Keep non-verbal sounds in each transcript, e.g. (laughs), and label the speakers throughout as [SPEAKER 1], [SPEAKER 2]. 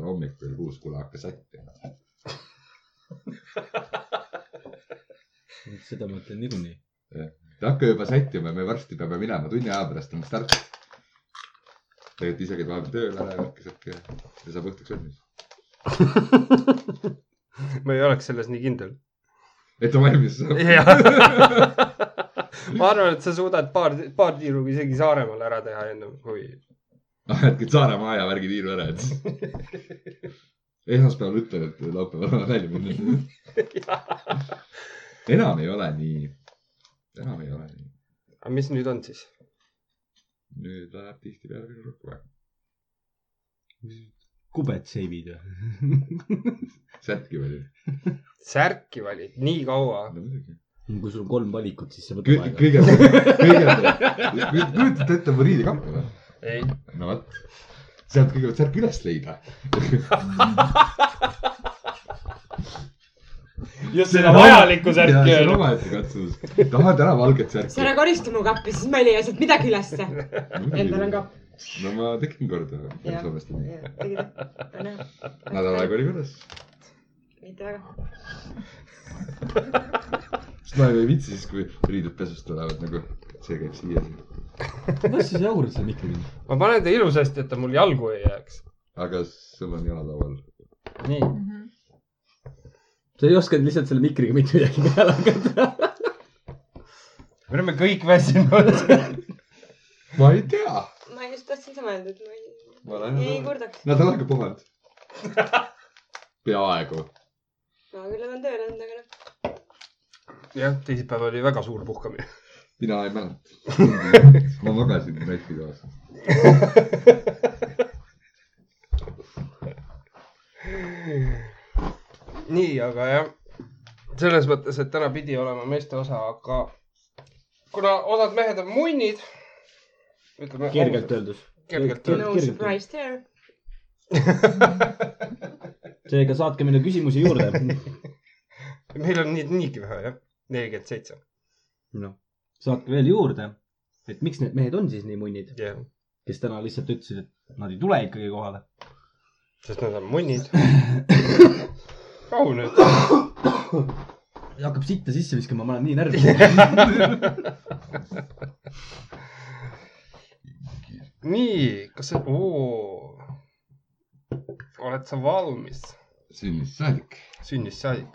[SPEAKER 1] hommikul kuuskula hakkas sättima .
[SPEAKER 2] (laughs) seda ma ütlen niikuinii .
[SPEAKER 1] ta hakkab juba sättima , me varsti peame minema , tunni aja pärast on start . et isegi et vahepeal tööle ära ja värki sihuke ja saab õhtuks valmis .
[SPEAKER 3] (laughs) ma ei oleks selles nii kindel .
[SPEAKER 1] et ta valmis saab .
[SPEAKER 3] jah . (laughs) ma arvan , et sa suudad paar , paar tiiru isegi Saaremaal ära teha ennem kui .
[SPEAKER 1] noh , jätkad Saaremaa aja värgi tiiru ära , et . esmaspäeval ütlen , et laupäeval olen välja minna . enam ei ole nii , enam ei ole nii .
[SPEAKER 3] aga mis nüüd on siis ?
[SPEAKER 1] nüüd läheb tihtipeale veel rohkem aega .
[SPEAKER 2] Mm. kubed seivid või ?
[SPEAKER 1] särki valid .
[SPEAKER 3] särki valid nii kaua .
[SPEAKER 1] no muidugi .
[SPEAKER 2] (laughs) kui sul on kolm valikut , siis see võtab
[SPEAKER 1] kõige ,
[SPEAKER 2] aega .
[SPEAKER 1] kõige , kõige , kujutate ette mu riidekappi või ?
[SPEAKER 3] ei ,
[SPEAKER 1] no vot , sealt kõigepealt särk üles leida .
[SPEAKER 3] just seda vajalikku särki
[SPEAKER 1] on .
[SPEAKER 3] on .
[SPEAKER 1] omaette katsumus , tahad ära valget
[SPEAKER 4] sa ära
[SPEAKER 1] särki ?
[SPEAKER 4] karista mu kappi , siis ma ei leia sealt midagi ülesse . Endal on kapp .
[SPEAKER 1] no ma tegin korda
[SPEAKER 4] Jah.
[SPEAKER 1] Soomest .
[SPEAKER 4] tegid , on jah .
[SPEAKER 1] nädal aega oli korras ,
[SPEAKER 4] mitte väga .
[SPEAKER 1] sest ma ei viitsi siis , kui riided pesust tulevad nagu , see käib siia .
[SPEAKER 2] (laughs) las siis jaurad seal ikkagi .
[SPEAKER 3] ma panen ta ilusasti , et ta mul jalgu ei jääks .
[SPEAKER 1] aga sul on jalad laual .
[SPEAKER 3] nii ,
[SPEAKER 2] sa ei osanud lihtsalt selle mikriga mitte midagi peale hakata .
[SPEAKER 3] me oleme kõik väsinud .
[SPEAKER 1] ma ei tea ,
[SPEAKER 4] ma just tahtsin sama öelda , et ma ei ,
[SPEAKER 1] ma olen
[SPEAKER 4] ei
[SPEAKER 1] nädal-
[SPEAKER 4] kurdaks .
[SPEAKER 1] nädal aega
[SPEAKER 3] (laughs)
[SPEAKER 1] puhanud . peaaegu .
[SPEAKER 4] ma küll olen tööl olnud , aga noh ,
[SPEAKER 3] jah , teisipäev oli väga suur puhkamine .
[SPEAKER 1] mina ei (laughs) mäleta . ma magasin Läti toas .
[SPEAKER 3] nii , aga jah , selles mõttes , et täna pidi olema meeste osa , aga kuna osad mehed on munnid , ütleme
[SPEAKER 2] (laughs) kergelt . öeldes .
[SPEAKER 3] kergelt
[SPEAKER 2] Kergelt.
[SPEAKER 3] öeldes .
[SPEAKER 4] no
[SPEAKER 2] kirjutan.
[SPEAKER 4] surprise there .
[SPEAKER 2] seega saatke meile küsimusi juurde . (laughs)
[SPEAKER 3] meil on neid niigi vähe jah , nelikümmend seitse .
[SPEAKER 2] noh , saatke veel juurde , et miks need mehed on siis nii munnid ,
[SPEAKER 3] jah ,
[SPEAKER 2] kes täna lihtsalt ütlesid , et nad ei tule ikkagi kohale .
[SPEAKER 3] sest nad on munnid . rahu nüüd .
[SPEAKER 2] ja hakkab sitta sisse viskama , ma olen nii närvis . (laughs)
[SPEAKER 3] nii , kas sa , oled sa valmis
[SPEAKER 1] sünnist saadik .
[SPEAKER 3] sünnist saadik ?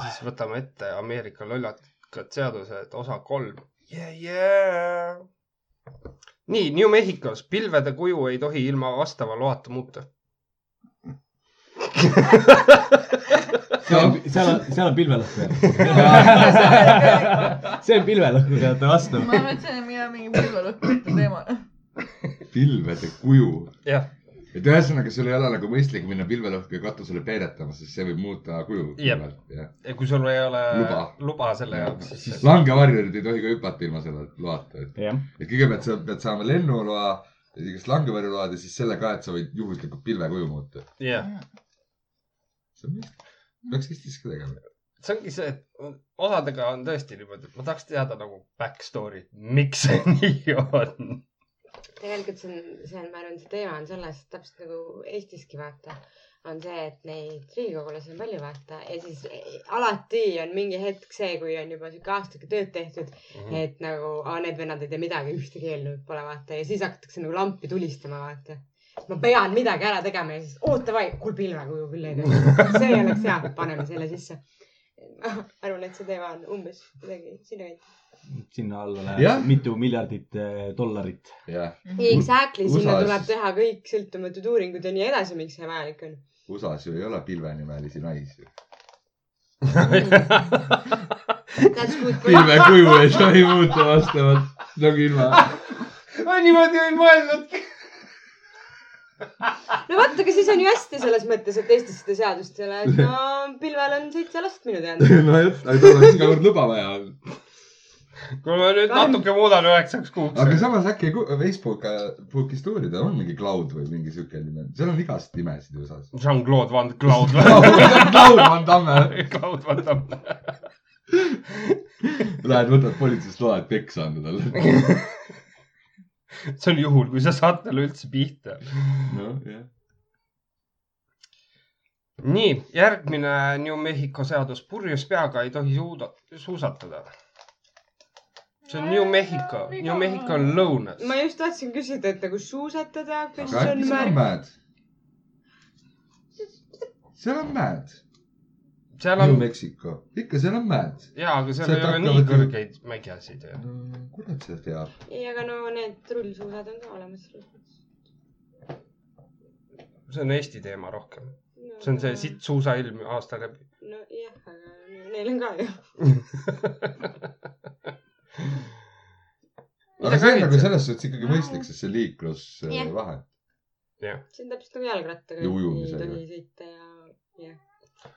[SPEAKER 3] siis võtame ette Ameerika lollakad seadused , osa kolm yeah, . Yeah. nii , New Mehhikos pilvede kuju ei tohi ilma vastava loata muuta .
[SPEAKER 2] seal on , seal on , seal on (laughs) pilvelõhk veel . see on pilvelõhk , mida te vastu .
[SPEAKER 5] ma mõtlesin , et meil on mingi pilvelõhkumine teema .
[SPEAKER 1] pilvede kuju
[SPEAKER 3] jah ,
[SPEAKER 1] et ühesõnaga , sul ei ole nagu mõistlik minna pilvelõhku ja katusele peedetama , sest see võib muuta kuju .
[SPEAKER 3] Jep. ja kui sul ei ole luba,
[SPEAKER 1] Luba.
[SPEAKER 3] luba selle jaoks , siis .
[SPEAKER 1] langevarjurid ei tohi ka hüpata ilma selle loata , et ,
[SPEAKER 2] jah ,
[SPEAKER 1] et kõigepealt sa pead saama lennuloa , igast langevarjuload ja siis selle ka , et sa võid juhuslikult pilvekuju muuta .
[SPEAKER 3] jah ,
[SPEAKER 1] see on mõistlik . peaks Eestis ka tegema .
[SPEAKER 3] see ongi see , et osadega on tõesti niimoodi , et ma tahaks teada nagu back story't , miks see (laughs) nii on .
[SPEAKER 4] tegelikult see on , see on , ma arvan , see teema on selles täpselt nagu Eestiski vaata , on see , et neid riigikogulasi on palju vaata ja siis eh, alati on mingi hetk see , kui on juba sihuke aastake tööd tehtud ,
[SPEAKER 1] Mm.
[SPEAKER 3] Mhm.
[SPEAKER 4] et nagu aa, need vennad ei tee midagi , ühtegi eelnõu pole vaata ja siis hakatakse nagu lampi tulistama vaata . ma pean midagi ära tegema ja siis oota vaid , kuule pilvekuju küll ei tee ,
[SPEAKER 1] (laughs)
[SPEAKER 4] see oleks hea , paneme selle sisse . ma arvan , et see teema on umbes midagi sinnakanti .
[SPEAKER 2] sinna alla
[SPEAKER 1] Jah.
[SPEAKER 2] läheb mitu miljardit eh, dollarit .
[SPEAKER 1] jah ,
[SPEAKER 4] Exactly , sinna
[SPEAKER 1] USA-s
[SPEAKER 4] tuleb
[SPEAKER 1] siis-
[SPEAKER 4] teha kõik sõltumatud uuringud ja nii edasi , miks see vajalik on .
[SPEAKER 1] USA-s ju ei ole pilvenimelisi naisi .
[SPEAKER 4] That's
[SPEAKER 1] (laughs)
[SPEAKER 4] good point .
[SPEAKER 1] pilvekuju ei tohi muuta vastavalt , nagu ilma .
[SPEAKER 3] ma niimoodi ei mõelnudki .
[SPEAKER 4] no vot , aga siis on ju hästi selles mõttes , et Eestis seda seadust ei ole , et no pilvel on seitse last minu teada .
[SPEAKER 1] (laughs) no just , aga tal oleks iga kord luba vaja .
[SPEAKER 3] kui ma nüüd natuke muudan üheksaks kuuks .
[SPEAKER 1] aga samas äkki ku- Facebook , Facebookist uurida on mingi cloud või mingi siuke nime , seal on igast nimesid USA-s . (laughs)
[SPEAKER 3] Jean-Claude Van Cloud või ? (laughs)
[SPEAKER 1] laul on Tamme .
[SPEAKER 3] Cloud Van Damme .
[SPEAKER 1] Lähed võtad politseist loa , et peksa anda talle .
[SPEAKER 3] see on juhul , kui sa saad talle üldse pihta .
[SPEAKER 1] noh , jah .
[SPEAKER 3] nii , järgmine New Mexico seadus , purjus peaga ei tohi suuda , suusatada . see on New Mexico , New Mexico on lõunas .
[SPEAKER 4] ma just tahtsin küsida , et nagu suusatada , kas
[SPEAKER 1] aga
[SPEAKER 4] see on
[SPEAKER 1] äkki seal on
[SPEAKER 4] märk .
[SPEAKER 1] mäed ? seal on mäed .
[SPEAKER 3] seal
[SPEAKER 1] New
[SPEAKER 3] on ,
[SPEAKER 1] Mexico , ikka seal on mäed .
[SPEAKER 3] jaa , aga seal
[SPEAKER 1] Sealt
[SPEAKER 3] ei ole nii
[SPEAKER 1] hakkavad-
[SPEAKER 3] kõrgeid mägiasid ju .
[SPEAKER 1] no kurat seda teab .
[SPEAKER 4] ei , aga no need trullsuusad on ka olemas .
[SPEAKER 3] see on Eesti teema rohkem . see on see . sitt suusailm aasta läbi .
[SPEAKER 4] nojah , aga neil on ka ju .
[SPEAKER 1] aga see on nagu selles suhtes ikkagi mõistlik , sest see
[SPEAKER 4] Jah.
[SPEAKER 1] liiklusvahe .
[SPEAKER 4] see on täpselt nagu jalgrattaga .
[SPEAKER 1] Ja ujumisega.
[SPEAKER 4] ei tohi sõita ja , jah .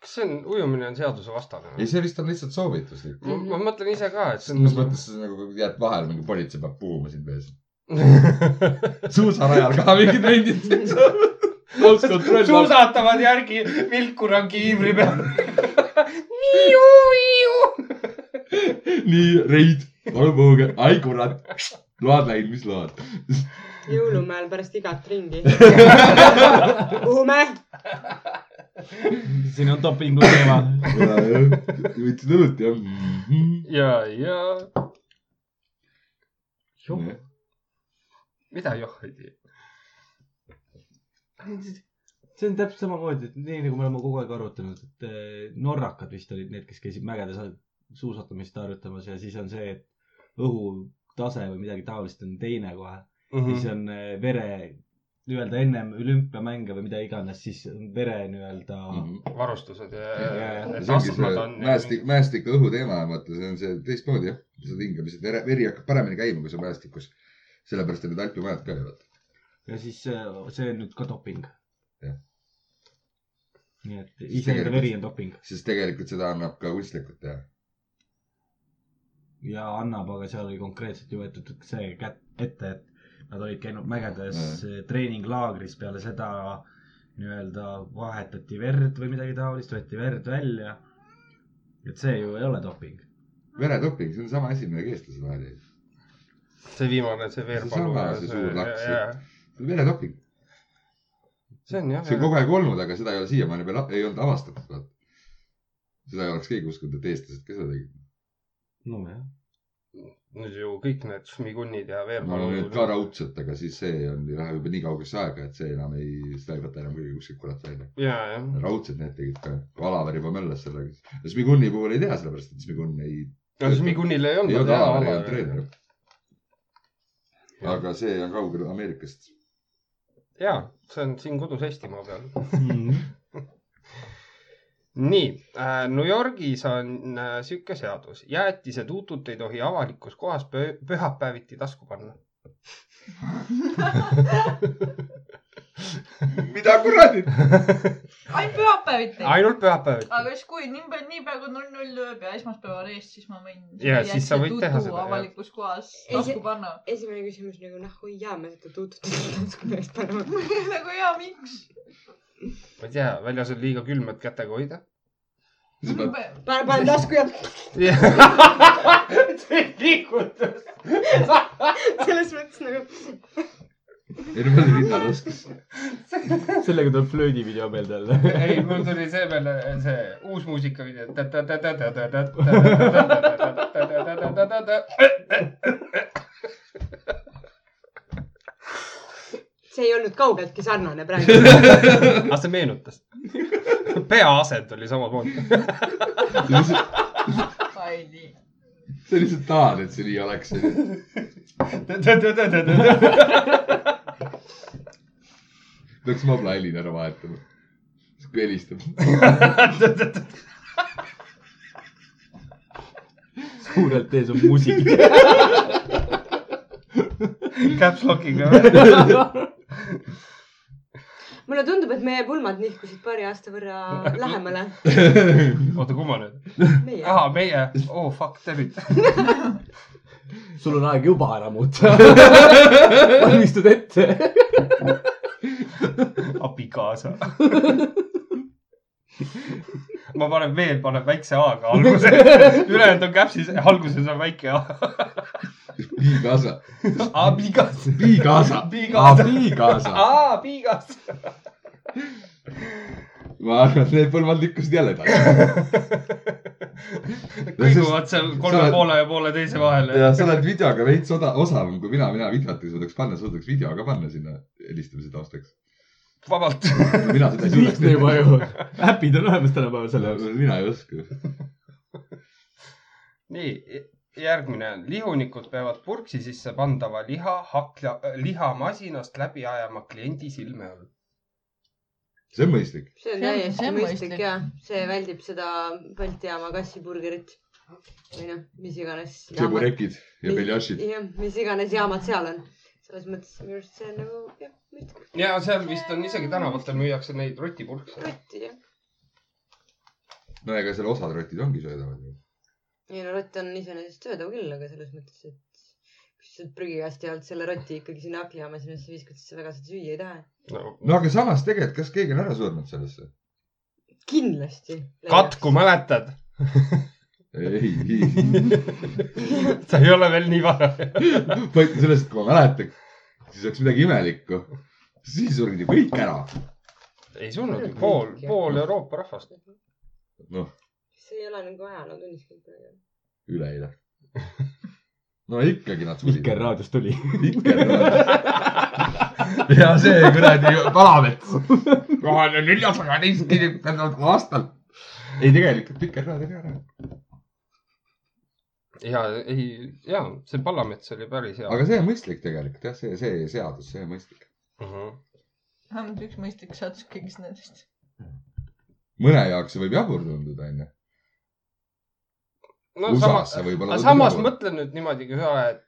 [SPEAKER 3] kas see on , ujumine on seadusevastane
[SPEAKER 1] ei ,? see vist on lihtsalt soovituslik .
[SPEAKER 3] ma ma mõtlen ise ka , et see on
[SPEAKER 1] mis .
[SPEAKER 3] (laughs)
[SPEAKER 1] mõttes sa nagu jääd vahele , mingi politsei peab puhuma sind ees .
[SPEAKER 3] mõttes ?
[SPEAKER 1] suusarajal ka mingid vendid .
[SPEAKER 2] kontroll .
[SPEAKER 3] suusatavad järgi vilkurangi iivri peal .
[SPEAKER 1] nii , Reid , palun puhuge . ai kurat , load läinud , mis load ?
[SPEAKER 4] jõulumäel pärast igat
[SPEAKER 3] (laughs)
[SPEAKER 4] ringi . kuhume ?
[SPEAKER 2] siin on dopingu teema .
[SPEAKER 1] võtsid õlut jah ?
[SPEAKER 3] ja , ja . mida joh ei tee ?
[SPEAKER 2] see on täpselt samamoodi , et nii nagu me oleme kogu aeg arutanud , et eh, norrakad vist olid need , kes käisid mägedes suusatamist harjutamas ja siis on see , et õhutase või midagi taolist on teine kohe .
[SPEAKER 1] Mhm.
[SPEAKER 2] siis on eh, vere nii-öelda ennem olümpiamänge või mida iganes , siis on vere nii-öelda mm . -hmm.
[SPEAKER 3] varustused ja
[SPEAKER 2] Jaa, jaa.
[SPEAKER 3] need
[SPEAKER 1] Mhm. see ongi
[SPEAKER 3] astmad
[SPEAKER 1] see
[SPEAKER 3] on . nagu-
[SPEAKER 1] mäestik , mäestiku õhuteema , vaata , see on see teistmoodi jah , sa hingamised , veri hakkab paremini käima , kui sa mäestikus . sellepärast on need alpimäed ka ju vaata .
[SPEAKER 2] ja siis eh, see on nüüd ka doping
[SPEAKER 1] Jah. .
[SPEAKER 2] nii et iseenda veri on doping
[SPEAKER 1] siis tegelikult seda annab ka kunstlikult teha .
[SPEAKER 2] ja annab , aga seal oli konkreetselt ju võetud see kätt ette , et nad olid käinud mägedes mm. treeninglaagris peale seda nii-öelda vahetati verd või midagi taolist , võeti verd välja . et see ju ei ole doping .
[SPEAKER 1] veretoping , see on sama asi , millega eestlased vahel jäid .
[SPEAKER 3] see viimane , see Veerpalu .
[SPEAKER 1] sama, see suur laks. see on veretoping ,
[SPEAKER 3] see on jah .
[SPEAKER 1] see on kogu aeg olnud , aga seda ei ole siiamaani veel , ei olnud avastatud , vaata . seda ei oleks keegi uskunud , et eestlased ka seda tegid .
[SPEAKER 2] nojah .
[SPEAKER 3] nüüd ju kõik need Šmigunnid ja
[SPEAKER 1] me oleme nüüd
[SPEAKER 3] Veerpalu
[SPEAKER 1] ka . raudsed , aga siis see on , läheb juba nii kaugesse aega , et see enam ei , seda ei võta enam kuidagi kuskilt kurat välja .
[SPEAKER 3] ja , jah .
[SPEAKER 1] raudsed need tegid ka , Alaver juba möllas sellega . Smiguni puhul ei tea , sellepärast et Smigun ei ,
[SPEAKER 3] aga Šmigunnil ei
[SPEAKER 1] ei
[SPEAKER 3] olnud
[SPEAKER 1] olnud Alaver , ei olnud treener . aga see on kaugel Ameerikast . (laughs)
[SPEAKER 3] ja , see on siin kodus Eestimaa peal .
[SPEAKER 2] see
[SPEAKER 3] nii äh, , New Yorgis on äh, sihuke seadus , jäätised uutut ei tohi avalikus kohas pöö- pühapäeviti tasku panna .
[SPEAKER 1] mida kuradi ?
[SPEAKER 5] ainult pühapäeviti .
[SPEAKER 3] ainult pühapäeviti .
[SPEAKER 5] aga siis , kui nii palju , nii palju kui null null lööb ja esmaspäev on ees , siis ma võin .
[SPEAKER 3] Jaa, siis sa võid teha seda, jah.
[SPEAKER 5] avalikus kohas
[SPEAKER 4] Ei, see-
[SPEAKER 5] tasku panna .
[SPEAKER 4] (laughs) esimene küsimus nagu noh , oi jaa , ma seda tuutut ei saanud kui peaks panema .
[SPEAKER 5] nagu ja miks ?
[SPEAKER 3] ma ei tea , väljas on liiga külm , et kätega hoida .
[SPEAKER 1] sa pead ,
[SPEAKER 4] pane , pane tasku ja
[SPEAKER 3] see liigutus .
[SPEAKER 4] selles mõttes nagu ,
[SPEAKER 1] ei no ma olen rinnataskus .
[SPEAKER 2] (laughs) sellega tuleb flöödivideo meelde (laughs) jälle .
[SPEAKER 3] ei , mul tuli see peale , see uus muusika video .
[SPEAKER 4] see ei olnud kaugeltki sarnane praegu .
[SPEAKER 3] aga see meenutas . peaasend oli samamoodi .
[SPEAKER 5] ma ei tea .
[SPEAKER 1] sa lihtsalt tahad , et see nii oleks . peaks Mabla helid ära vahetama . siis kui helistab .
[SPEAKER 2] suurelt ees on musik .
[SPEAKER 3] Caps Lockiga .
[SPEAKER 4] mulle tundub , et meie pulmad nihkusid paari aasta võrra lähemale .
[SPEAKER 3] oota , kumma nüüd ?
[SPEAKER 4] meie .
[SPEAKER 3] ahah , meie . oh fuck , tervist .
[SPEAKER 2] (laughs) sul on aeg juba ära
[SPEAKER 1] (laughs)
[SPEAKER 2] muuta . valmistud ette .
[SPEAKER 3] abikaasa . ma panen veel , panen väikse A-ga alguses . ülejäänud on Capsis , alguses on väike A .
[SPEAKER 1] Bigasa ,
[SPEAKER 3] abigas .
[SPEAKER 1] Bigasa ,
[SPEAKER 3] Abikaasa.
[SPEAKER 1] Bigasa .
[SPEAKER 3] aa , piigas .
[SPEAKER 1] ma arvan , et need põlvad lükkasid jälle tagasi .
[SPEAKER 3] kõiguvad seal kolme
[SPEAKER 1] sa oled-
[SPEAKER 3] poole ja pooleteise vahele .
[SPEAKER 1] ja sa oled videoga veits oda- , osavam kui mina , mina videot ei suudaks panna , suudaks video ka panna sinna helistamise taustaks .
[SPEAKER 3] vabalt .
[SPEAKER 1] mina seda ei suudaks
[SPEAKER 2] lihtne juba
[SPEAKER 1] teha .
[SPEAKER 2] ju . äpid on olemas tänapäeval selle jaoks .
[SPEAKER 1] mina ei oska .
[SPEAKER 3] nii , järgmine on , lihunikud peavad purksi sisse pandava liha hakla , lihamasinast läbi ajama kliendi silme all .
[SPEAKER 1] see on mõistlik .
[SPEAKER 4] see on
[SPEAKER 5] See on- see
[SPEAKER 4] täiesti
[SPEAKER 5] on
[SPEAKER 4] mõistlik
[SPEAKER 5] mõistlik.
[SPEAKER 4] ja see väldib seda Balti jaama kassiburgerit või noh , mis iganes .
[SPEAKER 1] tšeburekid ja
[SPEAKER 4] Nii.
[SPEAKER 1] beljašid .
[SPEAKER 4] jah , mis iganes jaamad seal on . selles mõttes minu arust see on nagu jah , mõistlik
[SPEAKER 3] ja seal vist on isegi tänavatel müüakse neid rotipurkse .
[SPEAKER 4] rotti jah .
[SPEAKER 1] no ega seal osad rotid ongi söödavad ju .
[SPEAKER 4] ei no rott on iseenesest söödav küll , aga selles mõttes , et kui sa sealt prügikasti alt selle rotti ikkagi sinna hakklijaama sinna viskad , siis sa väga seda süüa ei taha .
[SPEAKER 3] No,
[SPEAKER 1] no aga samas tegelikult , kas keegi on ära surnud sellesse ?
[SPEAKER 4] kindlasti .
[SPEAKER 3] katku , mäletad ?
[SPEAKER 1] ei , ei ,
[SPEAKER 3] sa ei ole veel nii vana .
[SPEAKER 1] ma ütlen sellest , kui ma mäletan , siis oleks midagi imelikku . siis surdi kõik ära .
[SPEAKER 3] ei surnud , pool , pool Euroopa rahvast .
[SPEAKER 1] noh ,
[SPEAKER 4] see ei ole nagu ajaloo tunnistamine .
[SPEAKER 1] üleeile . no ikkagi nad surid .
[SPEAKER 2] Vikerraadiost tuli .
[SPEAKER 1] Vikerraadios . ja see kuradi palamets . kohane neljasaja teist kirjutatud aastal . ei , tegelikult Vikerraadio oli ära .
[SPEAKER 3] ja ei , ja see Pallamets oli päris hea .
[SPEAKER 1] aga see on mõistlik tegelikult jah , see , see seadus , see on mõistlik .
[SPEAKER 3] Mhm.
[SPEAKER 5] vähemalt üks mõistlik seadus kõigist nendest .
[SPEAKER 1] mõne jaoks see võib jabur tunduda , onju .
[SPEAKER 3] no
[SPEAKER 1] USA-s
[SPEAKER 3] samas ,
[SPEAKER 1] see võib-olla
[SPEAKER 3] aga
[SPEAKER 1] tundub
[SPEAKER 3] samas
[SPEAKER 1] jabur.
[SPEAKER 3] mõtle nüüd niimoodi , kui sa oled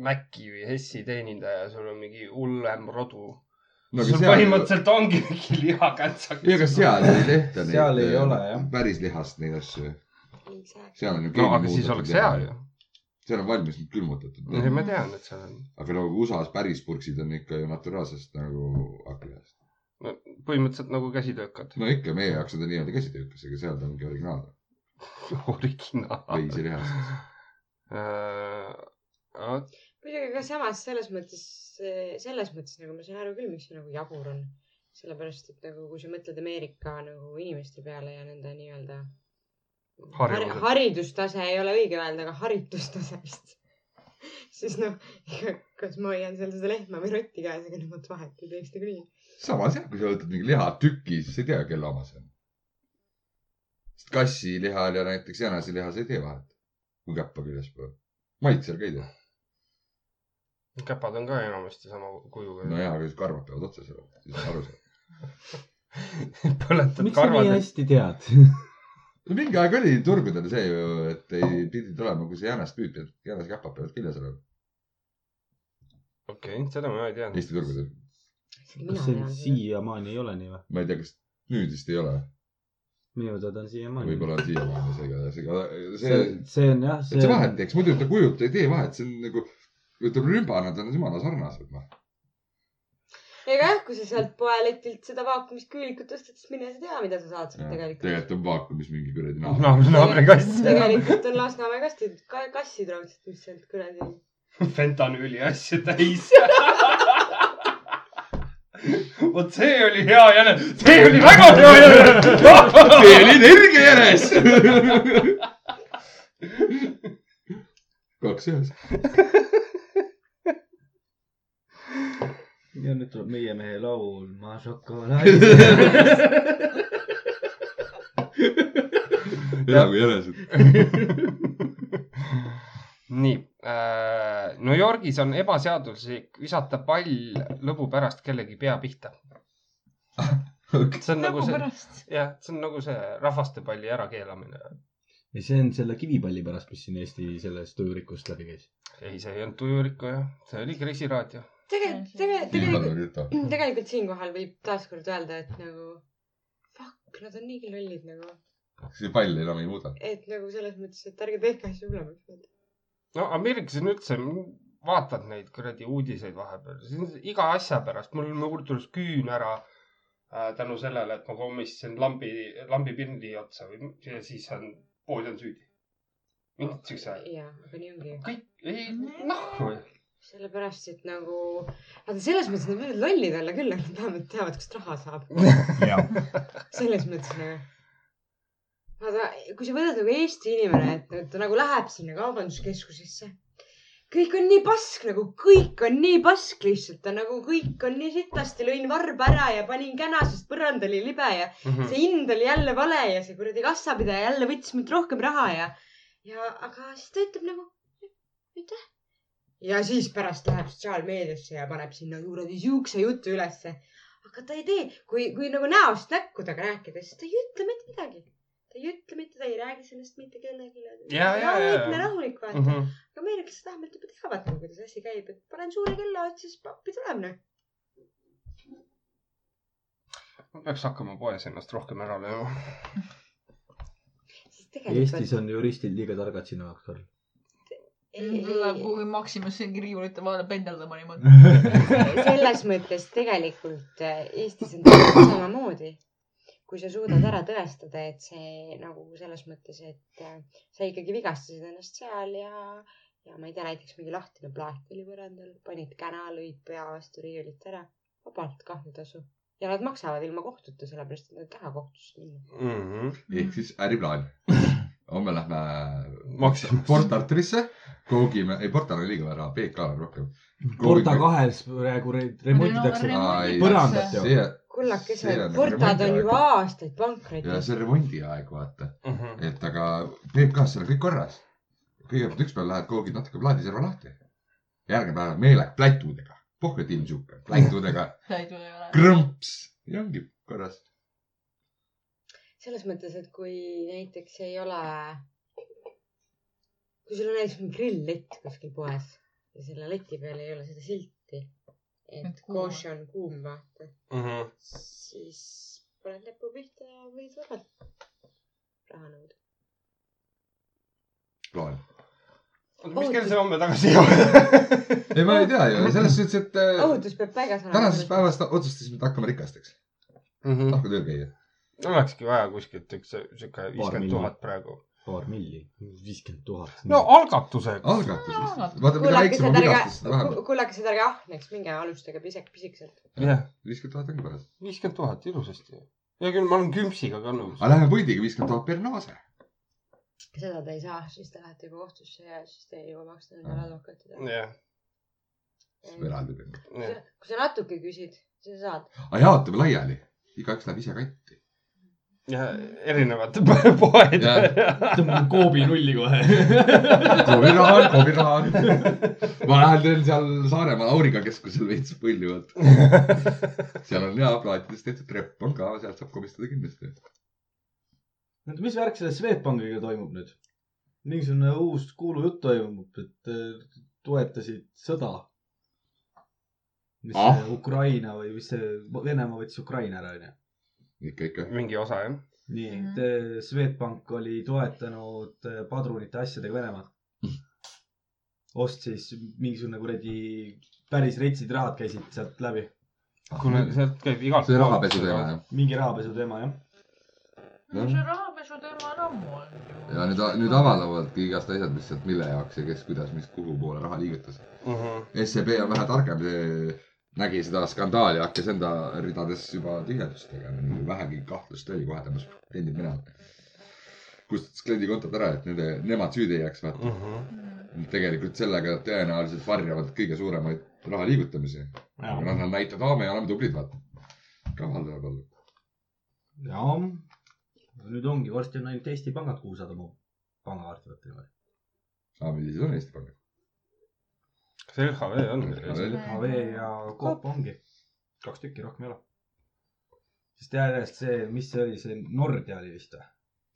[SPEAKER 3] Maci või Hessi teenindaja , sul on mingi hullem rodu
[SPEAKER 1] no
[SPEAKER 3] no, .
[SPEAKER 1] aga
[SPEAKER 3] sul
[SPEAKER 1] seal ,
[SPEAKER 3] põhimõtteliselt ongi mingi lihakätsak .
[SPEAKER 1] ei aga seal ei tehta neid .
[SPEAKER 2] Seal ei ole, jah.
[SPEAKER 1] päris lihast neid asju . seal on ju .
[SPEAKER 3] no aga siis oleks hea ju ..
[SPEAKER 1] seal on valmis külmutatud .
[SPEAKER 3] ei , ma tean , et seal on .
[SPEAKER 1] aga no USA-s päris purksid on ikka ju naturaalsest nagu hakklihast .
[SPEAKER 3] põhimõtteliselt nagu käsitöökad .
[SPEAKER 1] no ikka meie jaoks on ta nii-öelda käsitöökas , aga seal ta ongi originaal .
[SPEAKER 3] originaal .
[SPEAKER 1] veiselihast .
[SPEAKER 3] Äh,
[SPEAKER 4] muidugi , aga samas selles mõttes , selles mõttes nagu ma saan aru küll , miks see nagu jabur on . sellepärast , et nagu kui sa mõtled Ameerika nagu inimeste peale ja nende nii-öelda har
[SPEAKER 3] Harjumused.
[SPEAKER 4] haridustase ei ole õige öelda , aga haritustase vist . (laughs) siis noh , kas ma hoian seal seda lehma või rotti käes , ega nemad vahet ei teeks nagunii .
[SPEAKER 1] samas jah , kui sa võtad mingi lihatüki , siis ei tea , kelle oma see on . sest kassilihal ja näiteks jäneselihas ei tee vahet , kui käppa küljes pole . maitsel ka ei tee .
[SPEAKER 3] käpad on ka enamasti sama kujuga no, .
[SPEAKER 1] nojah , aga siis karvad peavad otsas olema , siis on aru saada .
[SPEAKER 3] (laughs) põletad
[SPEAKER 2] miks sa nii
[SPEAKER 3] karvad .
[SPEAKER 2] hästi tead ?
[SPEAKER 1] no mingi aeg oli turgudel see ju , et ei pidid olema , kui sa jänest müüd , et jäneskäpad peavad küljes olema .
[SPEAKER 3] okei , seda ma ei teadnud .
[SPEAKER 1] Eesti turgudel .
[SPEAKER 2] kas (laughs) see siiamaani ei ole nii või ?
[SPEAKER 1] ma ei tea , kas nüüd vist ei ole ,
[SPEAKER 2] minu teada on siiamaani .
[SPEAKER 1] võib-olla on siiamaani see , igatahes , ega
[SPEAKER 2] see
[SPEAKER 1] see ,,
[SPEAKER 2] see on jah ,
[SPEAKER 1] et see vahet teeks , muidu ta kujuta ei tee vahet , see on nagu , ütleme rümbana , ta on jumala sarnased noh .
[SPEAKER 4] ega jah , kui sa sealt poeletilt seda vaakumisküülikut ostad , siis mine sa tea , mida sa saad sealt tegelikult .
[SPEAKER 1] tegelikult on vaakumis mingi kuradi naab . (laughs)
[SPEAKER 3] no , naabrikass .
[SPEAKER 4] tegelikult on Lasnamäe kastid , kassid raudselt , mis sealt kuradi .
[SPEAKER 3] (laughs) fentanüüli asju täis . (laughs) vot see oli hea jäne , see oli väga hea jäne .
[SPEAKER 1] see oli energia jänes . kaks ühes .
[SPEAKER 2] ja nüüd tuleb meie mehe laul Ma šokolaadi .
[SPEAKER 1] hea kui jänesed .
[SPEAKER 3] nii äh, , New Yorgis on ebaseaduslik visata pall lõbu pärast kellegi pea pihta . see on nagu
[SPEAKER 5] nagu
[SPEAKER 3] see ,
[SPEAKER 5] pärast .
[SPEAKER 3] jah , see on nagu see rahvastepalli ärakeelamine .
[SPEAKER 2] (laughs) ja see on selle kivipalli pärast , mis siin Eesti sellest tujurikust läbi käis .
[SPEAKER 3] ei , see ei olnud tujuriku jah , see oli kriisiraadio .
[SPEAKER 4] tegelikult , tegelikult , tegelikult (clears throat)
[SPEAKER 1] see
[SPEAKER 4] tegelikult siinkohal võib taaskord öelda , et nagu fuck , nad on niigi lollid nagu ,
[SPEAKER 1] pall enam ei muuda .
[SPEAKER 4] et nagu selles mõttes , et ärge tehke asju hullemaks .
[SPEAKER 3] no Ameerikas on üldse , vaatad neid kuradi uudiseid vahepeal , siin on iga asja pärast , mul murdus küün ära äh, tänu sellele , et ma komistasin lambi , lambipildi otsa või ja siis on , pood on süüdi . mingid siuksed ,
[SPEAKER 4] jaa , aga nii ongi .
[SPEAKER 3] kõik , ei , noh ,
[SPEAKER 4] sellepärast , et nagu , aga selles mõttes nad võivad lollid olla küll , et nad vähemalt teavad , kust raha saab .
[SPEAKER 6] jah ,
[SPEAKER 4] selles mõttes nagu . aga kui sa võtad nagu Eesti inimene , et nüüd ta nagu läheb sinna kaubanduskeskusesse , kõik on nii pask nagu , kõik on nii pask lihtsalt , ta nagu kõik on nii sitasti , lõin varba ära ja panin käna , sest põrand oli libe ja
[SPEAKER 3] Hmm. Mhm.
[SPEAKER 4] see hind oli jälle vale ja see kuradi kassapidaja jälle võttis mult rohkem raha ja , ja aga siis ta ütleb nagu aitäh . ja siis pärast läheb sotsiaalmeediasse ja paneb sinna kuradi siukse jutu ülesse . aga ta ei tee , kui , kui nagu näost näkku temaga rääkida , siis ta ei ütle mitte midagi . ta ei ütle mitte , ta ei räägi sellest mitte kellelegi .
[SPEAKER 3] Jaa, jaa, jaa, jaa.
[SPEAKER 4] rahulikne , rahulik
[SPEAKER 3] Mhm.
[SPEAKER 4] vaata mm . -hmm aga ameeriklased vähemalt juba teavad nagu , kuidas asi käib , et panen suure kella otsa , siis appi tuleb noh .
[SPEAKER 3] ma peaks hakkama poes ennast rohkem ära lööma .
[SPEAKER 4] siis tegelikult .
[SPEAKER 2] Eestis on juristid liiga targad sinu jaoks olla .
[SPEAKER 5] Läheb kuhugi Maximas mingi riiulite vahele pendeldama
[SPEAKER 3] (laughs)
[SPEAKER 5] niimoodi .
[SPEAKER 4] selles mõttes tegelikult äh, Eestis on täpselt samamoodi . kui sa suudad ära tõestada , et see nagu selles mõttes , et äh, sa ikkagi vigastasid ennast seal ja , ja ma ei tea , näiteks mingi lahtine plaat oli põrandal , panid käna , lõid pea vastu riiulit ära , vabalt kahjutasu ja nad maksavad ilma kohtuta , sellepärast et nad ei taha kohtusse minna .
[SPEAKER 1] ehk siis (laughs) äriplaan . homme lähme
[SPEAKER 3] Maximas.
[SPEAKER 1] Port Arturisse , koogime , ei Port Artur on liiga vähe raha , PK on rohkem .
[SPEAKER 2] Porta kahes praegu re- remonditakse . põrandat ju.
[SPEAKER 1] see ,
[SPEAKER 4] kullakesed
[SPEAKER 1] See on , nagu
[SPEAKER 4] portad on
[SPEAKER 1] remondi
[SPEAKER 4] juba
[SPEAKER 1] aeg.
[SPEAKER 4] aastaid
[SPEAKER 1] ja
[SPEAKER 4] pankrotis .
[SPEAKER 1] see on remondi aeg , vaata .
[SPEAKER 3] Mhm.
[SPEAKER 1] et aga PK-s seal on kõik korras . kõigepealt üks päev lähed , koogid natuke plaadiserva lahti . järgmine päev on meelek plätudega , pohvet ilmsihuke , (laughs) plätudega ,
[SPEAKER 5] täid või ei ole .
[SPEAKER 1] krõmps ja ongi korras .
[SPEAKER 4] selles mõttes , et kui näiteks ei ole , kui sul on näiteks mingi grilllett kuskil poes ja selle leti peal ei ole seda silti , et
[SPEAKER 5] Et kuum.
[SPEAKER 4] koš on kuum , vaata , siis paned näpu pihta ja võid vabalt raha nõuda .
[SPEAKER 1] plaan .
[SPEAKER 3] mis kell see homme tagasi jõuab ?
[SPEAKER 1] ei , ma ei tea ju , selles suhtes , et äh,
[SPEAKER 4] ohutus peab paigas olema .
[SPEAKER 1] tänasest . päevast otsustasime , et hakkame rikasteks , tahku tööl käia .
[SPEAKER 3] olekski vaja kuskilt üks sihuke viiskümmend
[SPEAKER 2] miljonit.
[SPEAKER 3] tuhat praegu .
[SPEAKER 2] paar milli , viiskümmend tuhat .
[SPEAKER 3] no algatuseks .
[SPEAKER 1] algatuses , vaata , mida väiksem on
[SPEAKER 4] kullakesed ,
[SPEAKER 1] vigastus , seda vähem .
[SPEAKER 4] ärge , kullakesed , ärge ahneks , minge alustage pisek , pisikesed .
[SPEAKER 3] jah ,
[SPEAKER 1] viiskümmend tuhat ongi korras .
[SPEAKER 3] viiskümmend tuhat ilusasti . hea küll , ma olen küpsiga ka nõus .
[SPEAKER 1] aga läheme puidiga viiskümmend tuhat per naase .
[SPEAKER 4] seda te ei saa , siis te lähete juba kohtusse ja siis te ei jõua maksta nendele advokaatidele .
[SPEAKER 3] jah ,
[SPEAKER 1] eraldi teeme .
[SPEAKER 3] jah .
[SPEAKER 4] kui sa natuke küsid , siis sa saad .
[SPEAKER 1] aga jaotame laiali , igaüks läheb ise kanti .
[SPEAKER 3] ja erinevad (laughs) poed .
[SPEAKER 6] tõmbame koobi nulli
[SPEAKER 2] (laughs)
[SPEAKER 6] kohe .
[SPEAKER 1] koobiraha on , koobiraha on . ma lähen teen seal Saaremaa Auriga keskusel veits pulli võtta . seal on hea plaatidest tehtud trepp on ka , sealt saab komistada kindlasti .
[SPEAKER 2] oota , mis värk selle Swedbankiga toimub nüüd ? mingisugune uus kuulujutt toimub , et eh, toetasid sõda . mis
[SPEAKER 1] Ah.
[SPEAKER 2] see Ukraina või mis see , Venemaa võttis Ukraina ära , onju .
[SPEAKER 1] ikka , ikka .
[SPEAKER 3] mingi osa jah .
[SPEAKER 2] nii
[SPEAKER 5] Mhm.
[SPEAKER 2] mm , et eh, Swedbank oli toetanud eh, padrunite
[SPEAKER 1] (laughs)
[SPEAKER 2] asjadega Venemaad . ostis mingisugune kuradi päris retsid rahad käisid sealt läbi .
[SPEAKER 3] kuule , sealt käib igalt .
[SPEAKER 1] Ah, see rahapesu teema jah .
[SPEAKER 2] mingi rahapesu teema jah .
[SPEAKER 5] no see rahapesu teema on ammu olnud ju .
[SPEAKER 1] ja nüüd , nüüd . avaldavad igast asjad , mis sealt , mille jaoks ja kes , kuidas , mis , kuhu poole raha liigutas .
[SPEAKER 3] jah .
[SPEAKER 1] SEB E on vähe targem , nägi seda skandaali , hakkas enda ridades juba tühjendust tegema , nii kui vähegi kahtlust oli , kohe tõmbas kliendid minema . kustutas kliendi kontod ära , et nende , nemad süüdi ei jääks , vaata .
[SPEAKER 3] mhm.
[SPEAKER 1] tegelikult sellega nad tõenäoliselt varjavad kõige suuremaid raha liigutamisi . aga noh , nad näitavad , aa , me oleme tublid , vaata . kaval tuleb olla .
[SPEAKER 2] jaa . nüüd ongi , varsti on ainult Eesti pangad , kuhu saad oma pangakaarti võtta niimoodi .
[SPEAKER 1] aa , millised on Eesti pangad ?
[SPEAKER 3] kas LHV on veel ?
[SPEAKER 2] HV ja Coop ongi . kaks tükki , rohkem ei ole . sest järjest see , mis see oli , see Nordea oli vist või ?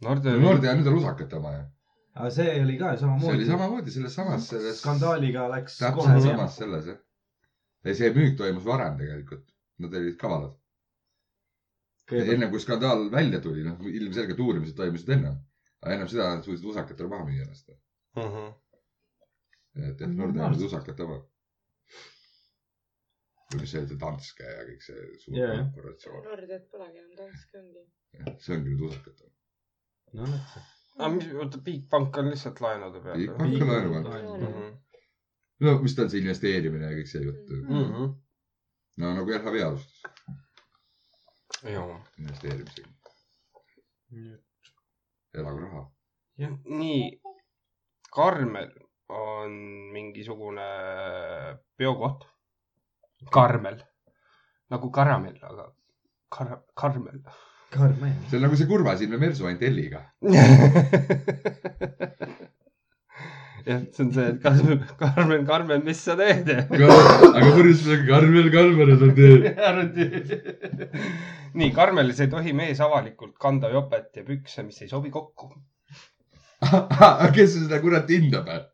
[SPEAKER 3] Nordea .
[SPEAKER 1] Nordea , nüüd on lusakate oma ju .
[SPEAKER 2] aga see oli ka ju
[SPEAKER 1] see oli
[SPEAKER 2] samamoodi .
[SPEAKER 1] samamoodi selles samas , selles .
[SPEAKER 2] skandaaliga läks kohe
[SPEAKER 1] täpselt samas selles jah . ei , see müük toimus varem tegelikult . Nad olid kavalad .
[SPEAKER 2] kõigepealt
[SPEAKER 1] enne kui skandaal välja tuli , noh ilmselgelt uurimised toimusid enne , aga ennem seda nad suutsid usakatele maha müüa ennast .
[SPEAKER 3] Mhm.
[SPEAKER 1] et jah , Nordea oli usakate oma . või mis see oli , see Danske ja kõik see suur
[SPEAKER 2] Jajah.
[SPEAKER 1] yeah. korporatsioon ,
[SPEAKER 4] Nordiat polegi enam Danske ongi .
[SPEAKER 1] see ongi nüüd usakate oma .
[SPEAKER 2] no näed sa .
[SPEAKER 3] aga Ah, mis , oota , Bigbank on lihtsalt laenude peal Mhm,
[SPEAKER 1] Bigbank on laenu peal. no mis ta on see investeerimine ja kõik see jutt .
[SPEAKER 3] mhm.
[SPEAKER 1] no nagu LHV alustas
[SPEAKER 3] jaa .
[SPEAKER 1] investeerimisega , elagu raha .
[SPEAKER 3] nii , Karmel on mingisugune peokoht . Karmel , nagu karamell , aga kar- , Karmel . (laughs)
[SPEAKER 2] Karmen .
[SPEAKER 1] see on nagu see kurvasilme mersu ainult L-iga .
[SPEAKER 3] jah , see on see , et Karmen , Karmen , Karmen , mis sa teed ?
[SPEAKER 1] aga purjus on Karmel Kalmer ja ta teeb . (laughs)
[SPEAKER 3] nii , Karmelis ei tohi mees avalikult kanda jopet ja pükse , mis ei sobi kokku .
[SPEAKER 1] kes seda kurat hindab ? eh?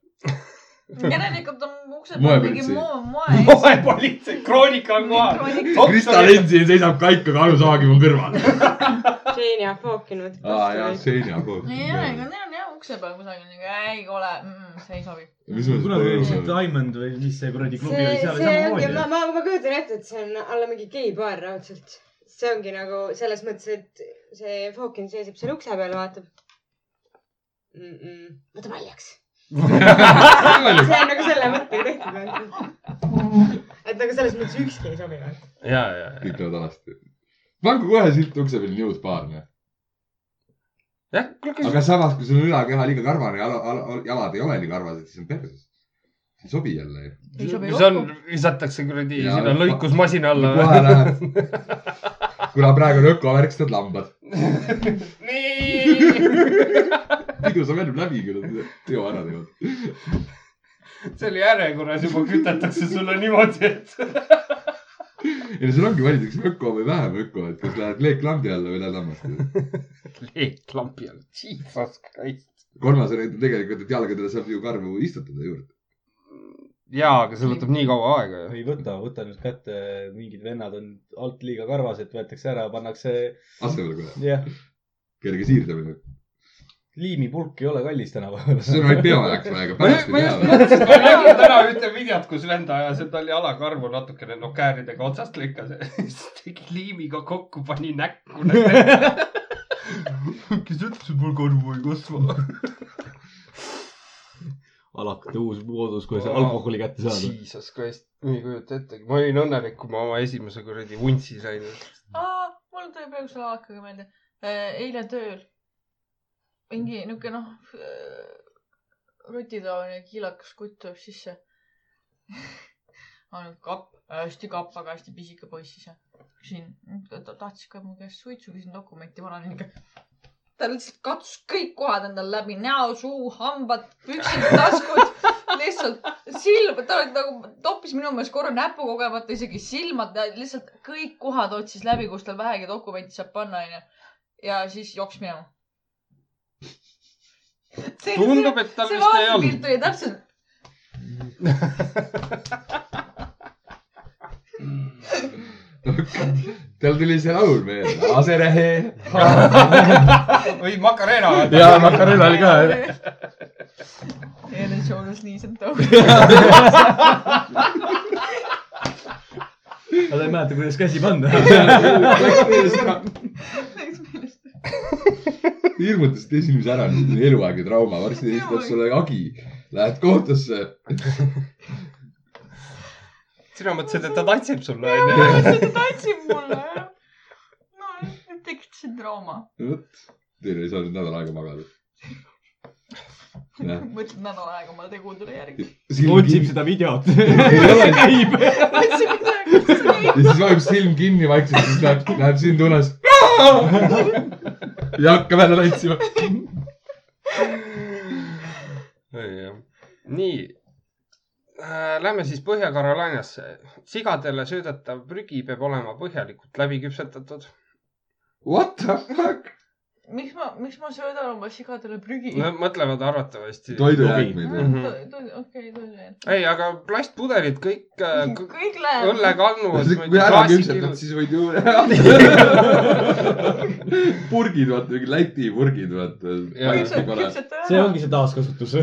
[SPEAKER 5] järelikult on ukse peal mingi
[SPEAKER 1] Moepolitsei.
[SPEAKER 5] moe , moe .
[SPEAKER 3] moepolitsei , kroonika on kohal .
[SPEAKER 1] Krista Lensi seisab ka ikka karusaagi mu kõrval .
[SPEAKER 4] Jane ja Fookin võtab
[SPEAKER 1] aa jaa ,
[SPEAKER 4] vastu .
[SPEAKER 1] seina poolt .
[SPEAKER 5] ei ole , aga neil on jah ukse peal kusagil nagu ei ole , see ei sobi .
[SPEAKER 1] mis
[SPEAKER 2] kunagi oli see
[SPEAKER 1] mõttes ?
[SPEAKER 2] Diamond või mis see kuradi klubi
[SPEAKER 4] see
[SPEAKER 2] oli , seal , oli
[SPEAKER 4] see ongi , ma ,
[SPEAKER 2] samamoodi .
[SPEAKER 4] ma , ma kujutan ette , et see on alla mingi geipaar raudselt . see ongi nagu selles mõttes , et see Fookin seisab seal ukse peal , vaatab mm . -mm. võta paljaks .
[SPEAKER 1] (laughs)
[SPEAKER 4] see on nagu selle mõttega tehtud . et nagu selles mõttes ükski ei sobi .
[SPEAKER 3] ja , ja , ja ,
[SPEAKER 1] kõik teevad alasti . pangu kohe silt ukse peal New Barn .
[SPEAKER 3] jah , küll küll .
[SPEAKER 1] aga samas , kui sul ülakeha liiga karvane ja ala- ala- jalad ei ole nii karvased , siis on perses . ei sobi jälle ju .
[SPEAKER 5] ei sobi
[SPEAKER 3] see on
[SPEAKER 5] kokku .,
[SPEAKER 3] visatakse kuradi
[SPEAKER 1] Jaa,
[SPEAKER 3] sinna
[SPEAKER 1] ma-
[SPEAKER 3] lõikusmasina alla .
[SPEAKER 1] kohe läheb . kuna praegu on ökovärk , siis need lambad .
[SPEAKER 3] (laughs)
[SPEAKER 1] pidu saab ennem läbi , kui nad teo ära teevad .
[SPEAKER 3] seal järjekorras juba kütetakse sulle niimoodi , et . (laughs)
[SPEAKER 1] ei no seal ongi valitakse öko või vähem öko , et kas lähed leeklambi alla või lähed lammaste .
[SPEAKER 3] leeklampi all , jesus christ .
[SPEAKER 1] kolmas variant on tegelikult , et jalgadele saab ju karvu istutada juurde .
[SPEAKER 3] jaa , aga see võtab nii kaua aega ju .
[SPEAKER 2] ei võta , võta nüüd kätte , mingid vennad on alt liiga karvased , võetakse ära , pannakse ,
[SPEAKER 1] asemele kohe ,
[SPEAKER 2] jah ,
[SPEAKER 1] kerge siirdamine .
[SPEAKER 2] liimipulk ei ole kallis tänapäeval .
[SPEAKER 1] see on ainult peo jaoks vaja , aga pärast
[SPEAKER 3] ma
[SPEAKER 1] ei
[SPEAKER 3] just
[SPEAKER 1] tea .
[SPEAKER 3] mõtlesin , ma nägin täna ühte videot , kus vend ajas endale jalakarvu natukene no kääridega otsast lõikas (laughs) ja siis tegi liimiga kokku , pani (laughs) näkku . kes ütles , et mul karvu ei kasva ?
[SPEAKER 2] alakate uus moodus , kuidas alkoholi kätte saada .
[SPEAKER 3] Jesus Christ , ma ei kujuta ettegi , ma olin õnnelik , kui ma oma esimese kuradi vuntsi sain .
[SPEAKER 5] mul tuli praegu selle alakaga meelde . eile tööl mingi niuke noh , rutitaoline kiilakas kutt tuleb sisse . ainult kapp , hästi kapp , aga hästi pisike poiss ise . küsin , ta tahtis ka mu käest suitsu , küsin dokumenti , ma olen niuke ta lihtsalt katsus kõik kohad endal läbi , näo , suu , hambad , püksid , taskud , lihtsalt silm , ta oli nagu , toppis minu meelest korra näpu kogemata isegi silmad , lihtsalt kõik kohad otsis läbi , kus tal vähegi dokumenti saab panna , onju . ja siis joks minema .
[SPEAKER 3] tundub , et tal
[SPEAKER 5] see
[SPEAKER 3] vist ei olnud .
[SPEAKER 5] vaatepilt oli täpselt ,
[SPEAKER 1] tal tuli see laul
[SPEAKER 2] (laughs)
[SPEAKER 1] meelde , aserehe .
[SPEAKER 3] või Macarena .
[SPEAKER 1] ja Macarena oli ka .
[SPEAKER 5] Ellen Jones nii sealt
[SPEAKER 2] aga ta ei mäleta , kuidas käsi panna .
[SPEAKER 5] tõusis .
[SPEAKER 1] hirmutasid esimese ära , nüüd on eluaegne trauma , varsti esitab sulle hagi . Lähed kohtusse .
[SPEAKER 3] sina mõtlesid , et ta tantsib sulle onju ?
[SPEAKER 5] ta tantsib mulle . no , tekitasin trauma .
[SPEAKER 1] Teil ei saa nüüd nädal aega magada . Jah.
[SPEAKER 5] mõtlen nädal aega oma tegudele järgi .
[SPEAKER 2] otsib seda
[SPEAKER 1] (laughs)
[SPEAKER 2] videot . käib .
[SPEAKER 5] otsin midagi , mis oli
[SPEAKER 1] ja siis vajub silm kinni vaikselt , siis läheb , läheb sind unes . ja hakkab jälle tantsima .
[SPEAKER 3] nii . Lähme siis Põhja-Carolinasse . sigadele söödetav prügi peab olema põhjalikult läbi küpsetatud .
[SPEAKER 1] What the fuck ?
[SPEAKER 5] miks ma , miks ma söödan oma sigadele prügi ?
[SPEAKER 3] Nad mõtlevad arvatavasti .
[SPEAKER 1] mm-hmm. toidujäätmeid või ?
[SPEAKER 5] okei , toidu veel .
[SPEAKER 3] ei , aga plastpudelid kõik äh, k-
[SPEAKER 5] kõik läheb .
[SPEAKER 3] õllekannud .
[SPEAKER 1] kui ära küpsetad , siis võid ju purgid , vaata , mingid Läti purgid ,
[SPEAKER 3] Jaa.
[SPEAKER 1] vaata .
[SPEAKER 5] küpseta
[SPEAKER 2] see ongi see taaskasutus .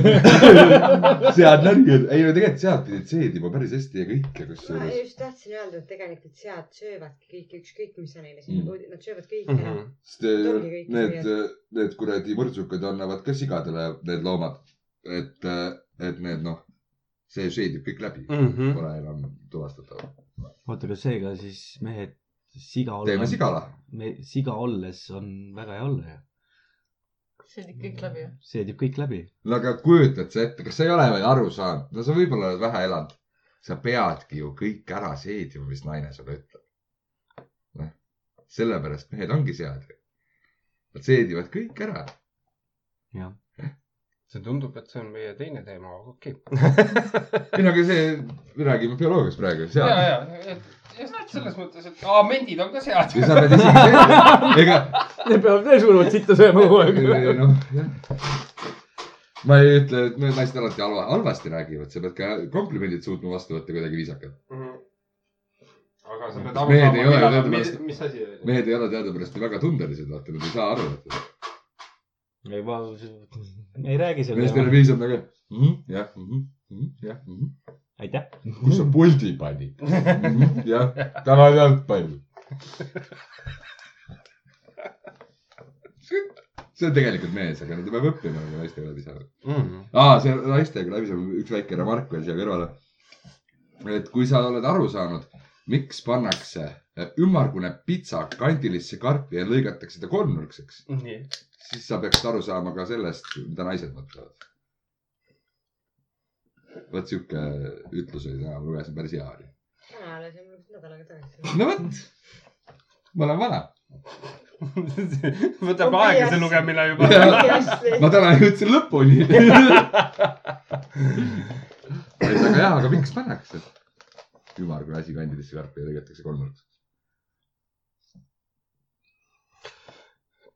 [SPEAKER 1] sead närgid , ei no tegelikult sead pidid seedima päris hästi ja kõike
[SPEAKER 4] ma
[SPEAKER 1] kusjuures .
[SPEAKER 4] just tahtsin öelda , et tegelikult sead söövadki kõike , ükskõik mis sa neile
[SPEAKER 1] Mm.
[SPEAKER 4] sinna puudid , nad söövad kõik ära .
[SPEAKER 2] Mhm.
[SPEAKER 3] ja
[SPEAKER 1] sest eh,
[SPEAKER 4] Ongi kõik
[SPEAKER 1] need , need kuradi mõrtsukad annavad ka sigadele need loomad , et , et need noh , see seedib kõik läbi ,
[SPEAKER 3] Mhm.
[SPEAKER 1] pole enam tuvastatav .
[SPEAKER 2] oota , kas seega siis mehed siga
[SPEAKER 1] teeme
[SPEAKER 2] olles ,
[SPEAKER 1] sigala .
[SPEAKER 2] me siga olles on väga hea olla ju .
[SPEAKER 5] sõidid kõik läbi ju .
[SPEAKER 2] seedib kõik läbi .
[SPEAKER 1] no aga kujutad sa ette , kas sa ei ole veel aru saanud , no sa võib-olla oled vähe elanud , sa peadki ju kõik ära seedima , mis naine sulle ütleb . noh , sellepärast mehed ongi sead . Nad seedivad kõik ära .
[SPEAKER 3] see tundub , et see on meie teine teema , aga okei .
[SPEAKER 1] ei no aga see , me räägime bioloogiast praegu ,
[SPEAKER 3] ja ,
[SPEAKER 1] sead .
[SPEAKER 3] ja , et just selles mõttes , et aa , mendid on ka sead .
[SPEAKER 1] ja sa pead isegi seedima , ega
[SPEAKER 2] Need peavad veel suuremat sitta sööma kogu
[SPEAKER 1] Ei, noh , jah . ma ei ütle , et me naised alati halva , halvasti räägivad , sa pead ka komplimendid suutma vastu võtta kuidagi viisakalt .
[SPEAKER 3] aga Mhm.
[SPEAKER 1] Kas
[SPEAKER 3] sa pead aru
[SPEAKER 1] mehed ei ole
[SPEAKER 3] saama , millal , mis
[SPEAKER 1] teadupärast- ,
[SPEAKER 3] mis asi oli .
[SPEAKER 1] mehed ei ole teadupärast ju väga tundelised , vaata , nad ei saa aru , et
[SPEAKER 2] (laughs) ei , ma ei räägi
[SPEAKER 1] meestel on
[SPEAKER 2] sellest .
[SPEAKER 1] piisav nagu mhm, jah , jah ,
[SPEAKER 2] aitäh .
[SPEAKER 1] kus sa puldi panid Mhm, ? jah , täna ei olnud palju . see on tegelikult mees , aga ta peab õppima nagu naistega läbi saama . aa , see naistega läbi saab üks väike remark veel siia kõrvale . et kui sa oled aru saanud , miks pannakse äh, ümmargune pitsa kandilisse karpi ja lõigatakse ta kolmnurkseks ,
[SPEAKER 3] nii , (laughs)
[SPEAKER 1] siis sa peaksid aru saama ka sellest , mida naised mõtlevad . vot sihuke ütlus oli täna , ma lugesin , päris hea oli .
[SPEAKER 4] täna alles , mul läks nädal aega
[SPEAKER 2] (laughs)
[SPEAKER 4] tagasi .
[SPEAKER 1] no vot , ma olen
[SPEAKER 3] (laughs)
[SPEAKER 1] vana .
[SPEAKER 3] võtab
[SPEAKER 4] Okei,
[SPEAKER 3] aega see
[SPEAKER 4] hästi.
[SPEAKER 3] lugemine juba .
[SPEAKER 1] ma täna jõudsin
[SPEAKER 3] (laughs)
[SPEAKER 1] lõpuni . väga hea , aga miks pannakse ? ümmargune asi kandidesse karpi ja lõigatakse kolmnurkseks .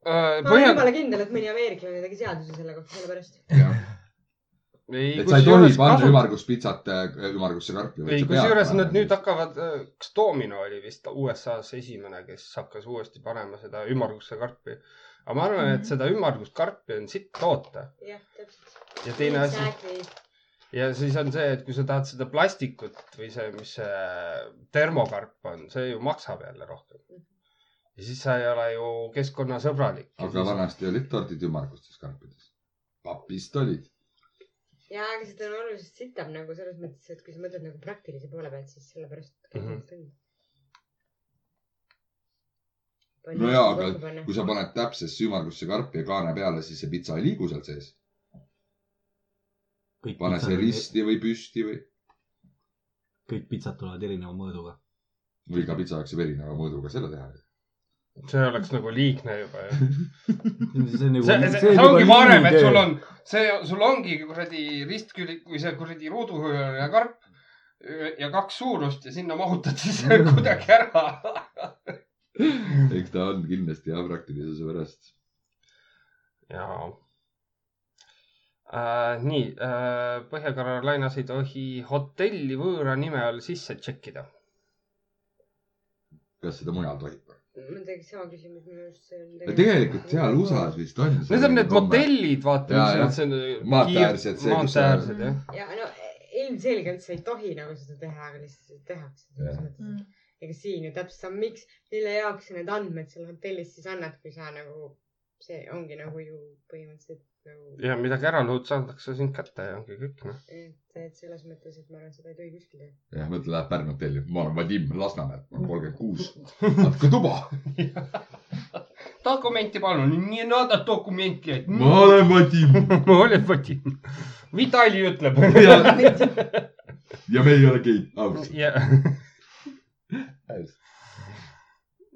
[SPEAKER 4] ma olen
[SPEAKER 3] põhjad .
[SPEAKER 4] jumala kindel , et mõni ameeriklane tegi seaduse selle kohta , sellepärast .
[SPEAKER 1] et sa ei tohi panna ümmargust pitsat äh, ümmargusse karpi .
[SPEAKER 3] ei , kusjuures nad nüüd . hakkavad , kas Domino oli vist USA-s esimene , kes hakkas uuesti panema seda ümmargusse karpi . aga ma arvan , et seda ümmargust karpi on sitt toota
[SPEAKER 4] jah , täpselt .
[SPEAKER 3] ja teine asi ja siis on see , et kui sa tahad seda plastikut või see , mis see termokarp on , see ju maksab jälle rohkem . ja siis sa ei ole ju keskkonnasõbralik .
[SPEAKER 1] aga vanasti olid tordid ümmargustes karpides . papist olid .
[SPEAKER 4] ja , aga seda on oluliselt sitam nagu selles mõttes , et kui sa mõtled nagu praktilise poole pealt , siis sellepärast
[SPEAKER 3] Mhm.
[SPEAKER 1] no ja , aga kui sa paned täpsesse ümmargusse karpi ja kaane peale , siis see pitsa ei liigu seal sees . pane see . risti või püsti või ,
[SPEAKER 2] kõik pitsad tulevad erineva mõõduga .
[SPEAKER 1] või iga pitsa jaoks saab erineva mõõduga selle teha .
[SPEAKER 3] see oleks nagu liigne juba ju .
[SPEAKER 2] see on
[SPEAKER 3] see , see, see ongi varem , et sul . on , see , sul ongi kuradi ristkülik või see kuradi ruudukujuline karp ja kaks suurust ja sinna mahutad siis kuidagi ära .
[SPEAKER 1] (laughs) eks ta on kindlasti jah , praktilisuse pärast .
[SPEAKER 3] jaa äh, . nii äh, , Põhja-Carolinas ei tohi hotelli võõra nime all sisse tšekkida .
[SPEAKER 1] kas seda mujal tohib ?
[SPEAKER 4] mul tekkis sama küsimus minu arust .
[SPEAKER 1] tegelikult seal USA-s vist on .
[SPEAKER 3] Need on need . motellid , vaata .
[SPEAKER 1] Jaa, jah. Maanteäärsed, see, kus sa-
[SPEAKER 3] maanteäärsed jah .
[SPEAKER 4] ja no e-, ilmselgelt sa ei tohi nagu seda teha , aga lihtsalt
[SPEAKER 1] Jah.
[SPEAKER 4] tehakse .
[SPEAKER 5] Mm,
[SPEAKER 4] ega siin ju täpselt sama , miks , mille jaoks sa need andmed seal hotellis siis annad , kui sa nagu , see ongi nagu ju põhimõtteliselt nagu ,
[SPEAKER 3] ja midagi ära lõhud , saadakse sind kätte ja ongi kõik noh .
[SPEAKER 4] et , et selles mõttes , et ma arvan , seda ei tohi kuskil teha .
[SPEAKER 1] jah , mõtle , läheb Pärnu hotelli , ma olen Vadim Lasnamäelt , ma olen kolmkümmend (laughs) kuus , natuke tuba .
[SPEAKER 3] dokumenti palun , nii nad dokumenti , et
[SPEAKER 1] ma olen Vadim (laughs)
[SPEAKER 3] ma olen Vadim . Vitali ütleb .
[SPEAKER 1] ja me ei ole geid , ausalt .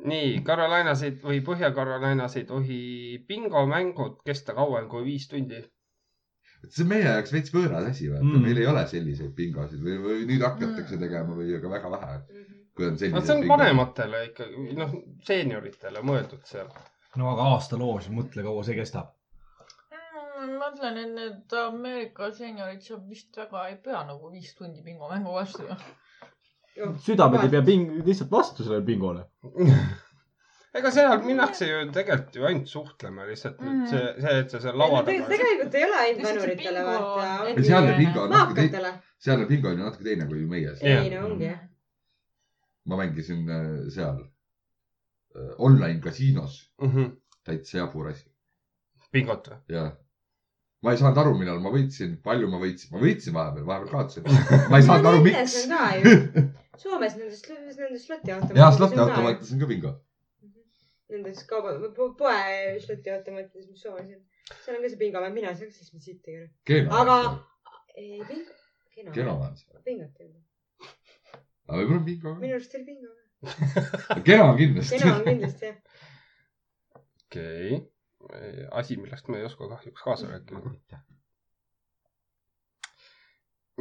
[SPEAKER 3] nii , Carolinasid või Põhja-Carolinas ei tohi bingomängud kesta kauem kui viis tundi .
[SPEAKER 1] see on meie jaoks veits võõras asi , vaata
[SPEAKER 2] Mm.
[SPEAKER 1] mm. , Mm. meil ei ole selliseid pingasid või , või nüüd hakatakse tegema või aga väga vähe ,
[SPEAKER 5] Mhm.
[SPEAKER 1] kui on
[SPEAKER 3] no
[SPEAKER 1] sellised .
[SPEAKER 3] see on . vanematele ikkagi , noh , seenioritele mõeldud seal .
[SPEAKER 2] no aga aastaloos , mõtle kaua see kestab .
[SPEAKER 5] ma mõtlen , et need Ameerika seeniorid seal vist väga ei pea nagu viis tundi pingomängu vastu .
[SPEAKER 2] südamed ei pea ping- , lihtsalt vastu sellele pingole .
[SPEAKER 3] ega seal minnakse ju tegelikult ju ainult suhtlema , lihtsalt mm.
[SPEAKER 5] Mhm.
[SPEAKER 3] see , see , et sa seal laua taga .
[SPEAKER 4] tegelikult ei ole ainult
[SPEAKER 5] Lihtsalt see
[SPEAKER 4] vanuritele ,
[SPEAKER 5] bingo on-
[SPEAKER 4] vaata .
[SPEAKER 5] Ei,
[SPEAKER 1] sealne bingo on natuke teine ,
[SPEAKER 4] maakatele .
[SPEAKER 1] sealne bingo on ju natuke teine kui meie .
[SPEAKER 4] ei no ongi jah .
[SPEAKER 1] ma mängisin äh, seal äh, online kasiinos täitsa jabur asi
[SPEAKER 3] pingot Mhm. või ?
[SPEAKER 1] ja ma ei saanud aru , millal ma võitsin , palju ma võitsin , ma võitsin vahepeal , vahepeal kaotasin . ma ei saanud aru , miks .
[SPEAKER 4] ka ju . Soomes nendes , nendes sloti automaatides .
[SPEAKER 1] ja slot'i automaatides on ka bingo .
[SPEAKER 4] Nendes kauba , poe sloti automaatides , mis Soomes on . seal on ka see bingo , mina ei saa ka siis mitte siit tegema .
[SPEAKER 1] kena
[SPEAKER 4] Aga- , ei , bingo , kena .
[SPEAKER 1] kena on see .
[SPEAKER 4] bingot ei ole .
[SPEAKER 1] aga võib-olla on bingo
[SPEAKER 4] minu arust oli bingo .
[SPEAKER 1] ka . kena on kindlasti .
[SPEAKER 4] kena
[SPEAKER 5] (laughs)
[SPEAKER 4] on kindlasti jah .
[SPEAKER 3] okei okay. . asi , millest ma ei oska kahjuks kaasa rääkida .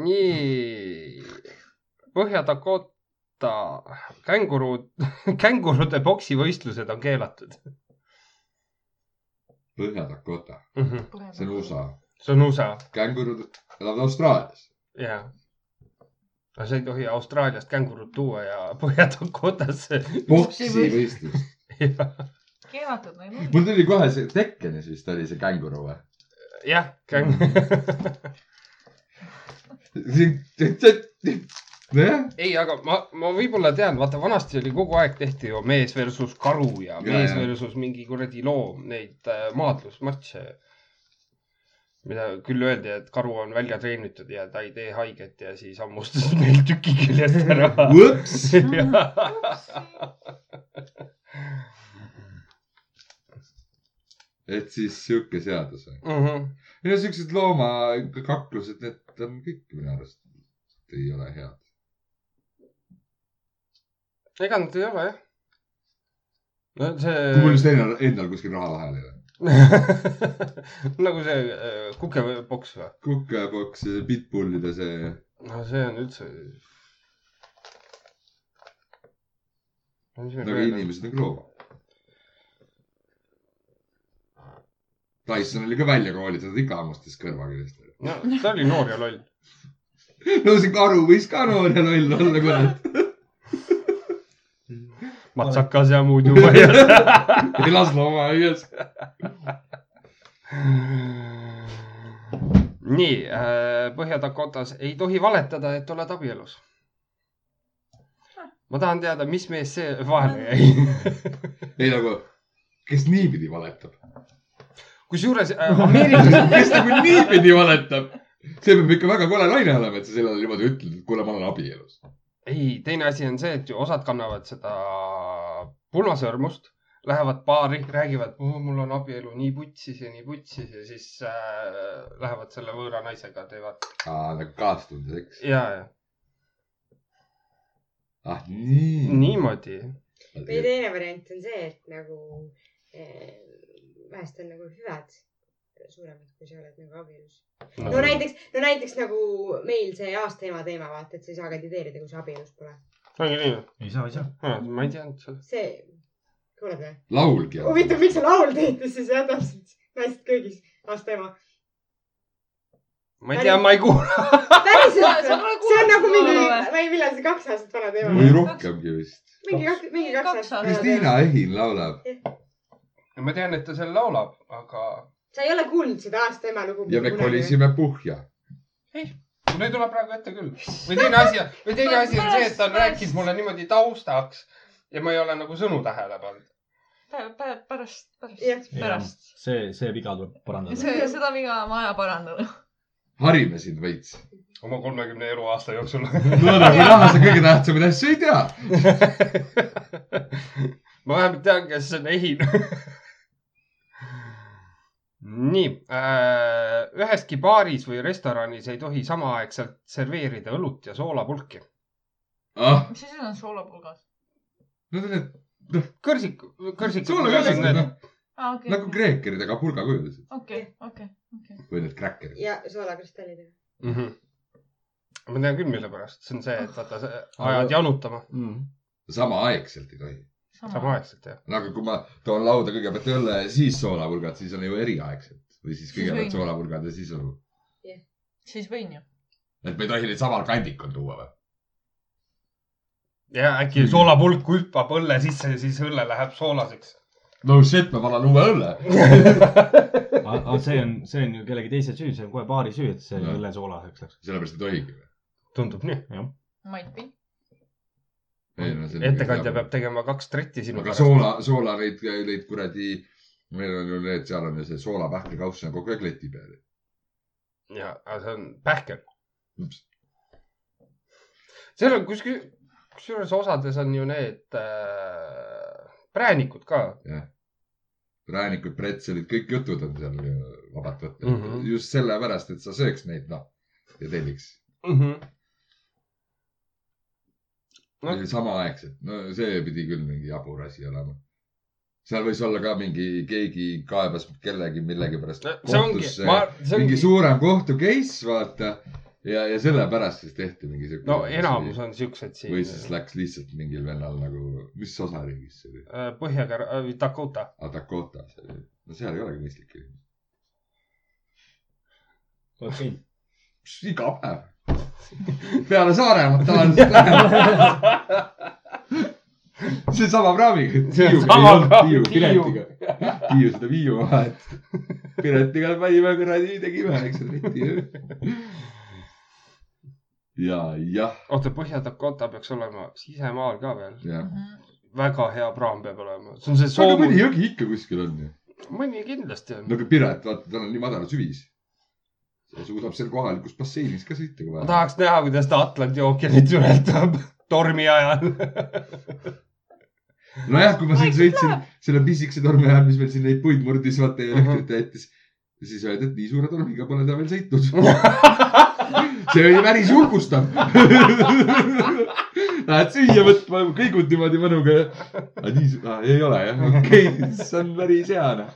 [SPEAKER 3] nii . Põhja-Dakota kängurud , (laughs) kängurude poksivõistlused on keelatud
[SPEAKER 1] Põhja-Dakota ,
[SPEAKER 3] mm .
[SPEAKER 5] Mhm.
[SPEAKER 3] -hmm.
[SPEAKER 1] see on USA .
[SPEAKER 3] see on USA ,
[SPEAKER 1] kängurud elavad Austraalias .
[SPEAKER 3] jaa . aga sa ei tohi Austraaliast kängurut tuua ja (laughs) Põhja-Dakotasse .
[SPEAKER 1] poksivõistlus . (laughs)
[SPEAKER 5] keelatud või mitte ?
[SPEAKER 1] mul tuli kohe see Tekkenis vist oli see känguru või ?
[SPEAKER 3] jah , käng- .
[SPEAKER 1] nojah ,
[SPEAKER 3] ei , aga ma , ma võib-olla tean , vaata vanasti oli kogu aeg tehti ju mees versus karu ja, ja
[SPEAKER 1] Ja,
[SPEAKER 3] mees
[SPEAKER 1] ja.
[SPEAKER 3] ja. versus mingi kuradi loom , neid äh, maadlusmatše . mida küll öeldi , et karu on välja treenitud ja ta ei tee haiget ja siis hammustas (laughs) meil tüki küljest ära . (laughs)
[SPEAKER 1] võps . et siis sihuke seadus on .
[SPEAKER 3] Mhm.
[SPEAKER 1] ei no siuksed loomakaklused , need on kõik minu arust ei ole head .
[SPEAKER 3] ega nad ei ole jah . no
[SPEAKER 1] kui mul just
[SPEAKER 3] see ,
[SPEAKER 1] endal , endal kuskil raha vahel ei ole .
[SPEAKER 3] (laughs) nagu see äh, kukepoks või ?
[SPEAKER 1] kukepoks , pitbullide see ,
[SPEAKER 3] no see on üldse .
[SPEAKER 1] nagu
[SPEAKER 3] (laughs)
[SPEAKER 1] inimesed on ka loomad . Tyson oli ka välja koolitatud , ikka hammustas kõrvakülist .
[SPEAKER 3] no, . ta oli noor ja loll .
[SPEAKER 1] no see karu võis ka noor ja loll olla , kurat .
[SPEAKER 3] matsakas ja muud juba ja .
[SPEAKER 1] ei las loomaaias .
[SPEAKER 3] (laughs) nii , Põhja-Dakotas ei tohi valetada , et oled abielus . ma tahan teada , mis mees see vahele jäi . (laughs)
[SPEAKER 1] ei nagu , kes niipidi valetab ,
[SPEAKER 3] kusjuures äh, Ameerikas ,
[SPEAKER 1] kes nagu niipidi valetab , see peab ikka väga kole naine olema , et sa sellele niimoodi ütled , et kuule , ma olen abielus .
[SPEAKER 3] ei , teine asi on see , et ju osad kannavad seda punasõrmust , lähevad baari , räägivad , mul on abielu nii putsis ja nii putsis ja siis äh, lähevad selle võõra naisega , teevad
[SPEAKER 1] nagu kaastundeseks .
[SPEAKER 3] ja , ja
[SPEAKER 1] ah nii .
[SPEAKER 3] niimoodi .
[SPEAKER 4] või teine variant on see , et nagu eh, vahest on nagu hüved suuremad , kui sa oled nagu abielus . no näiteks , no näiteks nagu meil see aasta ema teema , vaata , et sa ei saa kandideerida , kui sa abielus pole .
[SPEAKER 3] ongi nii või ?
[SPEAKER 2] ei saa , ei saa .
[SPEAKER 3] ma ei teadnud seda .
[SPEAKER 4] see , kuuled või ?
[SPEAKER 1] laulgi .
[SPEAKER 4] huvitav , miks see laul tehti siis jah , täpselt . naised kõigis , aasta ema .
[SPEAKER 3] ma ei tea , ma ei (laughs) kuula .
[SPEAKER 4] päriselt
[SPEAKER 5] (laughs) Sa- sa pole
[SPEAKER 4] või ? see on nagu
[SPEAKER 5] kuulnud
[SPEAKER 4] mingi
[SPEAKER 5] seda laulu ,
[SPEAKER 4] ma ei , millal see kaks aastat vana teema
[SPEAKER 1] või
[SPEAKER 4] on ?
[SPEAKER 1] rohkemgi vist .
[SPEAKER 4] mingi kaks , mingi
[SPEAKER 5] Kaks
[SPEAKER 4] kaks aastat
[SPEAKER 5] aastat.
[SPEAKER 4] vana teema .
[SPEAKER 1] Kristiina Ehin laulab
[SPEAKER 3] ma tean , et ta seal laulab , aga
[SPEAKER 4] sa ei ole kuulnud seda aasta ema lugu ?
[SPEAKER 1] ja me . kolisime Puhja .
[SPEAKER 3] mul ei tule praegu ette küll . või teine asi , või teine asi on see , et ta on rääkinud mulle niimoodi taustaks ja ma ei ole nagu sõnu tähele pannud .
[SPEAKER 5] pärast , pärast ,
[SPEAKER 4] Jah.
[SPEAKER 5] pärast .
[SPEAKER 2] see , see viga tuleb parandada .
[SPEAKER 5] see , seda viga on vaja parandada .
[SPEAKER 1] harime sind veits .
[SPEAKER 3] oma kolmekümne eluaasta jooksul . (laughs)
[SPEAKER 1] no nagu näha , sa kõige tähtsamaid asju ei tea .
[SPEAKER 3] (laughs) ma vähemalt tean , kes on ehin . (laughs) nii äh, , üheski baaris või restoranis ei tohi samaaegselt serveerida õlut ja soolapulki .
[SPEAKER 1] ah ,
[SPEAKER 5] mis asi on soolapulgas ?
[SPEAKER 1] need on need
[SPEAKER 3] kõrsik , kõrsik .
[SPEAKER 1] soolakõrsid , noh ,
[SPEAKER 5] aa , Ah, okei .
[SPEAKER 1] nagu kreekeridega pulgakujulised
[SPEAKER 5] okei , okei , okei .
[SPEAKER 1] või need kräkkerid .
[SPEAKER 4] ja soolakristallidega .
[SPEAKER 3] mm . -hmm. ma tean küll , mille pärast , see on see , et vaata , sa
[SPEAKER 2] Aga-
[SPEAKER 3] ajad janutama
[SPEAKER 2] Mm.
[SPEAKER 1] samaaegselt ei tohi .
[SPEAKER 5] sama .
[SPEAKER 3] samaaegselt jah .
[SPEAKER 1] no aga kui ma toon lauda kõigepealt õlle ja siis soolapulgad , siis on ju eriaegselt . või siis
[SPEAKER 5] Siis
[SPEAKER 1] kõigepealt
[SPEAKER 5] võin.
[SPEAKER 1] soolapurgad ja siis õlu .
[SPEAKER 5] siis võin ju .
[SPEAKER 1] et me ei tohi neid samal kandikul tuua või ?
[SPEAKER 3] ja äkki
[SPEAKER 1] Hmm.
[SPEAKER 3] soolapulk hüppab õlle sisse ja siis õlle läheb soolaseks .
[SPEAKER 1] no shit , ma valan uue õlle .
[SPEAKER 2] aga see on , see on ju kellegi teise süü , see on kohe baari süü , et see
[SPEAKER 1] Jah.
[SPEAKER 2] õllesoolaseks läks .
[SPEAKER 1] sellepärast ei tohigi või ?
[SPEAKER 3] tundub nii .
[SPEAKER 5] Might be .
[SPEAKER 1] Ei, no see on- nagu
[SPEAKER 3] ettekandja peab tegema kaks tretti sinu
[SPEAKER 1] aga . soola , soola neid , neid kuradi , meil on ju need , seal on ju see soolapähklikauss on kogu aeg leti peal .
[SPEAKER 3] ja , aga see on pähkel
[SPEAKER 1] Ups. .
[SPEAKER 3] seal on kuskil , kusjuures osades on ju need äh, präänikud ka .
[SPEAKER 1] präänikud , pretselid , kõik jutud on seal ju vabalt võtta mm .
[SPEAKER 3] Mhm.
[SPEAKER 1] -hmm. just sellepärast , et sa sööks neid , noh , ja telliks Mhm.
[SPEAKER 3] Noh.
[SPEAKER 1] no. . samaaegselt , no see pidi küll mingi jabur asi olema . seal võis olla ka mingi , keegi kaebas kellegi millegipärast
[SPEAKER 3] No, see ongi , ma , see
[SPEAKER 1] mingi
[SPEAKER 3] ongi ,
[SPEAKER 1] suurem kohtu case , vaata . ja , ja sellepärast siis tehti mingi siuke .
[SPEAKER 3] no enamus on siuksed siin
[SPEAKER 1] või siis läks lihtsalt mingil vennal nagu , mis osariigis see oli ,
[SPEAKER 3] Äh, Põhja-Kar- ,
[SPEAKER 1] (laughs)
[SPEAKER 3] Dakota .
[SPEAKER 1] Dakota , see oli , no seal ei olegi mõistlikke inimesi .
[SPEAKER 2] okei .
[SPEAKER 1] iga päev . peale Saaremaad tavaliselt
[SPEAKER 3] (laughs)
[SPEAKER 1] läheb . (laughs) see on sama praamiga .
[SPEAKER 3] See on sama praamiga.
[SPEAKER 1] Hiiu piletiga . Hiiu seda Viiu
[SPEAKER 3] (laughs)
[SPEAKER 1] vahet . piletiga panime kuradi , tegime väikse treti . ja , jah ,
[SPEAKER 3] oota , Põhja-Dakota peaks olema sisemaal ka veel .
[SPEAKER 1] jah .
[SPEAKER 3] väga hea praam peab olema . see on see
[SPEAKER 1] aga mõni
[SPEAKER 3] Soome ,
[SPEAKER 1] jõgi ikka kuskil on ju .
[SPEAKER 3] mõni kindlasti on
[SPEAKER 1] no . aga Piret , vaata , tal on nii madal süvis . ta suudab seal kohalikus basseinis ka sõita , kui
[SPEAKER 3] ma
[SPEAKER 1] vaja .
[SPEAKER 3] tahaks näha , kuidas ta Atlandi ookeanit ületab (laughs) tormi ajal .
[SPEAKER 1] nojah , kui ma siin sõitsin selle pisikese tormi ajal , mis meil siin neid puid murdis , vaata ja
[SPEAKER 3] Mhm.
[SPEAKER 1] elektrit jättis , siis öeldi , et nii suure tormiga pole ta veel sõitnud . see oli päris julgustav . (laughs) Lähed süüa võtma , kõigud niimoodi mõnuga . nii , ei ole jah , okei okay, , see on päris hea noh .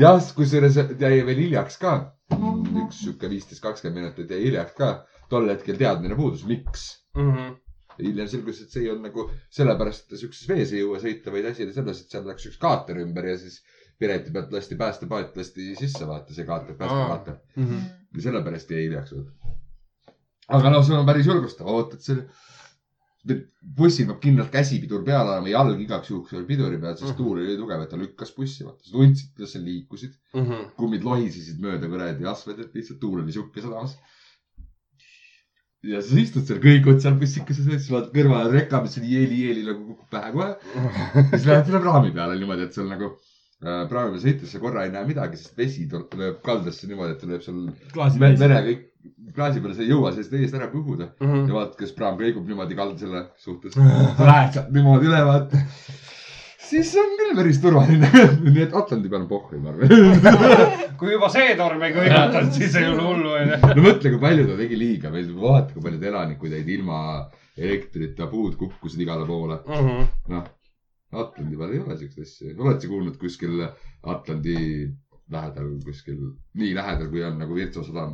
[SPEAKER 1] jah , kusjuures jäi veel hiljaks ka . üks sihuke viisteist , kakskümmend minutit jäi hiljaks ka . tol hetkel teadmine puudus , miks Mhm. hiljem selgus , et see ei olnud nagu sellepärast siukses vees ei jõua sõita , vaid asi oli selles , et seal läks üks kaater ümber ja siis Pireti pealt lasti päästepaat , lasti sisse , vaata see kaater , päästekaater
[SPEAKER 5] Mhm.
[SPEAKER 1] ja sellepärast jäi hiljaks . aga noh , see on päris julgustav , ootad selle , bussil peab kindlalt käsipidur peal olema , jalg igaks juhuks oli piduri peal , sest
[SPEAKER 3] Mhm.
[SPEAKER 1] tuul oli tugev , et ta lükkas bussi , vaata , sa tundsid , kuidas sa liikusid , kummid lohisesid mööda kuradi asfaldit , lihtsalt tuul oli sihuke sadamas . ja sa istud seal , kõigud seal bussikese sees , vaatad kõrvale reka , mis on jeeli-jeeli nagu kukub pähe kohe . siis lähed selle praami peale niimoodi , et seal nagu äh, praami peal sõites sa korra ei näe midagi , sest vesi tuleb , lööb kaldasse niimoodi , et ta lööb sul
[SPEAKER 2] klaasid
[SPEAKER 1] me- mere kõik klaasi peale , sa ei jõua sellest eest ära puhuda .
[SPEAKER 3] Mhm.
[SPEAKER 1] ja vaatad , kas praam kõigub niimoodi kalda selle suhtes . sa lähed sealt niimoodi üle , vaata . siis on küll päris turvaline . (laughs) nii et Atlandi peal on pohhu , ma arvan .
[SPEAKER 3] kui juba see torm ei kõigutanud , siis ei ole hullu onju .
[SPEAKER 1] no mõtle , kui palju ta tegi liiga , vaata , kui paljud elanikud jäid ilma elektrita , puud kukkusid igale poole .
[SPEAKER 3] Mhm.
[SPEAKER 1] Atlandi peal ei ole siukseid asju . oled sa kuulnud kuskil Atlandi lähedal kuskil , nii lähedal , kui on nagu Virtsu sadam ,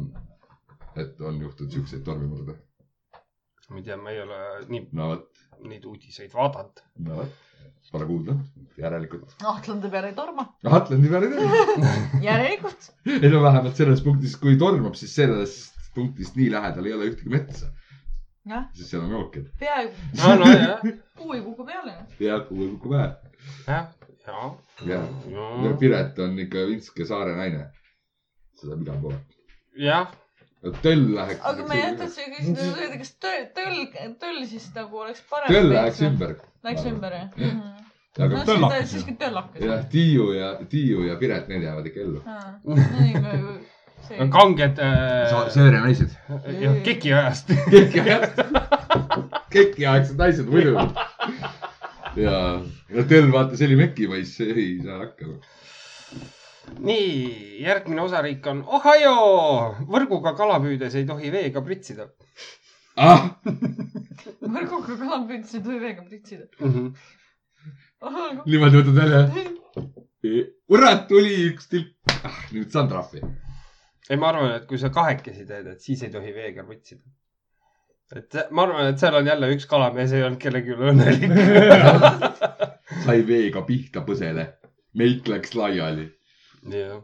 [SPEAKER 1] et on juhtunud siukseid tormimurde ?
[SPEAKER 3] ma ei tea , ma ei ole nii ,
[SPEAKER 1] no vot ,
[SPEAKER 3] neid uudiseid vaadanud .
[SPEAKER 1] no vot , pole kuulnud , järelikult .
[SPEAKER 5] Atlandi peale ei torma ,
[SPEAKER 1] Atlandi peal ei tormi .
[SPEAKER 5] järelikult .
[SPEAKER 1] ei no vähemalt selles punktis , kui tormab , siis sellest punktist nii lähedal ei ole ühtegi metsa .
[SPEAKER 5] jah ,
[SPEAKER 1] siis seal on ookean .
[SPEAKER 5] peaaegu
[SPEAKER 3] aa , nojah ,
[SPEAKER 5] kuu ei kuku peale .
[SPEAKER 1] ja kuue kukub ära .
[SPEAKER 3] jah , jah ,
[SPEAKER 1] ja no,
[SPEAKER 5] Mm.
[SPEAKER 3] jah ,
[SPEAKER 1] Piret on ikka vintske saare naine . seda igal pool .
[SPEAKER 3] jah .
[SPEAKER 1] töll läheks .
[SPEAKER 5] aga ma jätan küsida , kas töö , töll , töll siis nagu oleks parem .
[SPEAKER 1] töll läheks . ümber .
[SPEAKER 5] Läks ümber jah
[SPEAKER 1] Jah.
[SPEAKER 5] mm. ? no
[SPEAKER 1] aga
[SPEAKER 5] siis ta
[SPEAKER 6] hakkas,
[SPEAKER 5] siiski töll hakkas . Ah.
[SPEAKER 1] jah , Tiiu ja , Tiiu ja Piret , need jäävad ikka ellu .
[SPEAKER 5] jah .
[SPEAKER 3] kanged äh, ,
[SPEAKER 1] sööre naised .
[SPEAKER 3] jah , keki ajast . (laughs)
[SPEAKER 1] kekiaegsed naised muidugi . ja , ja töll vaata , see oli mekipoiss , see ei saa hakkama .
[SPEAKER 3] nii , järgmine osariik on Ohio . võrguga kala püüdes ei tohi veega pritsida
[SPEAKER 1] ah ,
[SPEAKER 5] võrguga kalapüüdsid või veega pritsida .
[SPEAKER 3] mm . -hmm.
[SPEAKER 1] niimoodi võtad välja . kurat , tuli üks tilk . ah , nüüd saan trahvi .
[SPEAKER 3] ei , ma arvan , et kui sa kahekesi teed , et siis ei tohi veega pritsida . et see- ma arvan , et seal on jälle üks kalamees ei olnud kellegi üle õnnelik .
[SPEAKER 1] sai veega pihta põsele . meik läks laiali .
[SPEAKER 3] jah ,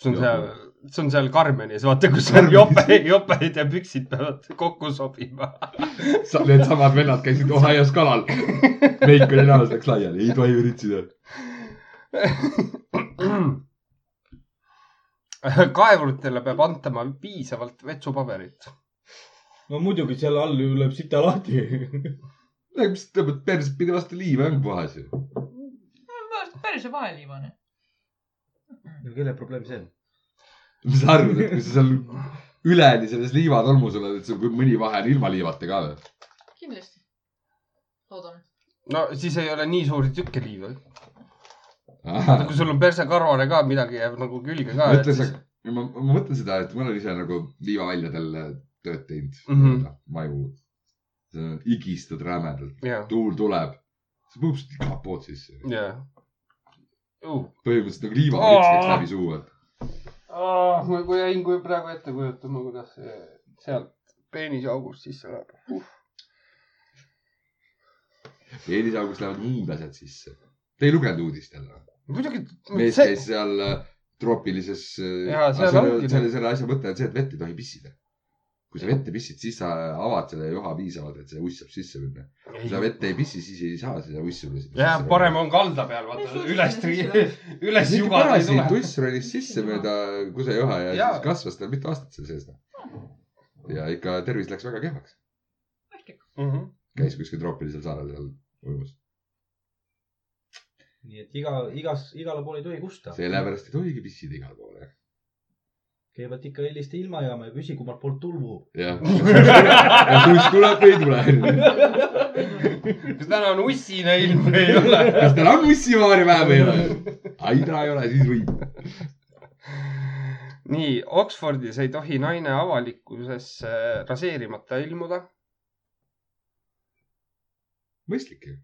[SPEAKER 3] see on seal , see on seal Karmenis , vaata , kus on jope ,
[SPEAKER 1] (laughs)
[SPEAKER 3] jopeid ja püksid peavad kokku sobima . (clears throat)
[SPEAKER 1] Needsamad vennad käisid Ohios kalal . meik oli näos , läks laiali , ei tohi üritseda .
[SPEAKER 3] kaevuritele peab antama piisavalt vetsupaberit .
[SPEAKER 2] no muidugi seal all ju lööb sita lahti .
[SPEAKER 1] mis tõmbad pers- , pidi vastu liiva ongi puhas ju .
[SPEAKER 5] päris vahel viimane .
[SPEAKER 2] no kelle probleem see on ?
[SPEAKER 1] mis sa arvad , et kui sa seal üleni selles liivatolmus oled , et sul kui mõni vahe on ilma liivata ka või ?
[SPEAKER 5] kindlasti . loodame .
[SPEAKER 3] no siis ei ole nii suuri tükke liiva .
[SPEAKER 1] Aha.
[SPEAKER 3] kui sul on persekarvane ka midagi jääb nagu külge ka .
[SPEAKER 1] mõtle sa , ma , ma mõtlen seda , et ma olen ise nagu liivaväljadel tööd teinud mm
[SPEAKER 3] Mhm.
[SPEAKER 1] -hmm. , maju . higistad rämedalt ,
[SPEAKER 3] jah ,
[SPEAKER 1] tuul tuleb , see puhub sind igalt poolt sisse .
[SPEAKER 3] jah .
[SPEAKER 1] põhimõtteliselt nagu liivavõits käiks
[SPEAKER 3] Aa.
[SPEAKER 1] läbi suu , et
[SPEAKER 3] ma kui jäin kui praegu ette kujutama , kuidas see- sealt peenise august sisse läheb .
[SPEAKER 1] eelisaugus lähevad muud asjad sisse . Te ei lugenud uudist jälle ?
[SPEAKER 3] muidugi .
[SPEAKER 1] mees see... käis seal äh, troopilises .
[SPEAKER 3] Mm, Jaa, seal ongi
[SPEAKER 1] selle ,
[SPEAKER 3] nii.
[SPEAKER 1] selle asja mõte on see , et vett ei tohi pissida . kui sa vette pissid , siis sa äh, avad selle joha piisavalt , et see uss saab sisse minna . kui sa vette ei pissi , siis ei saa seda ussi .
[SPEAKER 3] jah , parem . on kalda peal , vaata üles , (laughs) üles
[SPEAKER 1] mitte
[SPEAKER 3] jugada ei
[SPEAKER 1] parasi ,
[SPEAKER 3] tule .
[SPEAKER 1] tuss ronis sisse mööda kusejoha ja, ja
[SPEAKER 3] Jaa.
[SPEAKER 1] siis kasvas tal mitu aastat seal sees . ja ikka tervis läks väga kehvaks .
[SPEAKER 3] Mhm.
[SPEAKER 1] käis kuskil troopilisel saarel seal ujumas .
[SPEAKER 2] nii et iga , igas , igale poole ei tohi kusta .
[SPEAKER 1] sellepärast ei tohigi pissida igale poole .
[SPEAKER 2] kõigepealt ikka helista ilmajaama ja küsi , kummalt poolt tulvu .
[SPEAKER 3] (laughs)
[SPEAKER 1] jah . ja tuss tuleb või ei tule .
[SPEAKER 3] kas täna on ussine ilm või ei ole ? (laughs)
[SPEAKER 1] kas tal on ussivaari vähe või ei ole ? ai , täna ei ole , siis võib .
[SPEAKER 3] nii , Oxfordis ei tohi naine avalikkusesse raseerimata ilmuda .
[SPEAKER 1] mõistlik ju .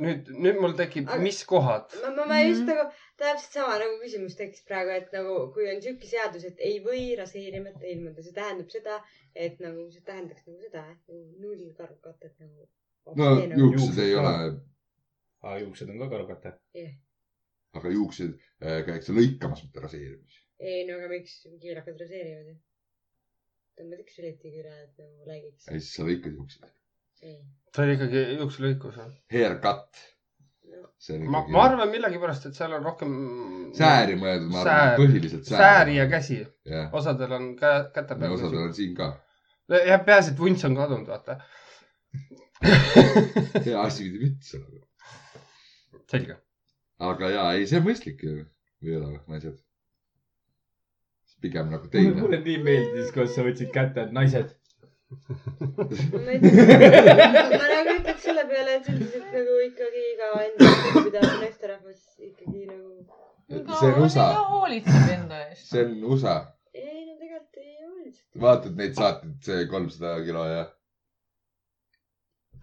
[SPEAKER 3] nüüd , nüüd mul tekib ,
[SPEAKER 4] Aga-
[SPEAKER 3] mis kohad ?
[SPEAKER 4] ma , ma , ma just
[SPEAKER 5] Mhm.
[SPEAKER 4] nagu täpselt sama nagu küsimus tekkis praegu , et nagu kui on sihuke seadus , et ei või raseerimata ilmuda , see tähendab seda , et nagu see tähendaks nagu seda , et nagu null karvkatet nagu .
[SPEAKER 1] no juuksed
[SPEAKER 2] Juuksed
[SPEAKER 1] ei
[SPEAKER 2] ka.
[SPEAKER 1] ole ,
[SPEAKER 2] aa , juuksed on ka karvkate .
[SPEAKER 1] aga juuksed äh, käiakse lõikamas , mitte raseerimas .
[SPEAKER 4] ei no aga miks kiirakad raseerivad ju ? tõmbad üks leti küla , et nagu räägiks .
[SPEAKER 1] ja siis sa lõikad juuksed .
[SPEAKER 4] ei ,
[SPEAKER 3] see oli ikkagi juukselõikus või ?
[SPEAKER 1] Haircut . see on
[SPEAKER 3] ma ,
[SPEAKER 1] ikkagi
[SPEAKER 3] ma arvan millegipärast , et seal on rohkem .
[SPEAKER 1] sääri mõeldud , ma arvan
[SPEAKER 3] Säär- ,
[SPEAKER 1] põhiliselt sääri .
[SPEAKER 3] sääri ja . käsi ,
[SPEAKER 1] jah ,
[SPEAKER 3] osadel on käe , käte peal .
[SPEAKER 1] osadel on siin ka .
[SPEAKER 3] jah , peaasi , et vunts on kadunud , vaata . (laughs)
[SPEAKER 1] hea asi pidi müts olema .
[SPEAKER 3] selge .
[SPEAKER 1] aga jaa , ei , see on mõistlik ju , või ei ole või , naised ? pigem nagu teine .
[SPEAKER 2] mulle nii meeldis , kuidas sa võtsid kätte , et naised .
[SPEAKER 4] ma ütleks , ma nagu ütleks selle peale , et üldiselt nagu ikkagi iga enda pidav naisterahvas ikkagi nagu .
[SPEAKER 1] see on USA ,
[SPEAKER 5] hoolitseb enda eest .
[SPEAKER 1] see on USA .
[SPEAKER 4] ei no tegelikult ei olnud .
[SPEAKER 1] vaatad neid saateid , see kolmsada kilo ja .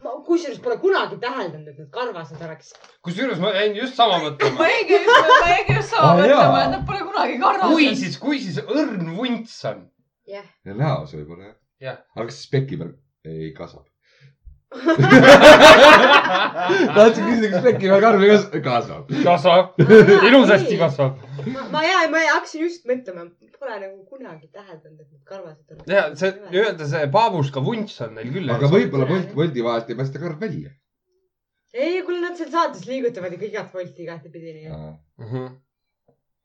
[SPEAKER 4] ma kusjuures pole kunagi täheldanud , et need karvased oleks .
[SPEAKER 3] kusjuures ma jäin just sama
[SPEAKER 5] ma (laughs)
[SPEAKER 3] mõtlema .
[SPEAKER 5] jäingi just , ma jäingi just sama
[SPEAKER 1] Aa,
[SPEAKER 5] mõtlema
[SPEAKER 1] jaa. ,
[SPEAKER 5] et nad pole kunagi karvased .
[SPEAKER 3] kui siis , kui siis õrn vunts on . (laughs)
[SPEAKER 4] jah .
[SPEAKER 1] ja näos võib-olla jah
[SPEAKER 3] Jah. .
[SPEAKER 1] aga kas siis peki peal ? ei kasva .
[SPEAKER 3] Ah, kasvab ,
[SPEAKER 1] tahtsin küsida , kas peki peal karv ei kasva ? kasvab .
[SPEAKER 3] (laughs) ilusasti . kasvab .
[SPEAKER 4] ma ja , ma hakkasin just mõtlema , pole nagu kunagi täheldanud , et need karvased nagu oleks .
[SPEAKER 3] ja see nii-öelda see paabuska vunts on neil küll . nagu
[SPEAKER 1] aga võib-olla Bolt , Bolti vahelt ei päästa karv välja .
[SPEAKER 4] ei , kuule , nad seal saates liigutavad ikka igat volti igatepidi nii .
[SPEAKER 1] Ah.
[SPEAKER 3] Mhm.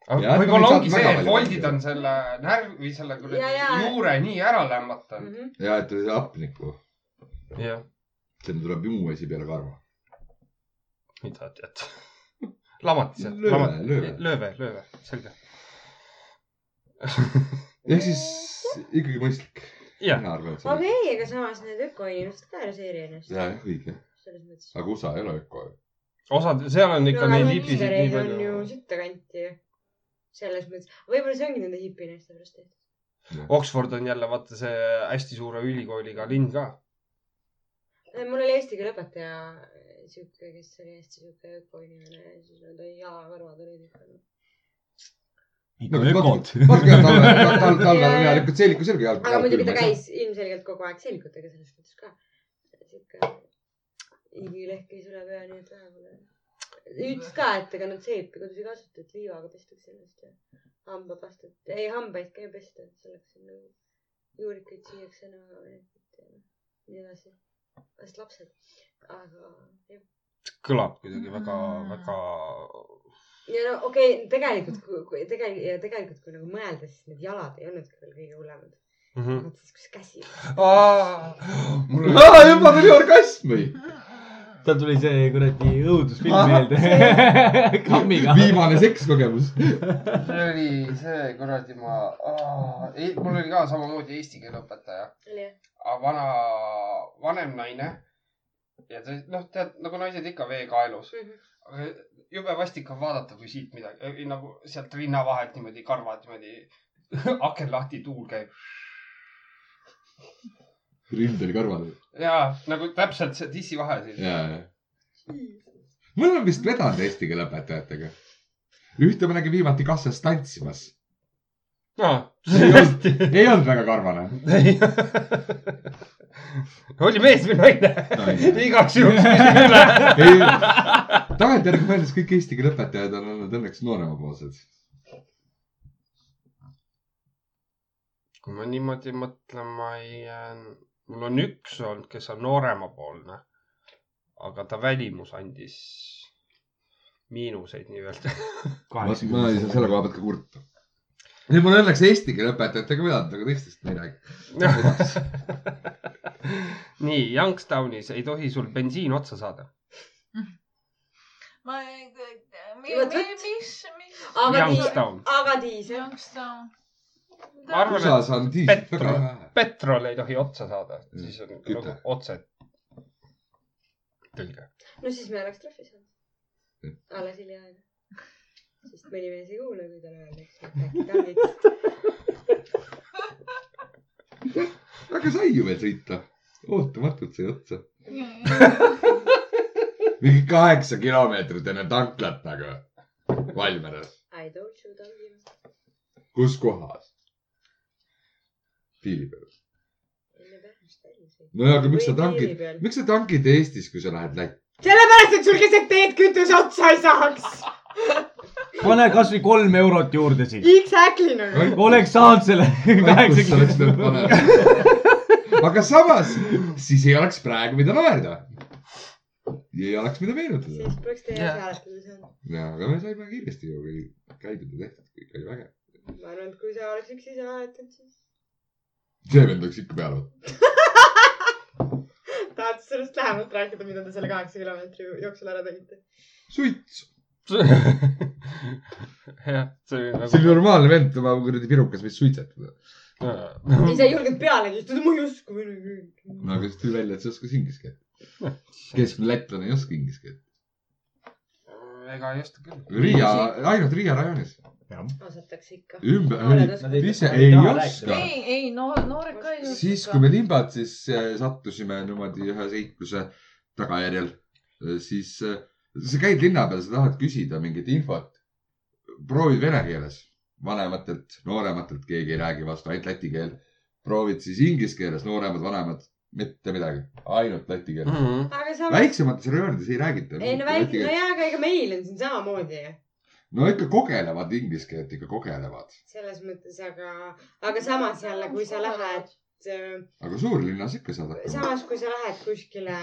[SPEAKER 1] Jah,
[SPEAKER 3] aga võib-olla
[SPEAKER 1] nad
[SPEAKER 3] ongi
[SPEAKER 1] saavad
[SPEAKER 3] see ,
[SPEAKER 1] väga
[SPEAKER 3] et
[SPEAKER 1] palju
[SPEAKER 3] voldid
[SPEAKER 1] palju.
[SPEAKER 3] on selle närvi , selle kuradi
[SPEAKER 4] Ja, ja.
[SPEAKER 3] juure nii ära lämmatanud .
[SPEAKER 4] Mhm.
[SPEAKER 1] ja , et hapnikku ,
[SPEAKER 3] jah ,
[SPEAKER 1] sinna tuleb ju muu asi peale karva .
[SPEAKER 3] mida tead . (laughs) lamatised ,
[SPEAKER 1] Lööve, lööve.
[SPEAKER 3] lamatised , lööve , lööve , selge .
[SPEAKER 1] ehk siis ikkagi mõistlik .
[SPEAKER 3] jah ,
[SPEAKER 1] mina arvan , et see
[SPEAKER 4] aga
[SPEAKER 1] on .
[SPEAKER 4] ei , aga samas need ökoinimesed ka ei raseeri ennast .
[SPEAKER 1] jah , õige .
[SPEAKER 4] selles mõttes .
[SPEAKER 1] aga USA ei ole öko .
[SPEAKER 3] osad , seal on ikka neid hipisid nii
[SPEAKER 4] hipisid on ju
[SPEAKER 3] palju .
[SPEAKER 4] sittakanti ju . selles mõttes , võib-olla see ongi nende hipinaiste pärast tehtud .
[SPEAKER 3] Oxford on jälle vaata see hästi suure ülikooliga linn ka .
[SPEAKER 4] Äh, mul oli eesti keele õpetaja sihuke , kes oli hästi sihuke ökoinimene ja siis nad olid jalakarvad olid ikka . noh.
[SPEAKER 1] ikka ökod . tal , tal , tal on järelikult seeliku selga jalg .
[SPEAKER 4] aga muidugi ta . käis ilmselgelt kogu aeg seelikutega selles mõttes ka . sihuke igilehk käis üle pea , nii et vähe pole . ütles ka , et ega nad seepi kodus ei kasuta , et liivaga pestakse ennast ja hambapastat , ei hambaid ka ei pesta , et selleks on nagu juurikaid süüakse nagu ja nii edasi . vast lapsed , aga jah .
[SPEAKER 3] kõlab kuidagi väga
[SPEAKER 5] Mm.
[SPEAKER 3] mm. , väga .
[SPEAKER 4] ja no okei okay, , tegelikult kui , kui tegelikult ja tegelikult kui nagu mõelda , siis need jalad ei olnudki veel kõige hullemad .
[SPEAKER 3] Mhm.
[SPEAKER 4] mõtlesin , kus käsi .
[SPEAKER 3] (gasps)
[SPEAKER 1] (laughs)
[SPEAKER 3] mul
[SPEAKER 1] aa , juba tuli orgasm või ?
[SPEAKER 2] tal tuli see kuradi õudusfilm
[SPEAKER 1] Ah. (laughs)
[SPEAKER 2] meelde kammiga .
[SPEAKER 1] viimane sekskogemus .
[SPEAKER 3] oli see kuradi , ma , mul oli ka samamoodi eesti keele õpetaja ,
[SPEAKER 4] oli jah ?
[SPEAKER 3] aga vana , vanem naine . ja ta , noh , tead nagu naised ikka veekaelus . aga jube vastik on vaadata , kui siit midagi , nagu sealt rinna vahelt niimoodi karvad niimoodi (laughs) aken lahti , tuul käib .
[SPEAKER 1] rind oli kõrval .
[SPEAKER 3] ja nagu täpselt see dissivahe siis .
[SPEAKER 1] ja , ja . me oleme vist vedanud eesti keele õpetajatega . ühte ma nägin viimati kassas tantsimas . Ei olnud-
[SPEAKER 3] hästi .
[SPEAKER 1] ei olnud väga karvane .
[SPEAKER 3] (laughs) oli mees või naine
[SPEAKER 1] Naine. ?
[SPEAKER 3] igaks juhuks küsin üle .
[SPEAKER 1] (laughs) ei , tagantjärgi mõeldes kõik eesti keele õpetajad on olnud õnneks nooremapoolsed .
[SPEAKER 3] kui ma niimoodi mõtlema jään , äh, mul on üks olnud , kes on nooremapoolne , aga ta välimus andis miinuseid nii-öelda . (laughs)
[SPEAKER 1] ma ma ei saa selle koha pealt ka kurta . nüüd mul õnneks eesti keele õpetajatega vedanud , aga teistest ma ei räägi .
[SPEAKER 3] nii , Youngstownis ei tohi sul bensiin otsa saada .
[SPEAKER 5] ma ei ,
[SPEAKER 4] Vot,
[SPEAKER 5] mis
[SPEAKER 4] vot. ,
[SPEAKER 5] mis , mis ?
[SPEAKER 4] aga diis ,
[SPEAKER 3] Youngstown ,
[SPEAKER 4] aga diis jah .
[SPEAKER 5] Youngstown .
[SPEAKER 3] ma arvan , et
[SPEAKER 1] USA-s on diislit
[SPEAKER 3] Petro-
[SPEAKER 1] väga vähe .
[SPEAKER 3] petrol ei tohi otsa saada ,
[SPEAKER 1] Mm,
[SPEAKER 3] siis on
[SPEAKER 1] küte.
[SPEAKER 3] nagu otse tõlge .
[SPEAKER 4] no siis me oleks trahvi saanud
[SPEAKER 1] Jah. .
[SPEAKER 4] alles hiljaaegu . sest mõni mees ei kuule , kui talle öeldakse , et äkki tangiks .
[SPEAKER 1] aga sai ju veel sõita . ootamatult sai otsa . mingi kaheksa kilomeetrit enne tanklat nagu . Valmeras .
[SPEAKER 4] I told you tangima .
[SPEAKER 1] kus kohas ? piiri peal .
[SPEAKER 4] enne päevast väljas .
[SPEAKER 1] no ja , aga miks sa tankid ,? miks sa tankid Eestis , kui sa lähed Lätti ?
[SPEAKER 4] sellepärast , et sul keset teed kütuse otsa ei saaks .
[SPEAKER 2] pane kasvõi kolm eurot juurde siis .
[SPEAKER 4] Exactly nagu .
[SPEAKER 2] oleks saanud selle
[SPEAKER 1] kus sa oleks pidanud
[SPEAKER 2] kaheksakümne .
[SPEAKER 1] panema ? aga samas , siis ei oleks praegu , mida naerda . ei oleks , mida meenutada
[SPEAKER 4] siis . poleks teie
[SPEAKER 3] Jah.
[SPEAKER 4] asja hääletada saanud .
[SPEAKER 1] ja , aga me saime kiiresti ju kõik käidud ja tehtud , kõik oli vägev .
[SPEAKER 4] ma arvan , et kui sa oleks üksi ise hääletanud , siis
[SPEAKER 1] see vend oleks ikka peal .
[SPEAKER 4] tahad sa sellest lähemalt rääkida , mida te selle kaheksa kilomeetri jooksul ära tegite ?
[SPEAKER 1] suits .
[SPEAKER 3] (laughs) jah , see oli
[SPEAKER 1] see on normaalne vend , tema kuradi pirukas võis suitsetada .
[SPEAKER 3] nagu .
[SPEAKER 4] ei , sa ei julgenud peale istuda , ma ei usku minu .
[SPEAKER 1] no aga siis tuli välja , et sa oskas inglise keelt . keskmine lätlane ei oska inglise keelt .
[SPEAKER 3] Mm, ega ei oska küll .
[SPEAKER 1] Riia , ainult Riia rajoonis .
[SPEAKER 4] osatakse ikka .
[SPEAKER 1] ümber
[SPEAKER 4] Noored , oskavad
[SPEAKER 1] ise
[SPEAKER 2] ikka.
[SPEAKER 1] ei
[SPEAKER 2] Ei taha
[SPEAKER 1] oska .
[SPEAKER 5] ei , ei no noored ka ei
[SPEAKER 1] siis , kui me limbad , siis äh, sattusime niimoodi ühe seikluse tagajärjel , siis äh, sa käid linna peal , sa tahad küsida mingit infot . proovid vene keeles , vanematelt , noorematelt keegi ei räägi vastu , ainult läti keel . proovid siis inglise keeles , nooremad , vanemad , mitte midagi , ainult läti keel .
[SPEAKER 3] Mhm.
[SPEAKER 4] aga samas ,
[SPEAKER 1] väiksemates rajoonides ei räägita .
[SPEAKER 4] ei no väike , no jaa , aga ega meil on siin samamoodi ju
[SPEAKER 1] no ikka kogelevad inglise keelt , ikka kogelevad ,
[SPEAKER 4] selles mõttes , aga , aga samas jälle , kui sa lähed ,
[SPEAKER 1] aga suurlinnas ikka saad hakkama .
[SPEAKER 4] samas kui sa lähed kuskile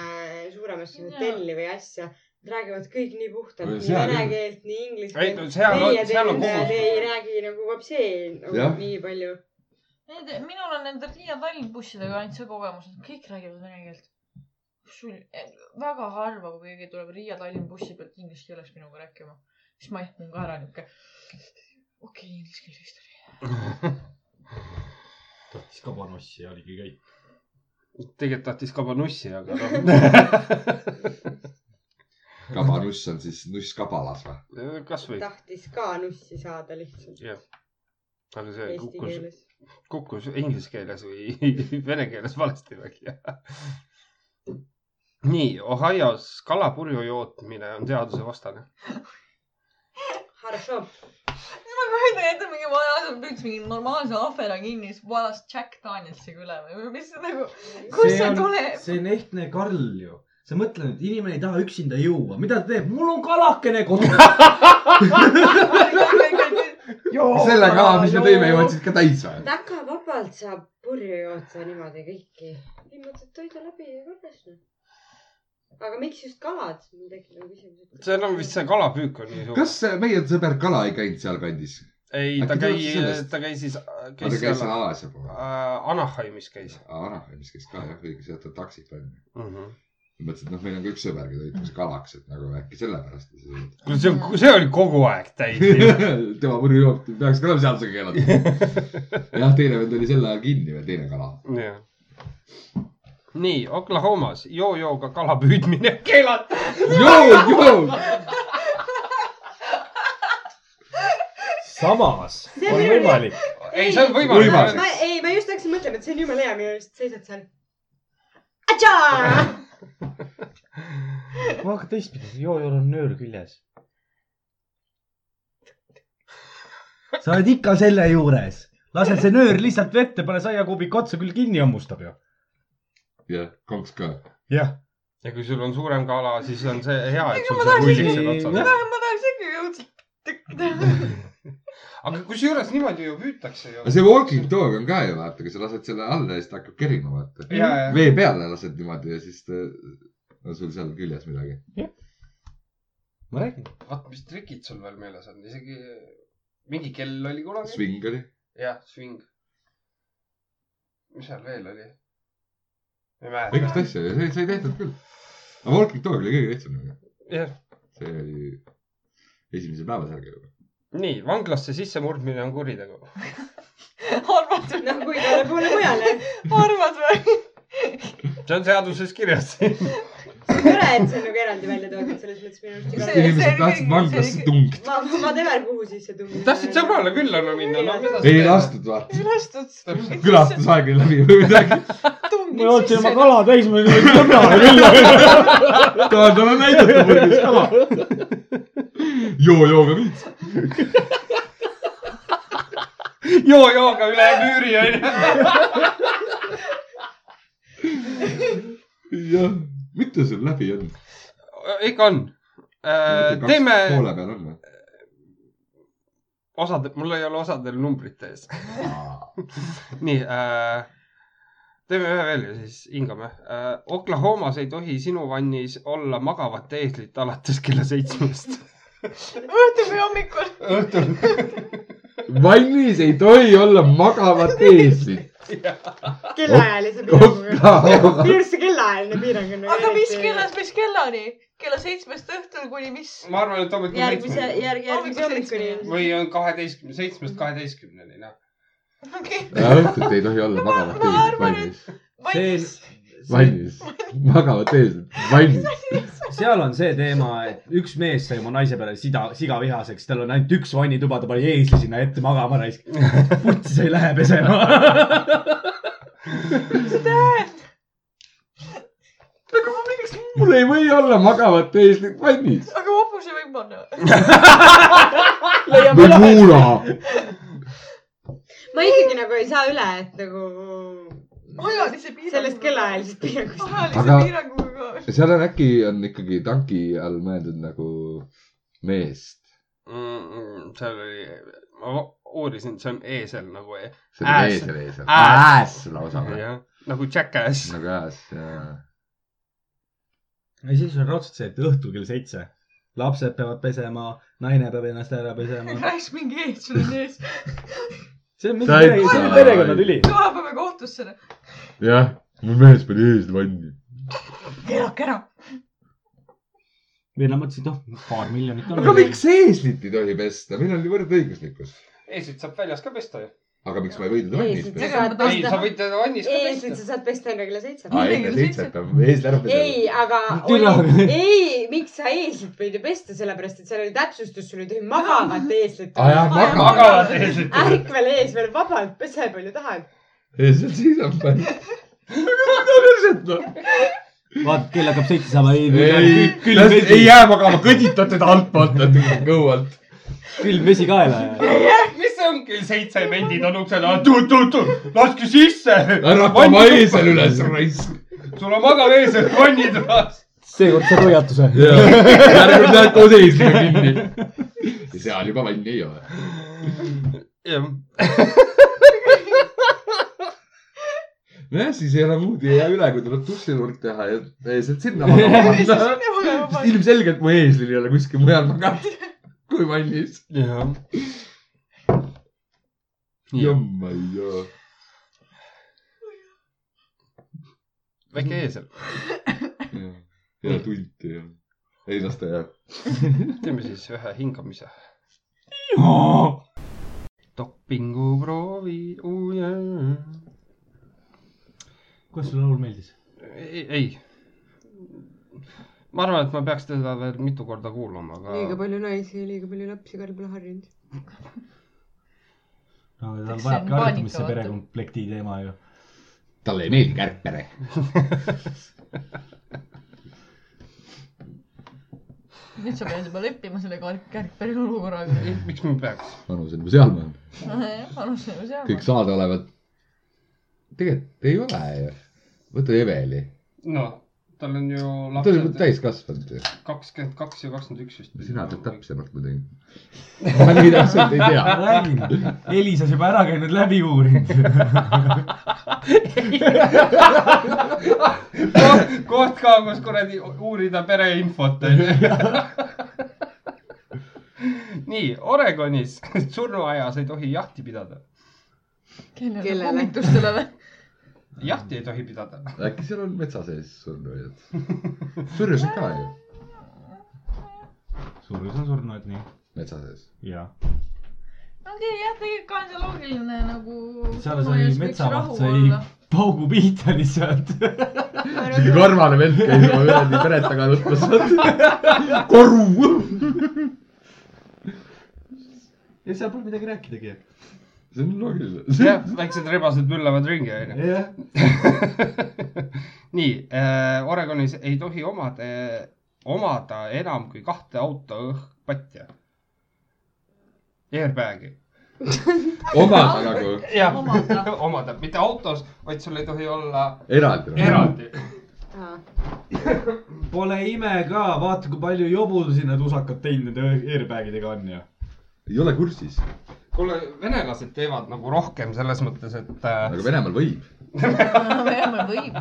[SPEAKER 4] suuremasse
[SPEAKER 5] Jaa.
[SPEAKER 4] hotelli või asja , nad räägivad kõik nii puhtalt ,
[SPEAKER 1] No
[SPEAKER 4] nii
[SPEAKER 1] seal
[SPEAKER 4] vene
[SPEAKER 1] küll.
[SPEAKER 4] keelt , nii inglise
[SPEAKER 3] ei
[SPEAKER 4] keelt .
[SPEAKER 3] no seal on
[SPEAKER 4] meie ,
[SPEAKER 3] seal on
[SPEAKER 4] teenindajad ei
[SPEAKER 3] kohus .
[SPEAKER 4] räägi nagu vapsi nagu
[SPEAKER 1] Jah.
[SPEAKER 4] nii palju .
[SPEAKER 5] Need , minul on nende Riia Tallinna bussidega ainult see kogemus , et kõik räägivad vene keelt . sul , väga harva , kui keegi tuleb Riia Tallinna bussi pealt inglise keeles minuga rääkima , siis ma ehmun ka ära niuke . okei , inglise keel vist oli .
[SPEAKER 6] tahtis ka panossi ja oligi kõik .
[SPEAKER 3] tegelikult tahtis kabanussi , aga (laughs) noh .
[SPEAKER 1] kabanuss on siis nuss kabalas või ?
[SPEAKER 3] kasvõi ,
[SPEAKER 4] tahtis ka nussi saada lihtsalt
[SPEAKER 3] jah . aga see
[SPEAKER 4] eesti
[SPEAKER 3] kukkus ,
[SPEAKER 4] keeles .
[SPEAKER 3] kukkus inglise keeles või (laughs) vene keeles valesti välja . (laughs) nii , Ohios kalapurju jootmine on seadusevastane .
[SPEAKER 4] Haršo ,
[SPEAKER 5] ma kujutan ette mingi vana asjad , püüds mingi normaalse ahvela kinni , siis valas Jack Danielsiga üle või mis see nagu , kust see (laughs) tuleb ?
[SPEAKER 2] see on ehtne Karl ju . sa mõtle nüüd , inimene ei taha üksinda
[SPEAKER 7] (laughs)
[SPEAKER 2] juua , mida ta teeb ? mul on kalakene kodus .
[SPEAKER 1] selle kala , mis me tõime , jõudsid ka täis või ?
[SPEAKER 4] väga vabalt saab purju joosta niimoodi kõiki . niimoodi toida läbi ja korras . aga miks just kalad ? mul tekib nagu küsimus .
[SPEAKER 3] seal on vist see kalapüük on nii suur .
[SPEAKER 1] kas meie sõber Kala ei käinud sealkandis ?
[SPEAKER 3] ei ,
[SPEAKER 1] äkki
[SPEAKER 3] ta
[SPEAKER 1] tuleb
[SPEAKER 3] käis
[SPEAKER 1] sellest? ,
[SPEAKER 3] ta käis siis ,
[SPEAKER 1] ta
[SPEAKER 3] käis
[SPEAKER 1] käis seal
[SPEAKER 3] seal
[SPEAKER 1] Aasia pool .
[SPEAKER 3] äh, Anaheimis käis
[SPEAKER 1] Anaheimis käis ka jah , õige , sealt on taksid välja .
[SPEAKER 3] mm -hmm. .
[SPEAKER 1] mõtlesin , et noh , meil on ka üks sõber , keda hüütakse kalaks , et nagu äkki sellepärast .
[SPEAKER 3] kuule , see on , see oli kogu aeg täis . (laughs)
[SPEAKER 1] (laughs) tema purjujook peaks ka olema seadusega keelatud . jah , teine vend oli sel ajal kinni veel , teine kala .
[SPEAKER 3] jah . nii , Oklahomas joo-jooga kala püüdmine keelatud .
[SPEAKER 1] joo , joo .
[SPEAKER 7] samas
[SPEAKER 4] See
[SPEAKER 7] on
[SPEAKER 4] on
[SPEAKER 7] võimalik ,
[SPEAKER 3] ei , see on
[SPEAKER 1] Võimalik.
[SPEAKER 3] võimalik .
[SPEAKER 4] ma , ei , ma just hakkasin mõtlema , et see on jumala hea , minu arust seisad seal . Atšaa !
[SPEAKER 7] aga teistpidi , joojal on nöör küljes . sa oled ikka selle juures , lase see nöör lihtsalt vette , pane saiakuubik otsa , küll kinni hammustab ju .
[SPEAKER 1] jah , konks ka .
[SPEAKER 7] jah ,
[SPEAKER 3] ja kui sul on suurem kala , siis on see hea , et sul
[SPEAKER 5] ma
[SPEAKER 3] see
[SPEAKER 5] tahtsin-
[SPEAKER 3] rullik seal otsas on .
[SPEAKER 5] ma tahaks ikka õudselt tükk teha .
[SPEAKER 3] aga kusjuures niimoodi ju püütakse ju
[SPEAKER 1] aga . see walking dog on ka ju vaata , kui sa lased selle alla ja siis ta hakkab kerima vaata .
[SPEAKER 3] ja , ja ,
[SPEAKER 1] vee peale lased niimoodi ja siis ta on sul seal küljes midagi .
[SPEAKER 7] ma räägin .
[SPEAKER 3] vaat mis trikid sul veel meeles on , isegi mingi kell oli kunagi .
[SPEAKER 1] Swing oli .
[SPEAKER 3] jah , swing . mis seal veel oli ? ei
[SPEAKER 1] õigest
[SPEAKER 3] mäleta .
[SPEAKER 1] asja , see sai tehtud küll . aga walking dog oli kõige lihtsam .
[SPEAKER 3] jah ,
[SPEAKER 1] see oli esimese päeva särgi juba .
[SPEAKER 3] nii vanglasse sissemurdmine on kuritegu .
[SPEAKER 5] arvad või ?
[SPEAKER 4] noh , kui igale poole mujale .
[SPEAKER 5] arvad või ?
[SPEAKER 3] see on seaduses kirjas . (laughs)
[SPEAKER 4] tore , et see on nagu eraldi välja toodud , selles mõttes minu arust
[SPEAKER 5] See-
[SPEAKER 1] kas
[SPEAKER 5] see
[SPEAKER 4] igal .
[SPEAKER 5] oli
[SPEAKER 1] inimesed tahtsid
[SPEAKER 5] kõige-
[SPEAKER 1] vanglasse
[SPEAKER 5] see oli
[SPEAKER 1] tungida ?
[SPEAKER 4] ma , ma tean , kuhu sisse tungida .
[SPEAKER 3] tahtsid sõbrale külla no minna , no mida
[SPEAKER 1] ei . lastud vaata .
[SPEAKER 5] ei lastud .
[SPEAKER 1] külastusaeg oli läbi või midagi .
[SPEAKER 7] ma jootsin oma kala täis , ma ei tulnud sõbrale külla .
[SPEAKER 1] tahan talle näidata purjus kala . joo , jooga viits .
[SPEAKER 3] joo-jooga üle müüri onju .
[SPEAKER 1] jah , mitu sul läbi on ?
[SPEAKER 3] Äh, ikka on . Äh, teeme ,
[SPEAKER 1] poole peal on või ?
[SPEAKER 3] osad , mul ei ole osadel numbrite ees . (laughs) nii äh, , teeme ühe veel ja siis hingame äh, . Oklahomas ei tohi sinu vannis olla magavat eeslit alates kella seitsmest .
[SPEAKER 1] (laughs)
[SPEAKER 5] õhtul või hommikul .
[SPEAKER 3] õhtul .
[SPEAKER 1] vannis ei tohi olla magavat eeslit .
[SPEAKER 4] kellaajalise piiranguga .
[SPEAKER 1] aga
[SPEAKER 4] minu arust see kellaajaline piirang on . nagu
[SPEAKER 5] aga mis kellast , mis kellani ? kella seitsmest õhtul kuni mis ?
[SPEAKER 3] ma arvan , et hommikul
[SPEAKER 4] järgmise ,
[SPEAKER 3] seitsmeni .
[SPEAKER 4] järg , järgmise hommikuni .
[SPEAKER 3] või on kaheteistkümne , seitsmest kaheteistkümneni , noh .
[SPEAKER 5] okei ,
[SPEAKER 1] õhtuti ei tohi olla magavat
[SPEAKER 5] Ma
[SPEAKER 1] eeslit
[SPEAKER 5] arvan,
[SPEAKER 1] vannis ,
[SPEAKER 5] valmis .
[SPEAKER 1] vannis , magavat eeslit , vannis .
[SPEAKER 7] seal on see teema , et üks mees sai oma naise peale sida , sigavihaseks , tal on ainult üks vannituba , ta pani eesli sinna ette magama raisk . putsi sa ei lähe pesema .
[SPEAKER 5] aga ma miks ,
[SPEAKER 1] mul ei või olla magavat eeslit vannis .
[SPEAKER 5] aga vabuse võib panna .
[SPEAKER 1] või kuula .
[SPEAKER 4] ma ikkagi nagu ei saa üle , et nagu
[SPEAKER 5] ajalise piiranguga .
[SPEAKER 4] sellest . kellaajalisest piirangust .
[SPEAKER 5] ajalise
[SPEAKER 1] Aga-
[SPEAKER 5] aga... piiranguga ka .
[SPEAKER 1] seal on äkki on ikkagi tanki all mõeldud nagu meest .
[SPEAKER 3] Mm, seal oli , ma va- uurisin , see on eesel nagu e- ,
[SPEAKER 1] see on
[SPEAKER 3] Ääs.
[SPEAKER 1] eesel , eesel .
[SPEAKER 3] Ääs.
[SPEAKER 1] Nagu ääs lausa või ?
[SPEAKER 3] jah , nagu jackass .
[SPEAKER 1] nagu ääs , jaa .
[SPEAKER 7] ja siis on raudselt see , et õhtul kell seitse . lapsed peavad pesema , naine peab ennast ära pesema .
[SPEAKER 5] rääkis mingi ees , sul on ees .
[SPEAKER 7] see on mingi
[SPEAKER 1] Täitsa
[SPEAKER 7] pere- see on
[SPEAKER 1] õige.
[SPEAKER 7] perekonnatüli .
[SPEAKER 5] täna peame kohtusse .
[SPEAKER 1] jah , mu mees pani eesli vanni .
[SPEAKER 5] keelake ära .
[SPEAKER 2] või nad mõtlesid , noh , paar miljonit on .
[SPEAKER 1] aga miks eeslit ei tohi pesta , meil on ju võrdõiguslikkus .
[SPEAKER 3] eeslit saab väljas ka pesta ju .
[SPEAKER 1] aga miks ma ei või teda vannis pesta ?
[SPEAKER 3] ei ,
[SPEAKER 4] Eeslit sa saad
[SPEAKER 3] sa
[SPEAKER 4] pesta .
[SPEAKER 3] võid teda vannis ka
[SPEAKER 4] eeslit
[SPEAKER 3] pesta .
[SPEAKER 4] sa saad pesta enne kella seitset .
[SPEAKER 1] aa , enne seitset on eesli ära pesta .
[SPEAKER 4] ei , aga
[SPEAKER 2] Türa-
[SPEAKER 4] oli... ei , miks sa eeslit võid ju pesta , sellepärast et seal oli täpsustus , sul ei tohi magavat eeslit
[SPEAKER 1] aa jah ,
[SPEAKER 5] Aa,
[SPEAKER 1] maga , maga .
[SPEAKER 3] magavad eeslit .
[SPEAKER 4] ärkvel ees veel vabalt , pese palju tahad .
[SPEAKER 1] eeslit seisab veel . aga mida perset noh .
[SPEAKER 2] vaata , kell hakkab seitse saama .
[SPEAKER 1] ei ,
[SPEAKER 2] külm
[SPEAKER 1] ei
[SPEAKER 2] vesi ,
[SPEAKER 1] jää magama , kõditad teda altpoolt , kõhualt .
[SPEAKER 2] külm vesi kaela ja .
[SPEAKER 3] mis see on , kell seitse vendid on ukse taga , tu-tu-tu , laske sisse .
[SPEAKER 1] ära pane oma eesel üles , raisk .
[SPEAKER 3] sul on magav eesel vannitoas .
[SPEAKER 7] seekord saad hoiatuse .
[SPEAKER 1] (laughs) järgmine kord lähed koos eesliga kinni . ja seal juba vanni ei ole .
[SPEAKER 3] jah ,
[SPEAKER 1] nojah , siis ei ole muud ei jää üle , kui tuleb dušinurk teha ja ja sealt sinna magama panna . ilmselgelt mu eeslil ei ole kuskil mujal magada (laughs) kui vannis .
[SPEAKER 3] jah .
[SPEAKER 1] jumma joo .
[SPEAKER 3] väike eesel ,
[SPEAKER 1] ei ole tunti jah . ei las ta jääb .
[SPEAKER 3] teeme siis ühe hingamise . dopinguproovi uue .
[SPEAKER 2] kuidas sulle laul meeldis ?
[SPEAKER 3] ei , ei . ma arvan , et ma peaks teda veel mitu korda kuulama ,
[SPEAKER 4] liiga
[SPEAKER 3] aga .
[SPEAKER 4] palju naisi ja liiga palju lapsi Karl pole harjunud .
[SPEAKER 2] no aga tal
[SPEAKER 5] Eks see on
[SPEAKER 2] vajabki harjutamist , see
[SPEAKER 5] paanika, vaata.
[SPEAKER 2] perekomplekti teema ju .
[SPEAKER 1] talle ei meeldi kärgpere .
[SPEAKER 5] nüüd sa pead juba leppima selle kar- kärgpere olukorraga .
[SPEAKER 3] miks ma peaks ?
[SPEAKER 1] vanus on juba sealmaal .
[SPEAKER 5] alustame
[SPEAKER 1] kõik
[SPEAKER 5] sealt .
[SPEAKER 1] saadaolevad . tegelikult ei ole ju . võta Eveli .
[SPEAKER 3] noh , tal on ju
[SPEAKER 1] ta on juba
[SPEAKER 3] lapsed
[SPEAKER 1] täiskasvanud ju .
[SPEAKER 3] kakskümmend kaks ja kakskümmend üks vist .
[SPEAKER 1] sina
[SPEAKER 3] (laughs)
[SPEAKER 1] tead . täpsemalt kui teine . ma nii täpselt ei tea .
[SPEAKER 2] räägin , Elisas juba ära käinud , läbi uurinud .
[SPEAKER 3] koht ka , kus kuradi uurida pereinfot
[SPEAKER 1] (laughs)
[SPEAKER 3] onju . nii , Oregonis (laughs) surnuaias ei tohi jahti pidada .
[SPEAKER 5] kellele ?
[SPEAKER 4] Kellele?
[SPEAKER 5] kummitustele või ?
[SPEAKER 3] jahti ei tohi
[SPEAKER 1] (laughs)
[SPEAKER 3] pidada .
[SPEAKER 1] äkki seal on metsa sees surnuaiad ? surjus on ka ju
[SPEAKER 2] surus on surnud , nii .
[SPEAKER 1] metsa sees .
[SPEAKER 2] jaa .
[SPEAKER 5] okei , jah , tegelikult ka on see loogiline nagu .
[SPEAKER 2] seal sai metsamaht , sai
[SPEAKER 4] (laughs)
[SPEAKER 2] paugu pihta lihtsalt .
[SPEAKER 1] sihuke karvane vend käis oma kuradi peret taga nutmas . koru .
[SPEAKER 2] (laughs) ja seal pole midagi rääkidagi .
[SPEAKER 1] see on loogiline .
[SPEAKER 3] jah , väiksed rebased möllavad ringi onju .
[SPEAKER 2] jah .
[SPEAKER 3] (laughs) nii äh, , Oregonis ei tohi omada , omada enam kui kahte auto õhkpatja . Airbag'i .
[SPEAKER 1] omad nagu
[SPEAKER 3] jah
[SPEAKER 5] Omada. ,
[SPEAKER 3] (laughs) omada , mitte autos , vaid sul ei tohi olla
[SPEAKER 1] eraldi . nagu.
[SPEAKER 3] eraldi .
[SPEAKER 2] Pole ime ka , vaata kui palju jobudusi need usakad teinud nende airbagidega on ju .
[SPEAKER 1] ei ole kursis ,
[SPEAKER 3] kuule , venelased teevad nagu rohkem selles mõttes , et äh,
[SPEAKER 1] aga Venemaal võib .
[SPEAKER 5] Venemaa võib .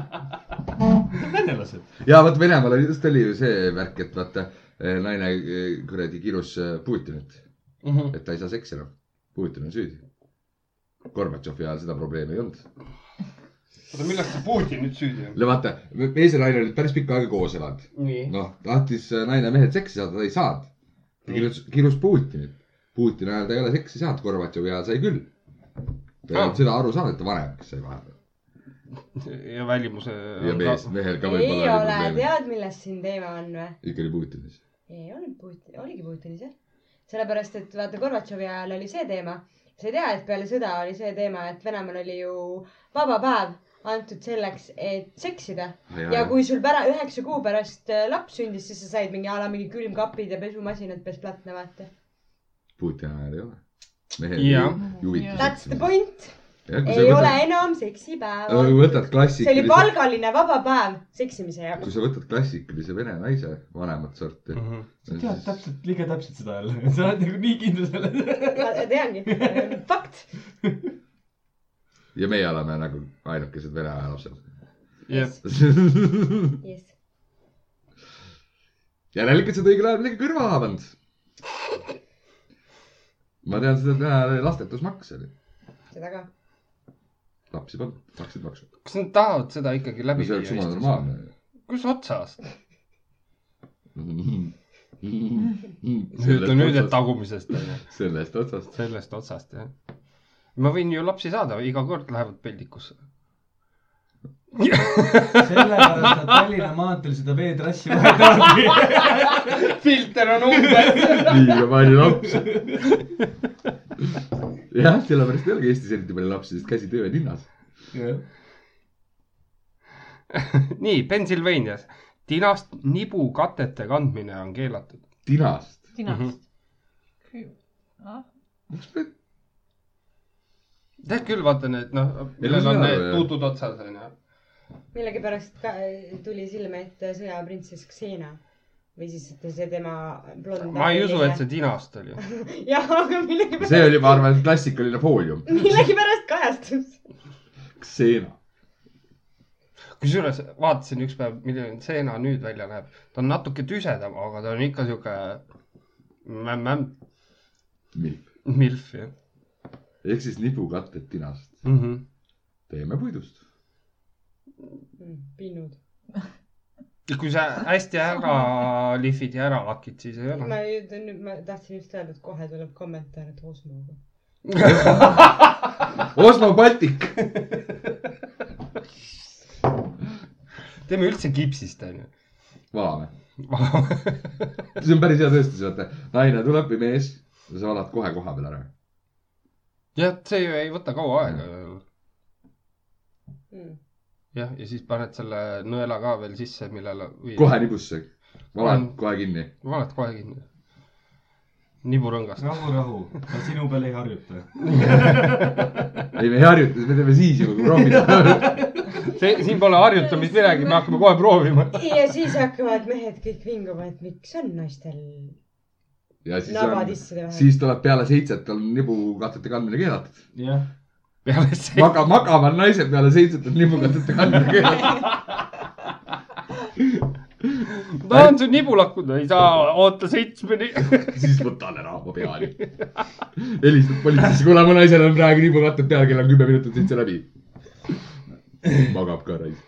[SPEAKER 2] venelased .
[SPEAKER 1] ja vot Venemaal oli- just oli ju see värk , et vaata eh, naine eh, kuradi kirus eh, Putinit ,
[SPEAKER 3] Mhm.
[SPEAKER 1] et ta ei saa seksi enam . Putin on süüdi . Gorbatšovi ajal seda probleemi ei olnud .
[SPEAKER 3] oota , millest see Putin nüüd süüdi on ?
[SPEAKER 1] vaata , mees ja naine olid päris pikka aega koos elanud .
[SPEAKER 3] nii .
[SPEAKER 1] noh , tahtis naine mehelt seksi saada , ta ei saanud . ta kirjutas , kirjutas Putinit . Putini ajal ta ei ole seksi saanud , Gorbatšovi ajal sai küll . ta ei
[SPEAKER 3] Aa.
[SPEAKER 1] olnud seda aru saanud , et ta vanemaks sai vahepeal .
[SPEAKER 3] ja välimuse .
[SPEAKER 1] ja mees , mehel ka
[SPEAKER 4] ei
[SPEAKER 1] võib-olla oli
[SPEAKER 4] ole ,
[SPEAKER 1] probleem .
[SPEAKER 4] tead , milles siin teema on või ?
[SPEAKER 1] ikka oli Putinis .
[SPEAKER 4] ei olnud Putin , oligi Putinis jah . sellepärast , et vaata Gorbatšovi ajal oli see teema , sa ei tea , et peale sõda oli see teema , et Venemaal oli ju vaba päev antud selleks , et seksida . ja kui sul pära- , üheksa kuu pärast äh, laps sündis , siis sa said mingi a la mingi külmkapid ja pesumasinad pes platna , vaata .
[SPEAKER 1] Putini ajal ei ole . mehel
[SPEAKER 3] Jah.
[SPEAKER 1] ju- juvitus .
[SPEAKER 4] That's the . point . ei
[SPEAKER 1] ei
[SPEAKER 4] võtad... ole . enam seksipäeva .
[SPEAKER 1] võtad
[SPEAKER 4] see oli
[SPEAKER 1] klassikalise ,
[SPEAKER 4] palgaline vaba päev seksimise jaoks .
[SPEAKER 1] kui sa võtad klassikalise vene naise vanemat sorti mm .
[SPEAKER 3] Mhm.
[SPEAKER 2] sa tead . täpselt , liiga täpselt seda jälle . sa oled nagu nii kindel selles .
[SPEAKER 4] ma teangi , fakt .
[SPEAKER 1] ja meie oleme nagu ainukesed vene aja lapsed .
[SPEAKER 3] jah ,
[SPEAKER 4] jess .
[SPEAKER 1] (laughs) järelikult sa tõid õigel ajal midagi kõrva taha pannud . ma tean seda , et täna oli lastetusmaks oli ,
[SPEAKER 4] seda ka .
[SPEAKER 1] lapsi polnud , maksid maksu .
[SPEAKER 3] kas nad tahavad seda ikkagi läbi
[SPEAKER 1] see oleks jumala ? normaalne .
[SPEAKER 3] kus otsast ? ütle nüüd , et . tagumisest onju .
[SPEAKER 1] sellest otsast .
[SPEAKER 3] sellest otsast jah . ma võin ju lapsi saada , iga kord lähevad peldikusse .
[SPEAKER 2] sellepärast , et Tallinna maanteel seda veetrassi vahet ei ole .
[SPEAKER 3] filter on umbes .
[SPEAKER 1] liiga palju lapsi . jah , sellepärast ei olegi Eestis eriti palju lapsi , sest käsitöö on hinnas .
[SPEAKER 3] (laughs) nii , Pennsylvanias tinast nibukatete kandmine on keelatud .
[SPEAKER 1] tinast .
[SPEAKER 5] tinast . Ah,
[SPEAKER 3] tead küll , vaata need noh ,
[SPEAKER 1] Ei,
[SPEAKER 3] millel
[SPEAKER 1] ma
[SPEAKER 3] on
[SPEAKER 1] saan
[SPEAKER 3] need
[SPEAKER 1] aru, jah.
[SPEAKER 3] tuutud otsas onju .
[SPEAKER 4] äh, millegipärast ka tuli silme ette sõjaprintsess Xena . või siis et see tema blond .
[SPEAKER 3] ma ei usu , et see tinast oli .
[SPEAKER 4] (laughs) jah , aga millegipärast .
[SPEAKER 1] see oli , ma . arvan , klassikaline foolium .
[SPEAKER 4] millegipärast kajastus .
[SPEAKER 1] seena .
[SPEAKER 3] kusjuures vaatasin ükspäev , milline seena nüüd välja näeb . ta on natuke tüsedam , aga ta on ikka sihuke mämm-mämm , milf jah
[SPEAKER 1] ehk siis nipukatted tinast .
[SPEAKER 3] mm . -hmm.
[SPEAKER 1] teeme puidust .
[SPEAKER 4] Hmm, pinnud .
[SPEAKER 3] kui sa hästi ära lihvid ja ära lakid , siis ei ole
[SPEAKER 4] (laughs) ma . nüüd , nüüd ma tahtsin just öelda , et kohe tuleb kommentaar , et Osmoga .
[SPEAKER 1] Osmo Baltic .
[SPEAKER 3] teeme üldse kipsist onju . (laughs)
[SPEAKER 1] valame . see on päris hea tõestus , vaata . naine tuleb või mees ja sa valad kohe koha peal ära .
[SPEAKER 3] jah , see ju ei võta kaua aega .
[SPEAKER 4] ma
[SPEAKER 3] jah , ja siis paned selle nõela ka veel sisse , millele või...
[SPEAKER 1] kohe nibusse . valad kohe kinni .
[SPEAKER 3] valad kohe kinni . niburõngast .
[SPEAKER 2] rahu , rahu , ma sinu peal ei harjuta .
[SPEAKER 1] ei , me ei harjuta , me teeme siis juba , kui proovime .
[SPEAKER 3] see , siin pole harjutamist midagi , me hakkame kohe proovima .
[SPEAKER 4] ja siis hakkavad mehed kõik vinguma , et miks on naistel
[SPEAKER 1] ja siis
[SPEAKER 4] nabad
[SPEAKER 1] on ,
[SPEAKER 4] isside vahel .
[SPEAKER 1] siis tuleb peale seitset on nibukattete kandmine keelatud .
[SPEAKER 2] jah ,
[SPEAKER 3] peale see .
[SPEAKER 1] maga , magama on naise peale seitset on nibukattete kandmine keelatud .
[SPEAKER 3] ma tahan su nibu lakkuda , ei saa , oota (laughs) seitsmeni .
[SPEAKER 1] siis võtan ära oma peali . helistad politseisse , kuule , mu naisel on praegu nibukatted peal , kell on kümme minutit seitse läbi . magab ka raisk .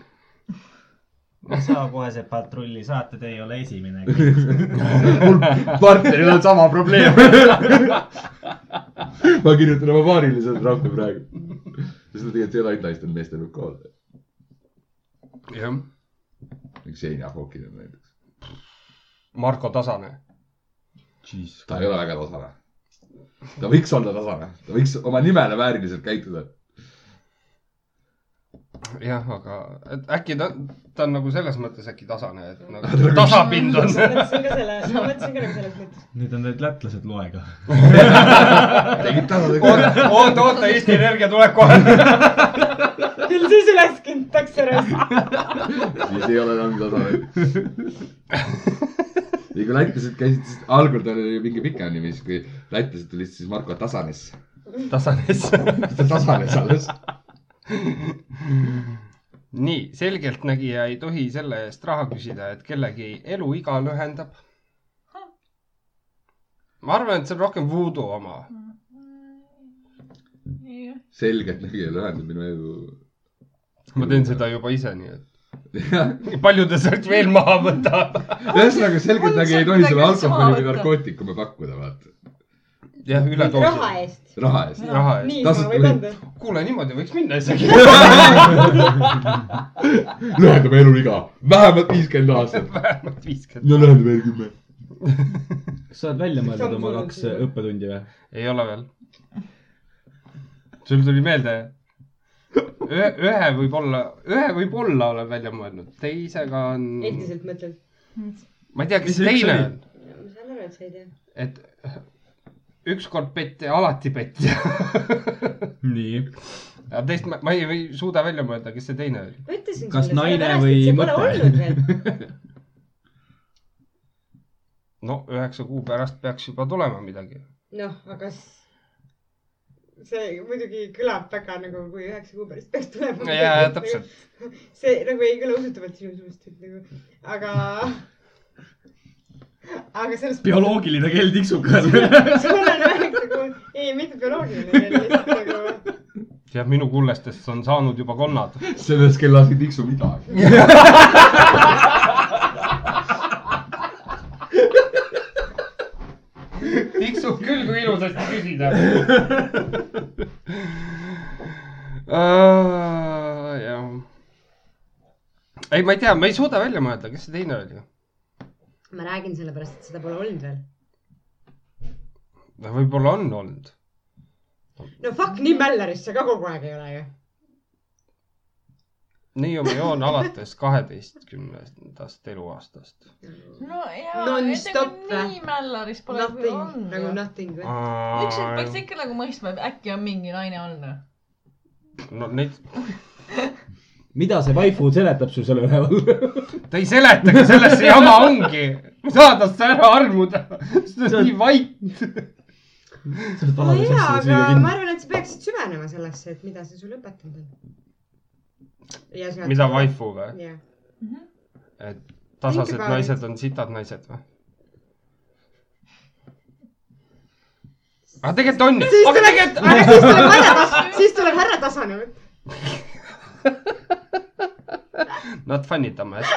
[SPEAKER 8] ei saa kohe see patrulli saata , te ei ole esimene .
[SPEAKER 1] mul partneril on sama probleem . ma kirjutan oma paarile seda trahvi praegu . sest no tegelikult ei ole ainult naistel , meestel võib ka olla .
[SPEAKER 3] jah ,
[SPEAKER 1] üks seinahookid on näiteks .
[SPEAKER 3] Marko Tasane .
[SPEAKER 1] ta ei ole väga tasane . ta võiks olla tasane , ta võiks oma nimele vääriliselt käituda .
[SPEAKER 3] jah , aga et äkki ta , ta on nagu selles mõttes äkki tasane , et
[SPEAKER 1] Tal
[SPEAKER 3] (laughs) nagu
[SPEAKER 1] on-
[SPEAKER 3] tasapind
[SPEAKER 4] ma
[SPEAKER 3] (laughs) on .
[SPEAKER 4] mõtlesin ka selle , ma mõtlesin ka nagu selles mõttes .
[SPEAKER 2] nüüd on need lätlased loega .
[SPEAKER 1] tegid tasane .
[SPEAKER 3] oota , oota , oota , Eesti Energia tuleb (laughs) kohe .
[SPEAKER 4] küll siis üles kintakse ära .
[SPEAKER 1] siis ei ole enam tasane . ja kui lätlased käisid , siis algul tal oli mingi pikem nimi , siis kui lätlased tulid , siis Marko tasanes .
[SPEAKER 3] tasanes .
[SPEAKER 1] ta tasanes alles .
[SPEAKER 3] (laughs) nii , selgeltnägija ei tohi selle eest raha küsida , et kellegi eluiga lühendab . ma arvan , et see on rohkem voodoo oma .
[SPEAKER 5] mm,
[SPEAKER 1] selgelt nägi ja lühendab minu elu .
[SPEAKER 3] ma teen seda juba ise , nii et palju ta sealt veel maha võtab .
[SPEAKER 1] (laughs) ühesõnaga selgeltnägi ei tohi sulle
[SPEAKER 5] Mul on sealt midagi
[SPEAKER 1] alkoholi või
[SPEAKER 5] võtta.
[SPEAKER 1] narkootikume pakkuda , vaata .
[SPEAKER 3] jah ,
[SPEAKER 4] raha
[SPEAKER 3] üledoosi .
[SPEAKER 4] eest .
[SPEAKER 1] raha
[SPEAKER 5] (laughs)
[SPEAKER 1] eest . (laughs)
[SPEAKER 3] raha eest .
[SPEAKER 4] niisama võib anda .
[SPEAKER 3] kuule , niimoodi võiks minna (laughs) isegi .
[SPEAKER 1] lühendame eluiga , vähemalt viiskümmend
[SPEAKER 5] (laughs)
[SPEAKER 1] aastat .
[SPEAKER 3] vähemalt viiskümmend .
[SPEAKER 1] no lühendame veel kümme .
[SPEAKER 2] kas sa oled välja mõelnud oma
[SPEAKER 4] Samm sul on
[SPEAKER 2] kaks
[SPEAKER 4] siin.
[SPEAKER 2] õppetundi või ?
[SPEAKER 3] ei ole veel . sul tuli meelde ? ühe , ühe võib-olla , ühe võib-olla olen välja mõelnud , teisega on ,
[SPEAKER 4] endiselt mõtled .
[SPEAKER 3] ma ei tea , kes
[SPEAKER 2] Mis see üks
[SPEAKER 3] teine
[SPEAKER 2] oli?
[SPEAKER 3] on ,
[SPEAKER 4] ma saan aru , et sa ei tea .
[SPEAKER 3] et ükskord pett ja alati pett . (laughs)
[SPEAKER 2] nii .
[SPEAKER 3] aga teist ma, ma ei või suuda välja mõelda , kes see teine oli .
[SPEAKER 4] ma ütlesin
[SPEAKER 2] Kas
[SPEAKER 4] sulle
[SPEAKER 2] naine
[SPEAKER 4] sellepärast,
[SPEAKER 2] või
[SPEAKER 4] et see pole
[SPEAKER 2] mõte?
[SPEAKER 4] olnud veel.
[SPEAKER 3] no üheksa kuu pärast peaks juba tulema midagi .
[SPEAKER 4] noh , aga s- see muidugi kõlab väga nagu , kui üheksa kuu pärast peaks tulema .
[SPEAKER 3] jaa , täpselt ..
[SPEAKER 4] (laughs) see nagu ei kõla usutavalt sinu suust , et nagu , aga , (laughs) aga selles . (laughs)
[SPEAKER 2] bioloogiline kell tiksub ka .
[SPEAKER 4] sul on üheksa kuud , nagu, ei mitte bioloogiline , lihtsalt nagu ,
[SPEAKER 3] jah , minu kullestest on saanud juba konnad .
[SPEAKER 1] selles kellas ei tiksu midagi .
[SPEAKER 3] tiksub küll , kui ilusasti küsida . Ah, jah . ei , ma ei tea , ma ei suuda välja mõelda , kes see teine oli .
[SPEAKER 4] (laughs) ma räägin sellepärast , et seda pole olnud veel .
[SPEAKER 3] no võib-olla on olnud .
[SPEAKER 4] no fuck , nii mällarist sa ka kogu aeg ei ole ju .
[SPEAKER 3] Niiumi joon alates kaheteistkümnendast eluaastast .
[SPEAKER 5] no jaa ,
[SPEAKER 4] Non-stop vä?
[SPEAKER 5] nii mällaris pole kui
[SPEAKER 4] Nothing ,
[SPEAKER 5] on
[SPEAKER 4] nagu
[SPEAKER 5] ju.
[SPEAKER 4] nothing .
[SPEAKER 5] üks hetk peaks ikka nagu mõistma , et äkki on mingi naine olnud .
[SPEAKER 3] no neid ,
[SPEAKER 2] mida see vaifu seletab sul selle üleval ?
[SPEAKER 3] ta ei seletagi , selles see jama ongi . saad tast ära armuda , sest ta on nii vait .
[SPEAKER 4] no jaa , aga ma arvan , et sa peaksid süvenema sellesse , et mida see sulle õpetanud on .
[SPEAKER 3] mida ? vaifu või ?
[SPEAKER 4] jah ,
[SPEAKER 3] et tasased
[SPEAKER 4] Think about
[SPEAKER 3] naised on sitad naised või ? aga tegelikult on ju ,
[SPEAKER 4] Siis
[SPEAKER 3] aga
[SPEAKER 4] tuleb-
[SPEAKER 3] tegelikult ,
[SPEAKER 4] aga siis tuleb härra tas- , siis tuleb härra tasane võtta .
[SPEAKER 3] nad fännitame , et .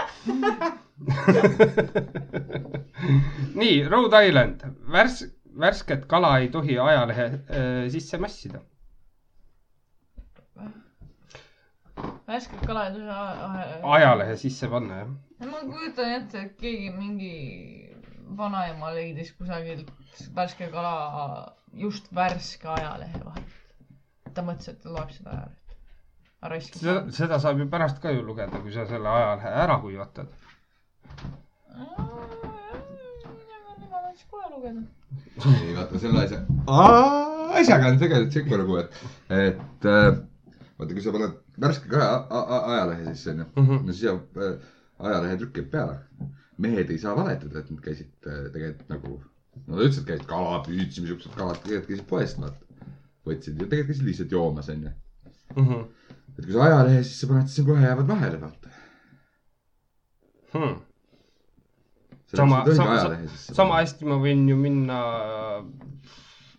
[SPEAKER 3] (laughs) nii , Rhode Island , värs- , värsket kala ei tohi ajalehe äh, sisse mässida .
[SPEAKER 5] värsket kala ei tule .
[SPEAKER 3] ajalehe sisse panna , jah .
[SPEAKER 5] ma kujutan ette , et keegi mingi vanaema leidis kusagilt värske kala , just värske ajalehe vahelt . ta mõtles , et ta loeb seda ajaleht . aga raiskas
[SPEAKER 3] seda , seda saab ju pärast ka ju lugeda , kui sa selle ajalehe ära kuivatad .
[SPEAKER 5] ma võiks kohe lugeda .
[SPEAKER 1] ei vaata selle asja , asjaga on tegelikult sihuke lugu , et , et äh, vaata , kui sa paned värske kaja a- a- ajalehe sisse onju ,
[SPEAKER 3] Mhm.
[SPEAKER 1] no siis jääb äh, ajalehe trükk jääb peale . mehed ei saa valetada , et nad käisid äh, tegelikult nagu , nad ütlesid , et käisid kala püüdsimas , siuksed kalad tegelikult käisid poest , vaata . võtsid ja tegelikult käisid lihtsalt joomas onju . et kui sa ajalehe sisse paned , siis sa kohe jäävad vahele , vaata .
[SPEAKER 3] Hmm. Sama- sama- sama
[SPEAKER 1] sama .
[SPEAKER 3] hästi ma võin ju minna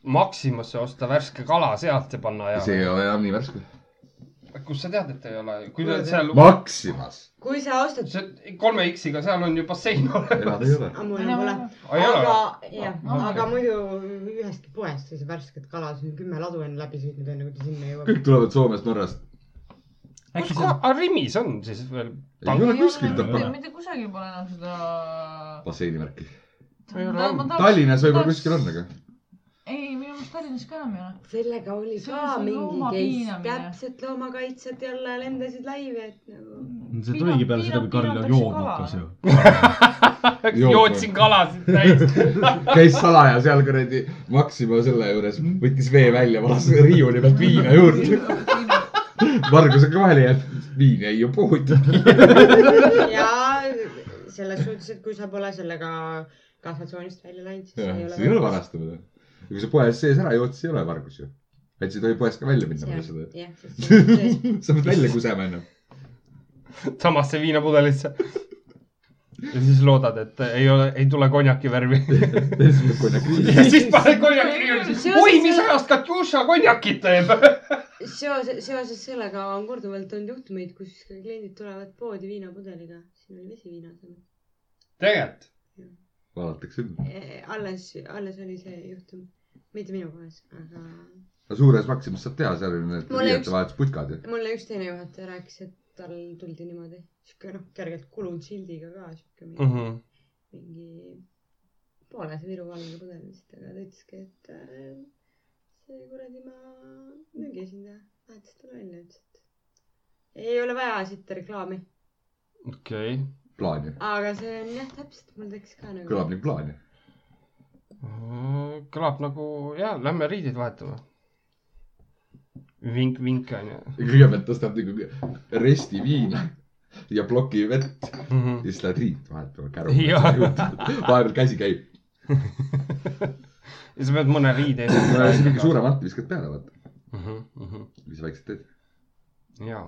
[SPEAKER 3] Maximasse , osta värske kala sealt ja panna
[SPEAKER 1] see ei
[SPEAKER 3] ajalehe .
[SPEAKER 1] ole enam nii värske .
[SPEAKER 3] kust sa tead , et ei ole , kui ta seal ,
[SPEAKER 1] Maximas .
[SPEAKER 4] kui sa ostad ,
[SPEAKER 3] see kolme X-iga , seal on ju bassein
[SPEAKER 1] enam ei
[SPEAKER 3] olemas . (laughs)
[SPEAKER 1] ole .
[SPEAKER 4] mul enam pole . aga
[SPEAKER 3] aga ,
[SPEAKER 4] jah ,
[SPEAKER 3] Ah, okei.
[SPEAKER 4] aga muidu ühestki poest ei saa värsket kala , siin kümme ladu on läbi sõitnud , enne kui ta sinna jõuab .
[SPEAKER 1] kõik tulevad Soomest , Norrast .
[SPEAKER 8] äkki
[SPEAKER 3] kus
[SPEAKER 8] see on ,
[SPEAKER 3] koha , Rimis on siis veel ?
[SPEAKER 1] ei ole kuskil
[SPEAKER 8] ta-
[SPEAKER 1] tappa
[SPEAKER 5] mitte kusagil pole enam seda .
[SPEAKER 1] basseinimärki . Tallinnas võib-olla kuskil on , aga .
[SPEAKER 5] ei , minu meelest Tallinnas ka enam ei ole .
[SPEAKER 4] sellega oli
[SPEAKER 5] See on
[SPEAKER 4] ka
[SPEAKER 5] see
[SPEAKER 4] mingi
[SPEAKER 5] looma
[SPEAKER 4] case ,
[SPEAKER 5] piinamine.
[SPEAKER 4] täpselt loomakaitsjad jälle lendasid laivi , et nagu .
[SPEAKER 8] see tuligi peale seda , kui Karl jooma hakkas . ju .
[SPEAKER 3] jootsin kalasid täis .
[SPEAKER 1] (laughs) käis salaja seal kuradi Maxima selle juures , võttis vee välja , valas riiuli pealt viina juurde . (laughs) Margus on ka vahele jäänud , viina ei ju
[SPEAKER 4] (laughs)
[SPEAKER 1] puhutud .
[SPEAKER 4] ja selles suhtes , et kui sa pole sellega kasvatsioonist välja läinud , siis ei
[SPEAKER 1] see ei ole
[SPEAKER 4] ole .
[SPEAKER 1] varastamine . kui sa poes sees ära jood , siis ei ole vargus ju . et sa ei tohi poest ka välja minna pärast seda .
[SPEAKER 4] jah , sest see on sees .
[SPEAKER 1] (laughs) sa pead välja kusema
[SPEAKER 4] (laughs)
[SPEAKER 1] enne .
[SPEAKER 3] samasse viinapudelisse . ja siis loodad , et ei ole , ei tule konjaki
[SPEAKER 1] (laughs)
[SPEAKER 3] värvi . ja
[SPEAKER 4] nagu-
[SPEAKER 3] siis paned konjaki riiulisse . oi , mis ajast Katjuša konjakit teeb
[SPEAKER 4] seoses , seoses sellega on korduvalt olnud juhtumeid , kus kliendid tulevad poodi viinapudeliga , siin oli vesi viina asemel .
[SPEAKER 3] tegelikult .
[SPEAKER 1] vaadatakse ümber .
[SPEAKER 4] E-, alles , alles oli see juhtum , mitte minu poes , aga
[SPEAKER 1] suures Maximas saab teha , seal on need
[SPEAKER 4] Mulle üks-
[SPEAKER 1] riietevahetus putkad ju .
[SPEAKER 4] mulle üks teine juhataja rääkis , et tal tuldi niimoodi sihuke noh , kergelt kulunud sildiga ka sihuke mingi, mm
[SPEAKER 3] Mhm.
[SPEAKER 4] -hmm. mingi poolese Viru valge pudel vist , aga ta ütleski , et äh, see kuradi maa müügiesindaja vahetas talle välja , ütles , et ei ole vaja siit reklaami ,
[SPEAKER 3] okei .
[SPEAKER 1] plaan ju ,
[SPEAKER 4] aga see on jah , täpselt mul tekkis ka nagu .
[SPEAKER 1] kõlab nagu plaan ju .
[SPEAKER 3] kõlab nagu , jaa , lähme riideid vahetama . vink , vink on
[SPEAKER 1] kõigepealt tõstab nagu resti viina ja ploki vett
[SPEAKER 3] ju .
[SPEAKER 1] ja siis lähed riid vahetama käru .
[SPEAKER 3] Jaa.
[SPEAKER 1] vahepeal käsi käib .
[SPEAKER 3] ja sa pead mõne
[SPEAKER 1] (clears throat)
[SPEAKER 3] riide .
[SPEAKER 1] mingi suurem alt viskad peale , vaata , mis väiksed teed .
[SPEAKER 3] Mhm, jaa ,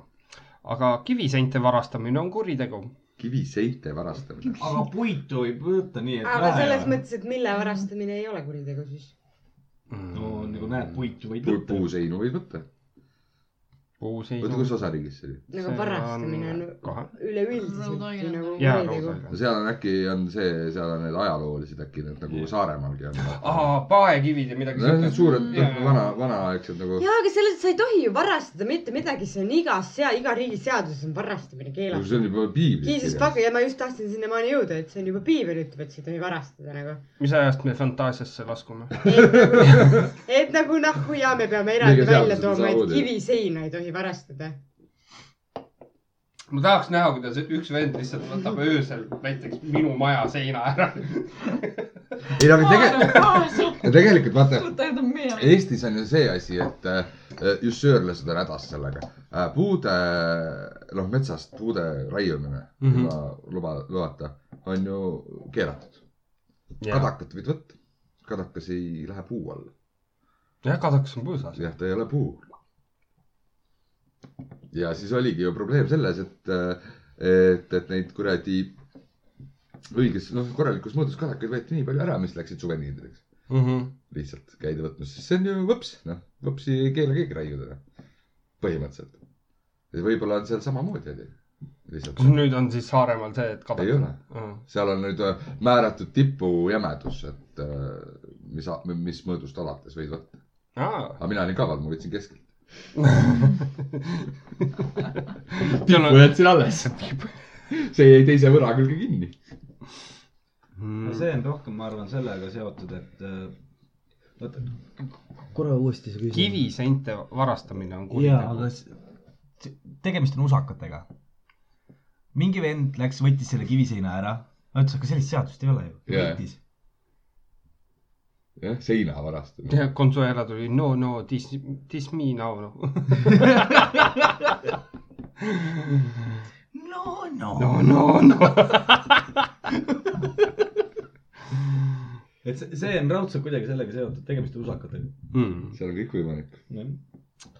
[SPEAKER 3] aga kiviseinte varastamine on kuritegu .
[SPEAKER 1] kiviseinte varastamine .
[SPEAKER 6] aga puitu võib võtta nii , et
[SPEAKER 4] aga selles . mõttes , et mille varastamine ei ole kuritegu siis .
[SPEAKER 1] Mhm.
[SPEAKER 6] no nagu näed , puitu võid
[SPEAKER 1] Puu,
[SPEAKER 6] võtta .
[SPEAKER 1] puuseinu võid võtta .
[SPEAKER 3] puuseisu .
[SPEAKER 1] oota , kus osariigis see oli ?
[SPEAKER 4] nagu varastamine on
[SPEAKER 3] kohe .
[SPEAKER 4] üleüldiselt
[SPEAKER 5] Rhode
[SPEAKER 4] ju nagu
[SPEAKER 3] jaa ,
[SPEAKER 4] kuritegu .
[SPEAKER 3] lausa .
[SPEAKER 1] seal on äkki on see , seal on need ajaloolised äkki need nagu
[SPEAKER 6] Jah.
[SPEAKER 1] Saaremaalgi on .
[SPEAKER 3] aa , paekivid ja midagi
[SPEAKER 1] Need on suured ,
[SPEAKER 3] Jaa.
[SPEAKER 1] vana , vanaaegsed nagu .
[SPEAKER 4] jaa , aga selles , sa ei tohi ju varastada mitte midagi , see on igas sea- , iga riigi seaduses on varastamine keelatud .
[SPEAKER 1] see on juba piiblis
[SPEAKER 4] Jesus fuck , ja ma just tahtsin sinnamaani jõuda , et see on juba piibel ütleb , et sa ei tohi varastada nagu .
[SPEAKER 3] mis ajast me fantaasiasse laskume ?
[SPEAKER 4] et nagu nahku ja me peame eraldi
[SPEAKER 1] Kõige
[SPEAKER 4] välja
[SPEAKER 1] seadused
[SPEAKER 4] tooma , et
[SPEAKER 1] samamoodi.
[SPEAKER 4] kiviseina ei tohi varastada .
[SPEAKER 3] ma tahaks näha , kuidas üks vend lihtsalt (laughs) võtab öösel näiteks minu maja seina ära .
[SPEAKER 1] ei , aga tegelikult , tegelikult vaata
[SPEAKER 5] tähendab meie .
[SPEAKER 1] Eestis on ju see asi , et äh, just söörlased on hädas sellega äh, . puude , noh metsast puude raiumine mm
[SPEAKER 3] Mhm.
[SPEAKER 1] -hmm. ilma luba , loata on ju keelatud .
[SPEAKER 3] jah ,
[SPEAKER 1] kadakat võid võtta . kadakas ei lähe puu alla .
[SPEAKER 3] kadakas on põõsas .
[SPEAKER 1] jah , ta ei ole puu . ja siis oligi ju probleem selles , et , et , et neid kuradi õiges , noh , korralikus mõõdus kadakaid võeti nii palju ära , mis läksid suveniirideks . lihtsalt käidi võtmas , siis see on ju võps , noh , võpsi ei keela keegi raiuda noh. põhimõtteliselt . võib-olla on seal samamoodi , onju .
[SPEAKER 3] kas
[SPEAKER 1] lihtsalt
[SPEAKER 3] nüüd on siis Saaremaal see , et
[SPEAKER 1] ei
[SPEAKER 3] kadakas
[SPEAKER 1] ole ,? seal on nüüd äh, määratud tipujämedus , et äh, mis , mis mõõdust alates võid võtta .
[SPEAKER 3] aa ,
[SPEAKER 1] aga mina olin kaval , ma võtsin keskelt .
[SPEAKER 3] seal on ,
[SPEAKER 7] jätsin alles .
[SPEAKER 1] see jäi teise võra külge kinni .
[SPEAKER 3] Mm.
[SPEAKER 6] no
[SPEAKER 8] Mm.
[SPEAKER 6] see on rohkem , ma arvan , sellega seotud , et äh, oota ,
[SPEAKER 2] korra uuesti see küsimus .
[SPEAKER 3] kiviseinte varastamine on
[SPEAKER 8] jaa ,
[SPEAKER 3] kuritegu
[SPEAKER 8] aga . s- t- tegemist on usakatega . mingi vend läks , võttis selle kiviseina ära , ütles , aga sellist seadust ei ole ju .
[SPEAKER 1] Jaa.
[SPEAKER 8] võttis .
[SPEAKER 1] jah , seina varastamine .
[SPEAKER 3] ja Consuela tuli no no this , this me now (laughs) no. .
[SPEAKER 8] Ah. no , no, no. .
[SPEAKER 3] no no no .
[SPEAKER 6] et see, see on raudselt kuidagi sellega seotud , tegemist on usakatega .
[SPEAKER 3] Mm.
[SPEAKER 1] seal on kõik võimalik .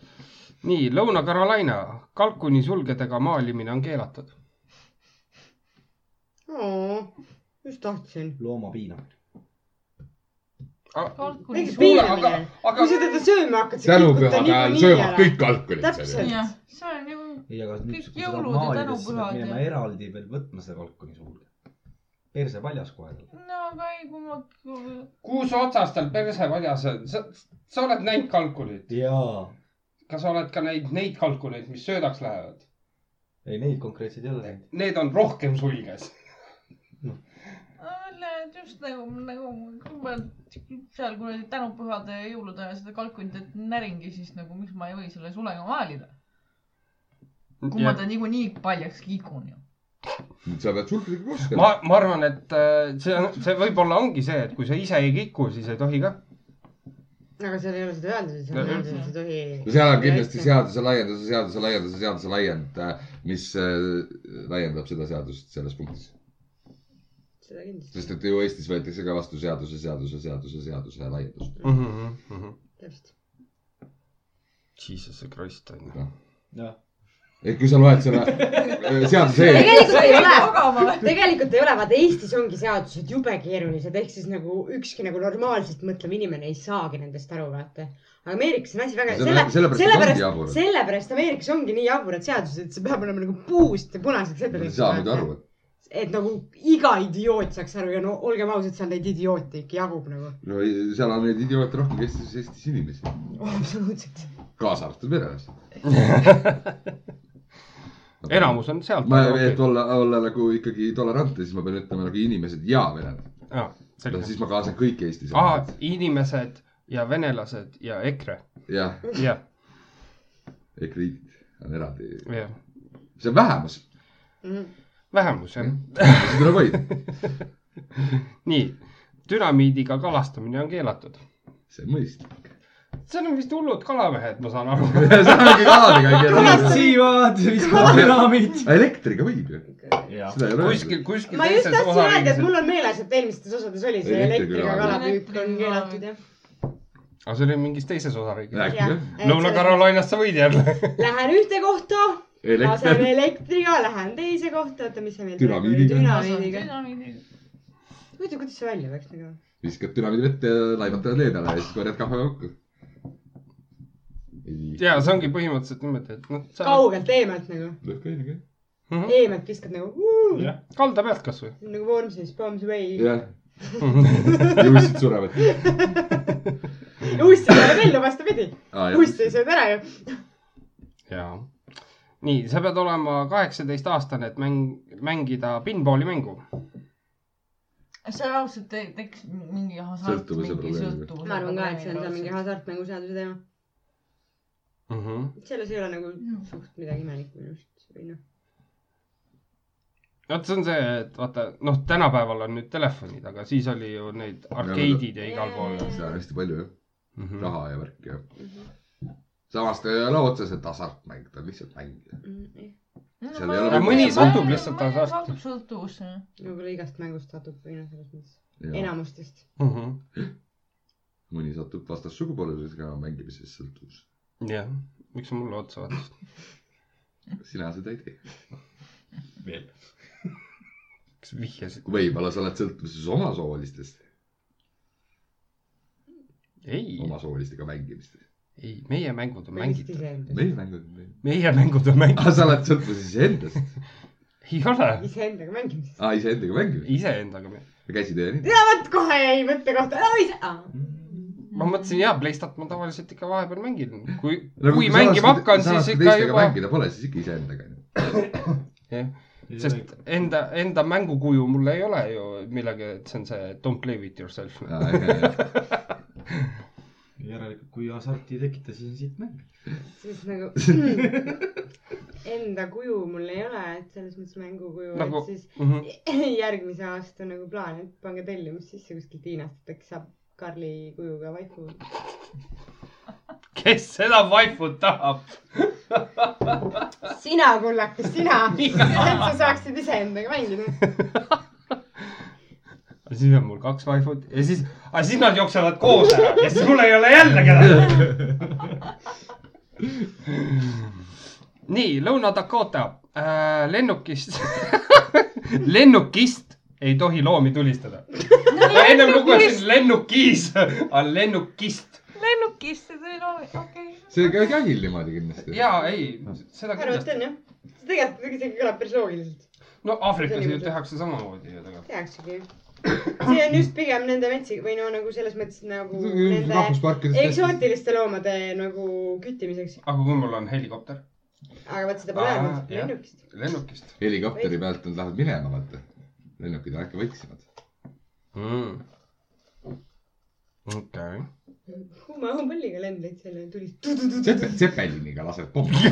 [SPEAKER 3] nii Lõuna-Carolina kalkuni sulgedega maalimine on keelatud .
[SPEAKER 4] just tahtsin .
[SPEAKER 6] looma piinamine .
[SPEAKER 5] kalkuni
[SPEAKER 4] väike
[SPEAKER 5] suur .
[SPEAKER 4] piinamine . kui sa teda sööma hakkad , sa
[SPEAKER 1] tänupühade ajal söövad . kõik
[SPEAKER 4] Täpselt.
[SPEAKER 1] alkoholid .
[SPEAKER 5] jah , see on nagu- ju ,
[SPEAKER 6] ei , aga nüüd
[SPEAKER 5] Kõik
[SPEAKER 6] kui sa tahad
[SPEAKER 5] jõulud ja
[SPEAKER 6] maalida , siis sa
[SPEAKER 5] tänupühad
[SPEAKER 6] pead minema
[SPEAKER 5] ja-
[SPEAKER 6] eraldi veel võtma seda kalkuni suurde . perse paljas koerale .
[SPEAKER 5] no aga ei , kui ma ,
[SPEAKER 3] kuus otsas tal perse väljas on , sa , sa oled näinud kalkunit ,
[SPEAKER 6] jaa .
[SPEAKER 3] kas sa oled ka näinud neid kalkuneid , mis söödaks lähevad ?
[SPEAKER 6] ei , neid konkreetseid ei ole näinud .
[SPEAKER 3] Need on rohkem sulges .
[SPEAKER 5] Lähed just nagu , nagu kui ma seal kuradi tänupühade ja jõulude ajal seda kalkunit näringi , siis nagu miks ma ei või selle sulega maalida , kui ma
[SPEAKER 3] ma ,
[SPEAKER 5] ta niikuinii paljaks kiikun ju .
[SPEAKER 1] sa pead sulgedega koos käima .
[SPEAKER 3] ma arvan , et äh, see on , see võib-olla ongi see , et kui sa ise ei kiku , siis ei tohi ka .
[SPEAKER 4] aga seal ei ole seda öeldud , et seal
[SPEAKER 3] No
[SPEAKER 4] on öeldud ,
[SPEAKER 5] üldse.
[SPEAKER 4] et sa ei
[SPEAKER 1] no
[SPEAKER 4] tohi .
[SPEAKER 1] seal on kindlasti . seaduse laienduse , seaduse laienduse , seaduse laiend , mis äh, laiendab seda seadust selles punktis .
[SPEAKER 4] seda kindlasti ,
[SPEAKER 1] sest et ju Eestis võetakse ka vastu seaduse , seaduse , seaduse , seaduse laiendus . mhm,
[SPEAKER 4] täpselt .
[SPEAKER 3] Jesus Christ on ju .
[SPEAKER 1] Jah.
[SPEAKER 6] Noh.
[SPEAKER 1] ehk kui sa loed selle äh, seaduse eel-
[SPEAKER 4] tegelikult ei ole
[SPEAKER 5] magama .
[SPEAKER 4] tegelikult ei ole , vaata Eestis ongi seadused jube keerulised , ehk siis nagu ükski nagu normaalselt mõtlev inimene ei saagi nendest aru , vaata . Ameerikas on asi väga
[SPEAKER 1] Ja selle- sellepärast ongi
[SPEAKER 4] sellepärast
[SPEAKER 1] jaburad. ,
[SPEAKER 4] sellepärast Ameerikas ongi nii jaburad seadused , et see peab olema nagu puust ja punaseks
[SPEAKER 1] Nad
[SPEAKER 4] ette
[SPEAKER 1] ei saa muidu aru , et
[SPEAKER 4] et nagu iga idioot saaks aru ja no olgem ausad , seal neid idioote ikka jagub nagu . (laughs)
[SPEAKER 1] no ei- seal on neid idioote rohkem kui Eestis , Eestis inimesi ,
[SPEAKER 4] absoluutselt .
[SPEAKER 1] kaasa arvatud verelased .
[SPEAKER 3] enamus on sealt .
[SPEAKER 1] ma , et olla , olla nagu ikkagi tolerantne , siis ma pean ütlema nagu inimesed ja venelased . siis ma kaasan kõik Eestis .
[SPEAKER 3] aa , inimesed ja venelased ja EKRE ,
[SPEAKER 1] jah ,
[SPEAKER 3] jah ,
[SPEAKER 1] EKRE riigid on eraldi ,
[SPEAKER 3] jah ,
[SPEAKER 1] see on vähemus ,
[SPEAKER 4] Mm.
[SPEAKER 3] vähemus jah .
[SPEAKER 1] see tuleb hoida ,
[SPEAKER 3] nii , dünamiidiga kalastamine on keelatud .
[SPEAKER 1] see on mõistlik .
[SPEAKER 3] seal on vist hullud kalamehed , ma saan aru .
[SPEAKER 1] (laughs) see ongi kaladega ei keela .
[SPEAKER 6] sivad , viskavad dünaamid .
[SPEAKER 1] elektriga võib ju , seda ei ole
[SPEAKER 3] kuskil , kuskil
[SPEAKER 4] ma just
[SPEAKER 3] teises
[SPEAKER 4] tahtsin öelda , et
[SPEAKER 3] osariigis .
[SPEAKER 4] mul on meeles , et eelmistes osades oli see
[SPEAKER 1] Elektriga
[SPEAKER 4] elektriga
[SPEAKER 1] ka.
[SPEAKER 4] kalapüük on
[SPEAKER 5] Elektriga.
[SPEAKER 4] keelatud jah .
[SPEAKER 3] aga see oli mingis teises osariigis .
[SPEAKER 1] Äkki, jah.
[SPEAKER 3] Lõuna-Carolinas sa võid jälle .
[SPEAKER 4] Lähen ühte kohta , lasen
[SPEAKER 1] elekter ,
[SPEAKER 4] elektriga , lähen teise kohta , oota , mis see meil
[SPEAKER 1] Dünamiidiga.
[SPEAKER 4] dünamiidiga . huvitav , kuidas see välja peaks nagu- nägema ?
[SPEAKER 1] viskad dünamiidi vette ja laevatad lee peale ja siis korjad kahva kokku . ei ,
[SPEAKER 3] ja see ongi põhimõtteliselt niimoodi , et noh , sa
[SPEAKER 4] kaugelt eemalt nagu ,
[SPEAKER 1] lõhk on ikka .
[SPEAKER 3] Mhm.
[SPEAKER 4] eemalt viskad nagu ,
[SPEAKER 3] kalda pealt kasvõi .
[SPEAKER 4] nagu Vormsis , Bombs Way .
[SPEAKER 1] jah , (laughs) juussid surevad .
[SPEAKER 4] uust ei saa välja , vastupidi ,
[SPEAKER 1] aa ,
[SPEAKER 4] uust ei söönud ära ju .
[SPEAKER 3] ja , nii , sa pead olema kaheksateist aastane , et mäng , mängida pinballi mängu .
[SPEAKER 5] see raudselt te- tekkis mingi hasart ,
[SPEAKER 1] Sõltuvuse
[SPEAKER 5] mingi
[SPEAKER 1] probleem.
[SPEAKER 5] sõltuvus .
[SPEAKER 4] ma arvan ka , et see on seal mingi hasartmänguseaduse teema .
[SPEAKER 3] Mhm.
[SPEAKER 4] selles ei ole nagu
[SPEAKER 5] Mm.
[SPEAKER 4] suht midagi imelikku minu arust või noh ,
[SPEAKER 3] vot see on see , et vaata , noh , tänapäeval on nüüd telefonid , aga siis oli ju neid arkeedid ja igal pool .
[SPEAKER 1] seda on hästi palju jah .
[SPEAKER 3] Mhm.
[SPEAKER 1] raha ja värki ja . samas ta ei ole otseselt hasartmäng , ta on lihtsalt mäng . Seal ei ole
[SPEAKER 4] Mm-hmm.
[SPEAKER 3] mõni satub lihtsalt hasarti.
[SPEAKER 5] satub sõltuvusse .
[SPEAKER 4] võib-olla igast mängust satub või noh , selles mõttes . enamustest .
[SPEAKER 3] mm . -hmm.
[SPEAKER 1] mõni satub vastassugupoolisega mängimisest sõltuvus .
[SPEAKER 3] jah , miks sa mulle otsa vaatasid ?
[SPEAKER 1] sina seda ei tee .
[SPEAKER 3] kas vihjasid ?
[SPEAKER 1] võib-olla sa oled sõltuvuses omasoolistest ,
[SPEAKER 3] ei ,
[SPEAKER 1] omasoolistega mängimistest .
[SPEAKER 3] ei , meie mängud on mängitud .
[SPEAKER 1] meie mängud ,
[SPEAKER 3] meie mängud on mängitud . (laughs)
[SPEAKER 1] aga Ah, sa oled sõltuvuses iseendast .
[SPEAKER 3] ei ole ,
[SPEAKER 4] iseendaga mängimist .
[SPEAKER 1] aa , iseendaga mängimist .
[SPEAKER 3] iseendaga me .
[SPEAKER 1] käsi tee nii .
[SPEAKER 4] ja vot kohe jäi mõttekoht , aa ise ,
[SPEAKER 3] ma mõtlesin jaa , Playstat ma tavaliselt ikka vahepeal mängin . kui
[SPEAKER 1] No,
[SPEAKER 3] kui mängima hakkan , siis ikka juba ,
[SPEAKER 1] mängida pole , siis ikka iseendaga .
[SPEAKER 3] sest enda , enda mängukuju mul ei ole ju millega , et see on see don't play with yourself .
[SPEAKER 1] Ah,
[SPEAKER 2] järelikult , kui hasarti ei tekita , siis on siit mäng .
[SPEAKER 4] siis nagu hmm. enda kuju mul ei ole , et selles mõttes mängukuju
[SPEAKER 3] Nagu-
[SPEAKER 4] nagu... , et siis järgmise aasta nagu plaan , et pange tellimus sisse kuskilt Hiinast , et äkki saab Karli kujuga vaiku .
[SPEAKER 3] kes seda vaifut tahab ?
[SPEAKER 4] sina , kullakas , sina . sa saaksid iseendaga mängida .
[SPEAKER 3] siis on mul kaks vaifut ja siis , aga siis nad jooksevad koos ära ja siis mul ei ole jälle kedagi . nii , Lõuna-Dakota äh, lennukist , (laughs) lennukist ei tohi loomi tulistada . ma ennem lugesin lennukis , aga lennukist
[SPEAKER 5] lennukist , see oli loomi , okei okay. .
[SPEAKER 1] see käib jahil niimoodi kindlasti .
[SPEAKER 3] ja ei , seda
[SPEAKER 4] ma arvan , et
[SPEAKER 3] kindlasti .
[SPEAKER 4] on jah . noh. see tegelikult isegi kõlab päris loogiliselt .
[SPEAKER 3] no Aafrikas ju tehakse samamoodi ju tegelikult .
[SPEAKER 4] tehaksegi . see on just pigem nende metsi või no nagu selles mõttes nagu nende
[SPEAKER 1] rahvusparkides .
[SPEAKER 4] eksootiliste loomade nagu küttimiseks ,
[SPEAKER 3] aga kui mul on helikopter
[SPEAKER 4] aga vot seda pole
[SPEAKER 3] Aa,
[SPEAKER 4] öelnud
[SPEAKER 3] jah.
[SPEAKER 4] lennukist .
[SPEAKER 3] lennukist
[SPEAKER 1] helikopteri pealt nad lähevad minema , vaata . lennukid on äkki võiksemad .
[SPEAKER 3] mm. . okei okay. .
[SPEAKER 4] kuuma õhupalliga lendleid seal ja tulid .
[SPEAKER 1] Tsepe- , Tsepeliniga lased pommi .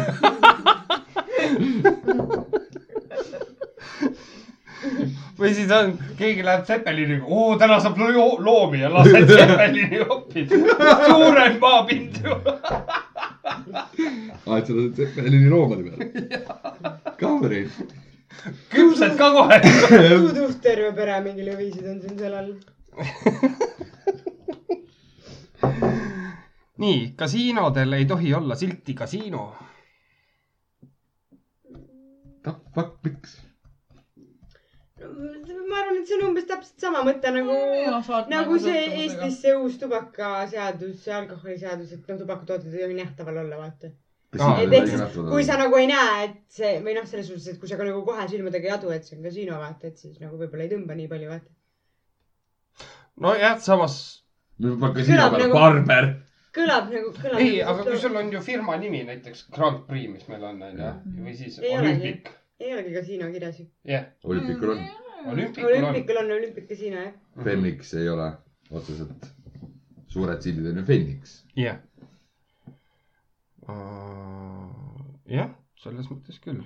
[SPEAKER 3] või siis on , keegi läheb Zeppeliniga , oo täna saab lo- loomi ja lased Zeppelini hoopis . suurem maapind ju .
[SPEAKER 1] aa , Ah, et sa oled Tsepelini loomade peal . kaameraid .
[SPEAKER 3] küpsed ka kohe .
[SPEAKER 4] tuduv terve pere mingi lõvisid on siin seal all .
[SPEAKER 3] nii , kasiinodel ei tohi olla silti kasiino .
[SPEAKER 1] The fuck , miks ?
[SPEAKER 4] ma arvan , et see on umbes täpselt sama mõte nagu , nagu
[SPEAKER 5] nagu
[SPEAKER 4] see . Eestis see uus tubakaseadus , alkoholiseadus , et noh , tubakatooted ei tohi nähtaval olla , vaata . et ehk siis , kui sa nagu ei näe , et see või noh , selles suhtes , et kui sa ka nagu kohe silmadega ei adu , et see on kasiino , vaata , et siis nagu võib-olla ei tõmba nii palju , vaata .
[SPEAKER 3] nojah , samas .
[SPEAKER 1] me peame
[SPEAKER 4] Kõlab
[SPEAKER 1] küsima peale
[SPEAKER 4] nagu-
[SPEAKER 1] barber .
[SPEAKER 4] kõlab nagu , kõlab .
[SPEAKER 3] ei , aga kui sul on ju firma nimi näiteks Grand Prix , mis meil on , onju , või siis
[SPEAKER 4] Ei olegi.
[SPEAKER 3] olümpik .
[SPEAKER 4] ei olegi kasiino kirjas ju .
[SPEAKER 3] jah ,
[SPEAKER 1] olümpikul on .
[SPEAKER 3] olümpikul on .
[SPEAKER 4] olümpikul on olümpikasiino jah .
[SPEAKER 3] Mhm.
[SPEAKER 1] Fenniks ei ole otseselt . suured sildid on ju Fenniks .
[SPEAKER 3] jah . jah , selles mõttes küll .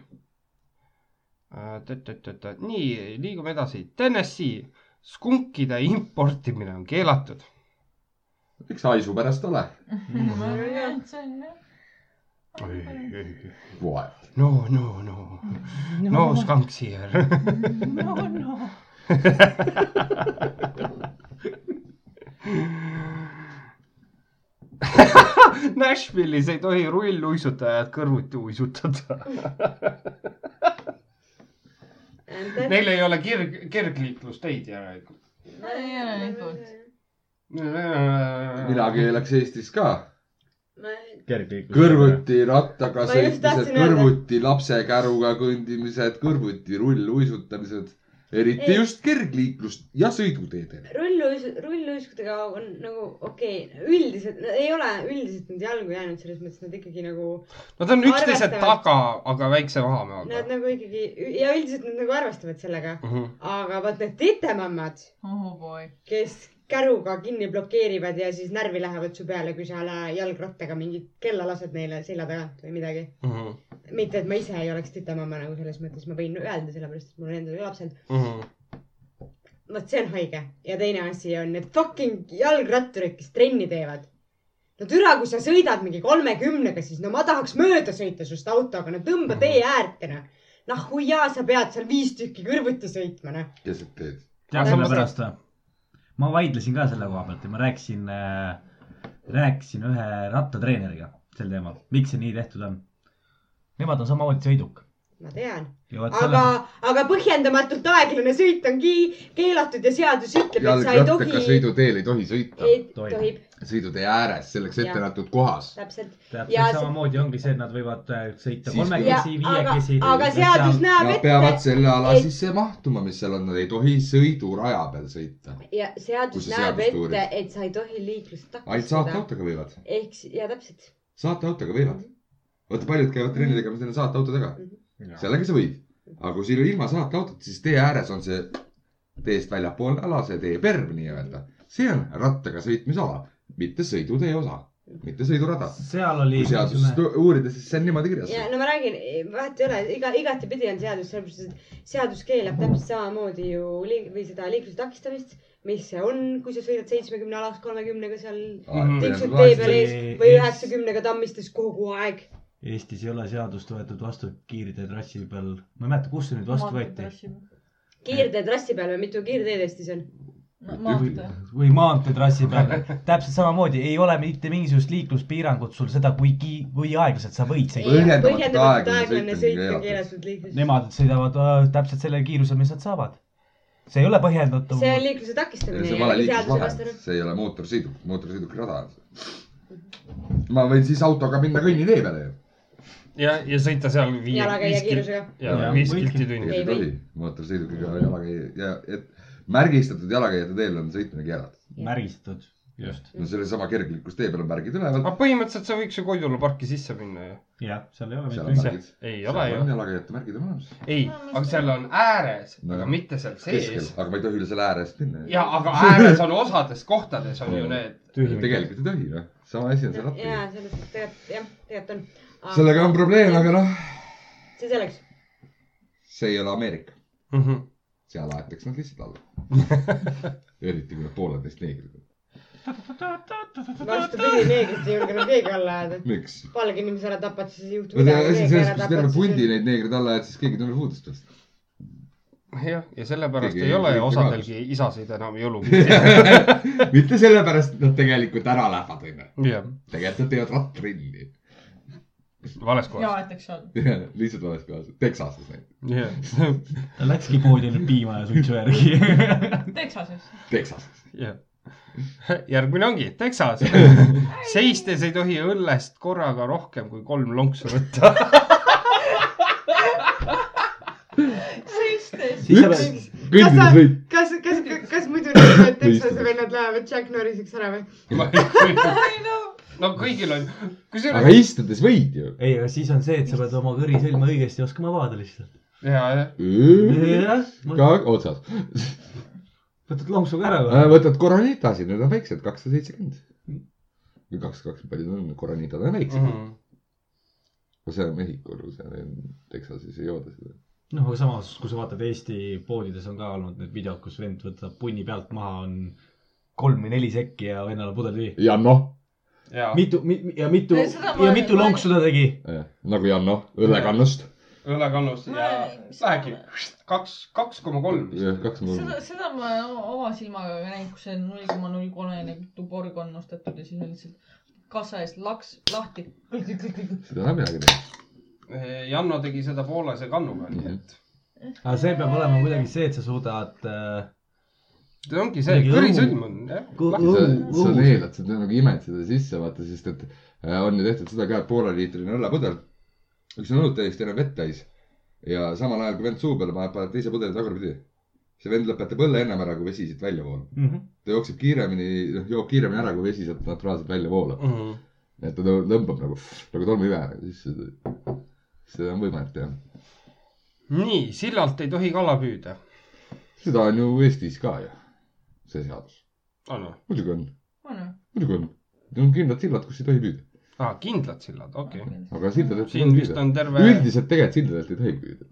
[SPEAKER 3] nii , liigume edasi . Tennessee , skunkide importimine on keelatud .
[SPEAKER 1] miks haisu pärast ole ?
[SPEAKER 5] see on jah .
[SPEAKER 1] vaev .
[SPEAKER 3] no , no , no , no skunk here .
[SPEAKER 5] no , Oh, no .
[SPEAKER 3] (laughs) Nashville'is ei tohi rulluisutajad kõrvuti uisutada . Neil ei ole kirg , kergliiklusteid järelikult .
[SPEAKER 5] järelikult .
[SPEAKER 1] mina keelaks Eestis ka .
[SPEAKER 2] kergliiklus .
[SPEAKER 1] kõrvuti rattaga
[SPEAKER 4] Ma just
[SPEAKER 1] sõitmised ,
[SPEAKER 4] tahtsin öelda.
[SPEAKER 1] kõrvuti lapsekäruga kõndimised , kõrvuti rulluisutamised . eriti
[SPEAKER 4] Ei.
[SPEAKER 1] just kergliiklust ja sõiduteedel .
[SPEAKER 4] rulluis- , rulluiskudega on nagu okei okay. , üldiselt no, ei ole üldiselt nad jalgu jäänud , selles mõttes nad ikkagi nagu ,
[SPEAKER 3] Nad on üksteise
[SPEAKER 4] Arvestavad.
[SPEAKER 3] taga , aga väikse vahemaaga
[SPEAKER 4] nad . nagu ikkagi ja üldiselt nad nagu arvestavad sellega ,
[SPEAKER 3] Mhm.
[SPEAKER 4] aga vot need tetemammad ,
[SPEAKER 5] oh boy .
[SPEAKER 4] kes käruga kinni blokeerivad ja siis närvi lähevad su peale , kui sa ala jalgrattaga mingit kella lased neile selja tagant või midagi .
[SPEAKER 3] Mhm.
[SPEAKER 4] mitte , et ma ise ei oleks tetemamma nagu selles mõttes , ma võin öelda , sellepärast et mul on endal ka lapsed .
[SPEAKER 3] Mhm.
[SPEAKER 4] vot see on haige ja teine asi on need fucking jalgratturid , kes trenni teevad . no türa , kui sa sõidad mingi kolmekümnega , siis no ma tahaks mööda sõita sinust autoga , no tõmba tee
[SPEAKER 1] Mhm.
[SPEAKER 4] äärde noh . noh , kui jaa , sa pead seal viis tükki kõrvuti sõitma noh .
[SPEAKER 1] keset teed .
[SPEAKER 8] tead selle pärast või ?
[SPEAKER 2] ma vaidlesin ka selle koha pealt ja ma rääkisin äh, , rääkisin ühe rattatreeneriga sel teemal , miks see nii tehtud on . Nemad on samamoodi sõiduk .
[SPEAKER 4] ma tean , aga , aga põhjendamatult aeglane sõit on ki- , keelatud ja seadus ütleb , et sa ei
[SPEAKER 1] jalgrattaga
[SPEAKER 4] tohi ,
[SPEAKER 1] sõiduteel ei tohi sõita ,
[SPEAKER 4] ei
[SPEAKER 2] Tohib.
[SPEAKER 4] tohib ,
[SPEAKER 1] sõidutee ääres , selleks ette
[SPEAKER 4] Jah.
[SPEAKER 1] nähtud kohas .
[SPEAKER 4] täpselt .
[SPEAKER 2] täpselt ja,
[SPEAKER 4] ja see-
[SPEAKER 2] samamoodi ongi see , et nad võivad äh, sõita
[SPEAKER 1] Siis-
[SPEAKER 4] ja
[SPEAKER 2] kolmekesi ,
[SPEAKER 4] aga
[SPEAKER 2] viiekesi ,.
[SPEAKER 4] aga seadus näeb
[SPEAKER 1] Nad
[SPEAKER 4] ette
[SPEAKER 1] peavad selle ala
[SPEAKER 4] et-
[SPEAKER 1] sisse mahtuma , mis seal on , nad ei tohi sõiduraja peal sõita .
[SPEAKER 4] ja
[SPEAKER 1] Kus
[SPEAKER 4] seadus
[SPEAKER 1] see
[SPEAKER 4] näeb
[SPEAKER 1] seadus
[SPEAKER 4] ette
[SPEAKER 1] uurib? ,
[SPEAKER 4] et sa ei tohi liiklust
[SPEAKER 1] ainult
[SPEAKER 4] takistada .
[SPEAKER 1] saateautoga võivad ,
[SPEAKER 4] ehk si- ja täpselt .
[SPEAKER 1] saateautoga võivad . vaata , paljud käivad trenni tegemas nende saateautodega
[SPEAKER 4] Mhm. .
[SPEAKER 1] sellega sa võid , aga kui sul ilma saateautot , siis tee ääres on see teest väljapoolne ala , see tee perv nii-öelda . see on rattaga sõitmisala , mitte sõidutee osa , mitte sõidurada .
[SPEAKER 2] seal oli
[SPEAKER 1] kui seadusest uurida , siis see on niimoodi
[SPEAKER 4] ja
[SPEAKER 1] kirjas .
[SPEAKER 4] no ma räägin , vahet ei ole , iga , igatepidi on seadus , sellepärast et seadus keelab täpselt samamoodi ju liik- või seda liikluse takistamist , mis see on , kui sa sõidad seitsmekümne alas kolmekümnega seal tiksud
[SPEAKER 1] nagu
[SPEAKER 4] tee peal ees või üheksakümnega tammistes kogu aeg .
[SPEAKER 2] Eestis ei ole seadust võetud vastu kiirteetrassi peal , ma ei mäleta , kus see nüüd vastu võeti
[SPEAKER 4] kiirteetrassi peal või mitu kiirteed Eestis on ?
[SPEAKER 5] maantee .
[SPEAKER 2] või maanteetrassi peal , (laughs) täpselt samamoodi ei ole mitte mingisugust liikluspiirangut sul seda , kui ki- , kui aeglaselt sa võid sõita .
[SPEAKER 1] Põhjendamatult
[SPEAKER 4] põhjendamatult
[SPEAKER 1] aeglane sõit
[SPEAKER 4] aeglane
[SPEAKER 1] on
[SPEAKER 4] sõit on
[SPEAKER 1] keelatud.
[SPEAKER 4] keelatud liikluses .
[SPEAKER 2] Nemad sõidavad äh, täpselt sellel kiirusel , mis nad saavad . see ei ole põhjendatud .
[SPEAKER 4] see on liikluse takistamine ,
[SPEAKER 1] see
[SPEAKER 4] ei
[SPEAKER 1] on vale
[SPEAKER 4] ole seaduse
[SPEAKER 1] liiklusvahend
[SPEAKER 4] vastane .,
[SPEAKER 1] see ei ole mootorsõiduk , mootorsõiduk rada on see . ma võin siis autoga minna kõnnitee peale ju .
[SPEAKER 3] ja , ja sõita seal viie ,
[SPEAKER 4] jalakäija
[SPEAKER 3] viis kilti ,
[SPEAKER 4] kiirusega .
[SPEAKER 3] ja
[SPEAKER 2] Jaa,
[SPEAKER 3] viis
[SPEAKER 2] võidki.
[SPEAKER 3] kilti tunnis .
[SPEAKER 1] ei
[SPEAKER 4] Ei
[SPEAKER 1] tohi , mootorsõidukiga jalakäija ja , et märgistatud jalakäijate teel on sõitmine keelatud .
[SPEAKER 2] märgistatud , just .
[SPEAKER 1] no sellesama kergliiklustee peal on märgid üleval
[SPEAKER 3] aga , põhimõtteliselt sa võiks ju Koidula parki sisse minna ju .
[SPEAKER 2] jah , seal ei ole
[SPEAKER 1] seal
[SPEAKER 2] mitte
[SPEAKER 1] on
[SPEAKER 2] midagi .
[SPEAKER 1] märgid .
[SPEAKER 3] ei
[SPEAKER 1] seal
[SPEAKER 3] ole ju
[SPEAKER 1] on . jalakäijate märgid on olemas .
[SPEAKER 3] ei , aga seal on ääres ,
[SPEAKER 1] No.
[SPEAKER 3] aga mitte seal
[SPEAKER 1] keskel
[SPEAKER 3] sees .,
[SPEAKER 1] aga ma ei tohi üle selle ääre eest minna .
[SPEAKER 3] ja , aga ääres on osades kohtades on ju need .
[SPEAKER 1] tegelikult ei tohi , noh . sama asi on see
[SPEAKER 4] jaa
[SPEAKER 1] rattaga .,
[SPEAKER 4] selles mõttes tegelikult jah , tegelikult on .
[SPEAKER 1] sellega on probleem , aga noh ,
[SPEAKER 4] see selleks .
[SPEAKER 1] see ei ole Ameerika .
[SPEAKER 3] Mhm.
[SPEAKER 1] seal aetakse nad lihtsalt alla .
[SPEAKER 3] (laughs)
[SPEAKER 1] eriti kui nad pooled neist neegrid on .
[SPEAKER 4] vastupidi , neegrit ei julge enam keegi alla ajada .
[SPEAKER 1] miks ?
[SPEAKER 4] valge inimese ära tapad , siis ei juhtu
[SPEAKER 1] no see asi on selles , kui sa terve pundi
[SPEAKER 4] midagi .
[SPEAKER 1] neid neegreid alla ajad , siis keegi tuleb uudist vastu .
[SPEAKER 3] jah , ja sellepärast
[SPEAKER 1] Keegi
[SPEAKER 3] ei ole
[SPEAKER 1] ei-
[SPEAKER 3] ju osadelgi isasid enam jõulupidu .
[SPEAKER 1] mitte sellepärast , et nad tegelikult ära lähevad , onju .
[SPEAKER 3] jah ,
[SPEAKER 1] tegelikult nad teevad rattrinni .
[SPEAKER 3] vales kohas .
[SPEAKER 5] ja , et eks seal .
[SPEAKER 1] (laughs) lihtsalt vales kohas , Texases näiteks ,
[SPEAKER 3] (laughs) jah ,
[SPEAKER 2] ta läkski poodi nüüd piima ja suitsu
[SPEAKER 1] (laughs)
[SPEAKER 2] järgi .
[SPEAKER 5] Texases .
[SPEAKER 1] Texases .
[SPEAKER 3] jah . järgmine ongi
[SPEAKER 1] (laughs)
[SPEAKER 3] Texas . seistes ei tohi õllest korraga rohkem kui kolm lonksu
[SPEAKER 1] (laughs)
[SPEAKER 3] võtta .
[SPEAKER 5] seistes .
[SPEAKER 2] siis sa
[SPEAKER 1] Üldse-
[SPEAKER 2] pead ,
[SPEAKER 4] kas sa
[SPEAKER 1] kõndides võid ,,
[SPEAKER 4] kas , kas , kas muidu need
[SPEAKER 1] Istuda.
[SPEAKER 4] Texase vennad lähevad Jack Norriseks ära või ?
[SPEAKER 3] no kõigil on ,
[SPEAKER 1] aga
[SPEAKER 3] kusjuures
[SPEAKER 1] istudes võid ju .
[SPEAKER 2] ei , aga siis on see , et sa pead oma kõrisilma õigesti oskama avada lihtsalt .
[SPEAKER 3] ja , jah ,
[SPEAKER 2] jah ,
[SPEAKER 1] ka Äh, otsas .
[SPEAKER 2] võtad lonksuga ära või ?
[SPEAKER 1] võtad koronitasid , need on väiksed , kakssada seitsekümmend . või kakssada kakskümmend , palju need on , koronitad on väiksed .
[SPEAKER 4] Mhm.
[SPEAKER 1] no see on Mehhikol , seal on Texases ei jooda seda .
[SPEAKER 2] noh , aga samas , kui sa vaatad Eesti poodides on ka olnud need videod , kus vend võtab punni pealt maha , on kolm või neli sekki ja vennal on pudel tühi .
[SPEAKER 1] Janno ,
[SPEAKER 3] ja
[SPEAKER 2] mitu mi, ja mitu
[SPEAKER 5] Ei, seda ma
[SPEAKER 2] ja
[SPEAKER 5] olen-
[SPEAKER 2] mitu lonksu ta tegi .
[SPEAKER 1] nagu Janno , õllekannust .
[SPEAKER 3] õllekannus ja lähebki kaks , kaks koma kolm vist .
[SPEAKER 1] kaks mul
[SPEAKER 5] seda , seda ma olen o- oma silmaga ka näinud , kus see null koma null kolmene tuborg on ostetud ja siis on lihtsalt kassa eest laks lahti .
[SPEAKER 1] seda enam ei räägi .
[SPEAKER 3] Eh, Janno tegi seda poolase kannuga , nii et
[SPEAKER 2] aga see peab olema kuidagi see , et sa suudad äh,
[SPEAKER 3] see ongi see
[SPEAKER 2] Kuidagi
[SPEAKER 3] kõrisõlm on jah .
[SPEAKER 2] ku-
[SPEAKER 1] sa ,
[SPEAKER 2] õhu ,
[SPEAKER 1] sa
[SPEAKER 2] õhu ,
[SPEAKER 1] neelad seda nagu imed seda sisse , vaata , sest et äh, on ju tehtud seda ka , et pooleliitrine õllepudel , üks on õlut täis , teine on vett täis ja samal ajal , kui vend suu peale paneb , paneb teise pudeli tagurpidi . see vend lõpetab õlle ennem ära , kui vesi siit välja voolab .
[SPEAKER 3] Mhm.
[SPEAKER 1] ta jookseb kiiremini , noh , joob kiiremini ära , kui vesi sealt naturaalselt välja voolab . nii et ta tõ- tõmbab nagu , nagu tolmuive nagu sisse . seda on võimalik teha .
[SPEAKER 3] nii , sillalt ei tohi kala püüda .
[SPEAKER 1] seda on ju Eestis ka ju , see seadus . Ah,
[SPEAKER 3] on või ?
[SPEAKER 1] muidugi on ,
[SPEAKER 5] on ju ?
[SPEAKER 1] muidugi on . on kindlad sillad , kus ei tohi püüda ,
[SPEAKER 3] aa , Ah, kindlad sillad , okei okay. .
[SPEAKER 1] aga sildadelt ei
[SPEAKER 3] siin
[SPEAKER 1] tohi
[SPEAKER 3] vist
[SPEAKER 1] püüda .
[SPEAKER 3] on terve .
[SPEAKER 1] üldiselt tegelikult sildadelt ei tohi püüda .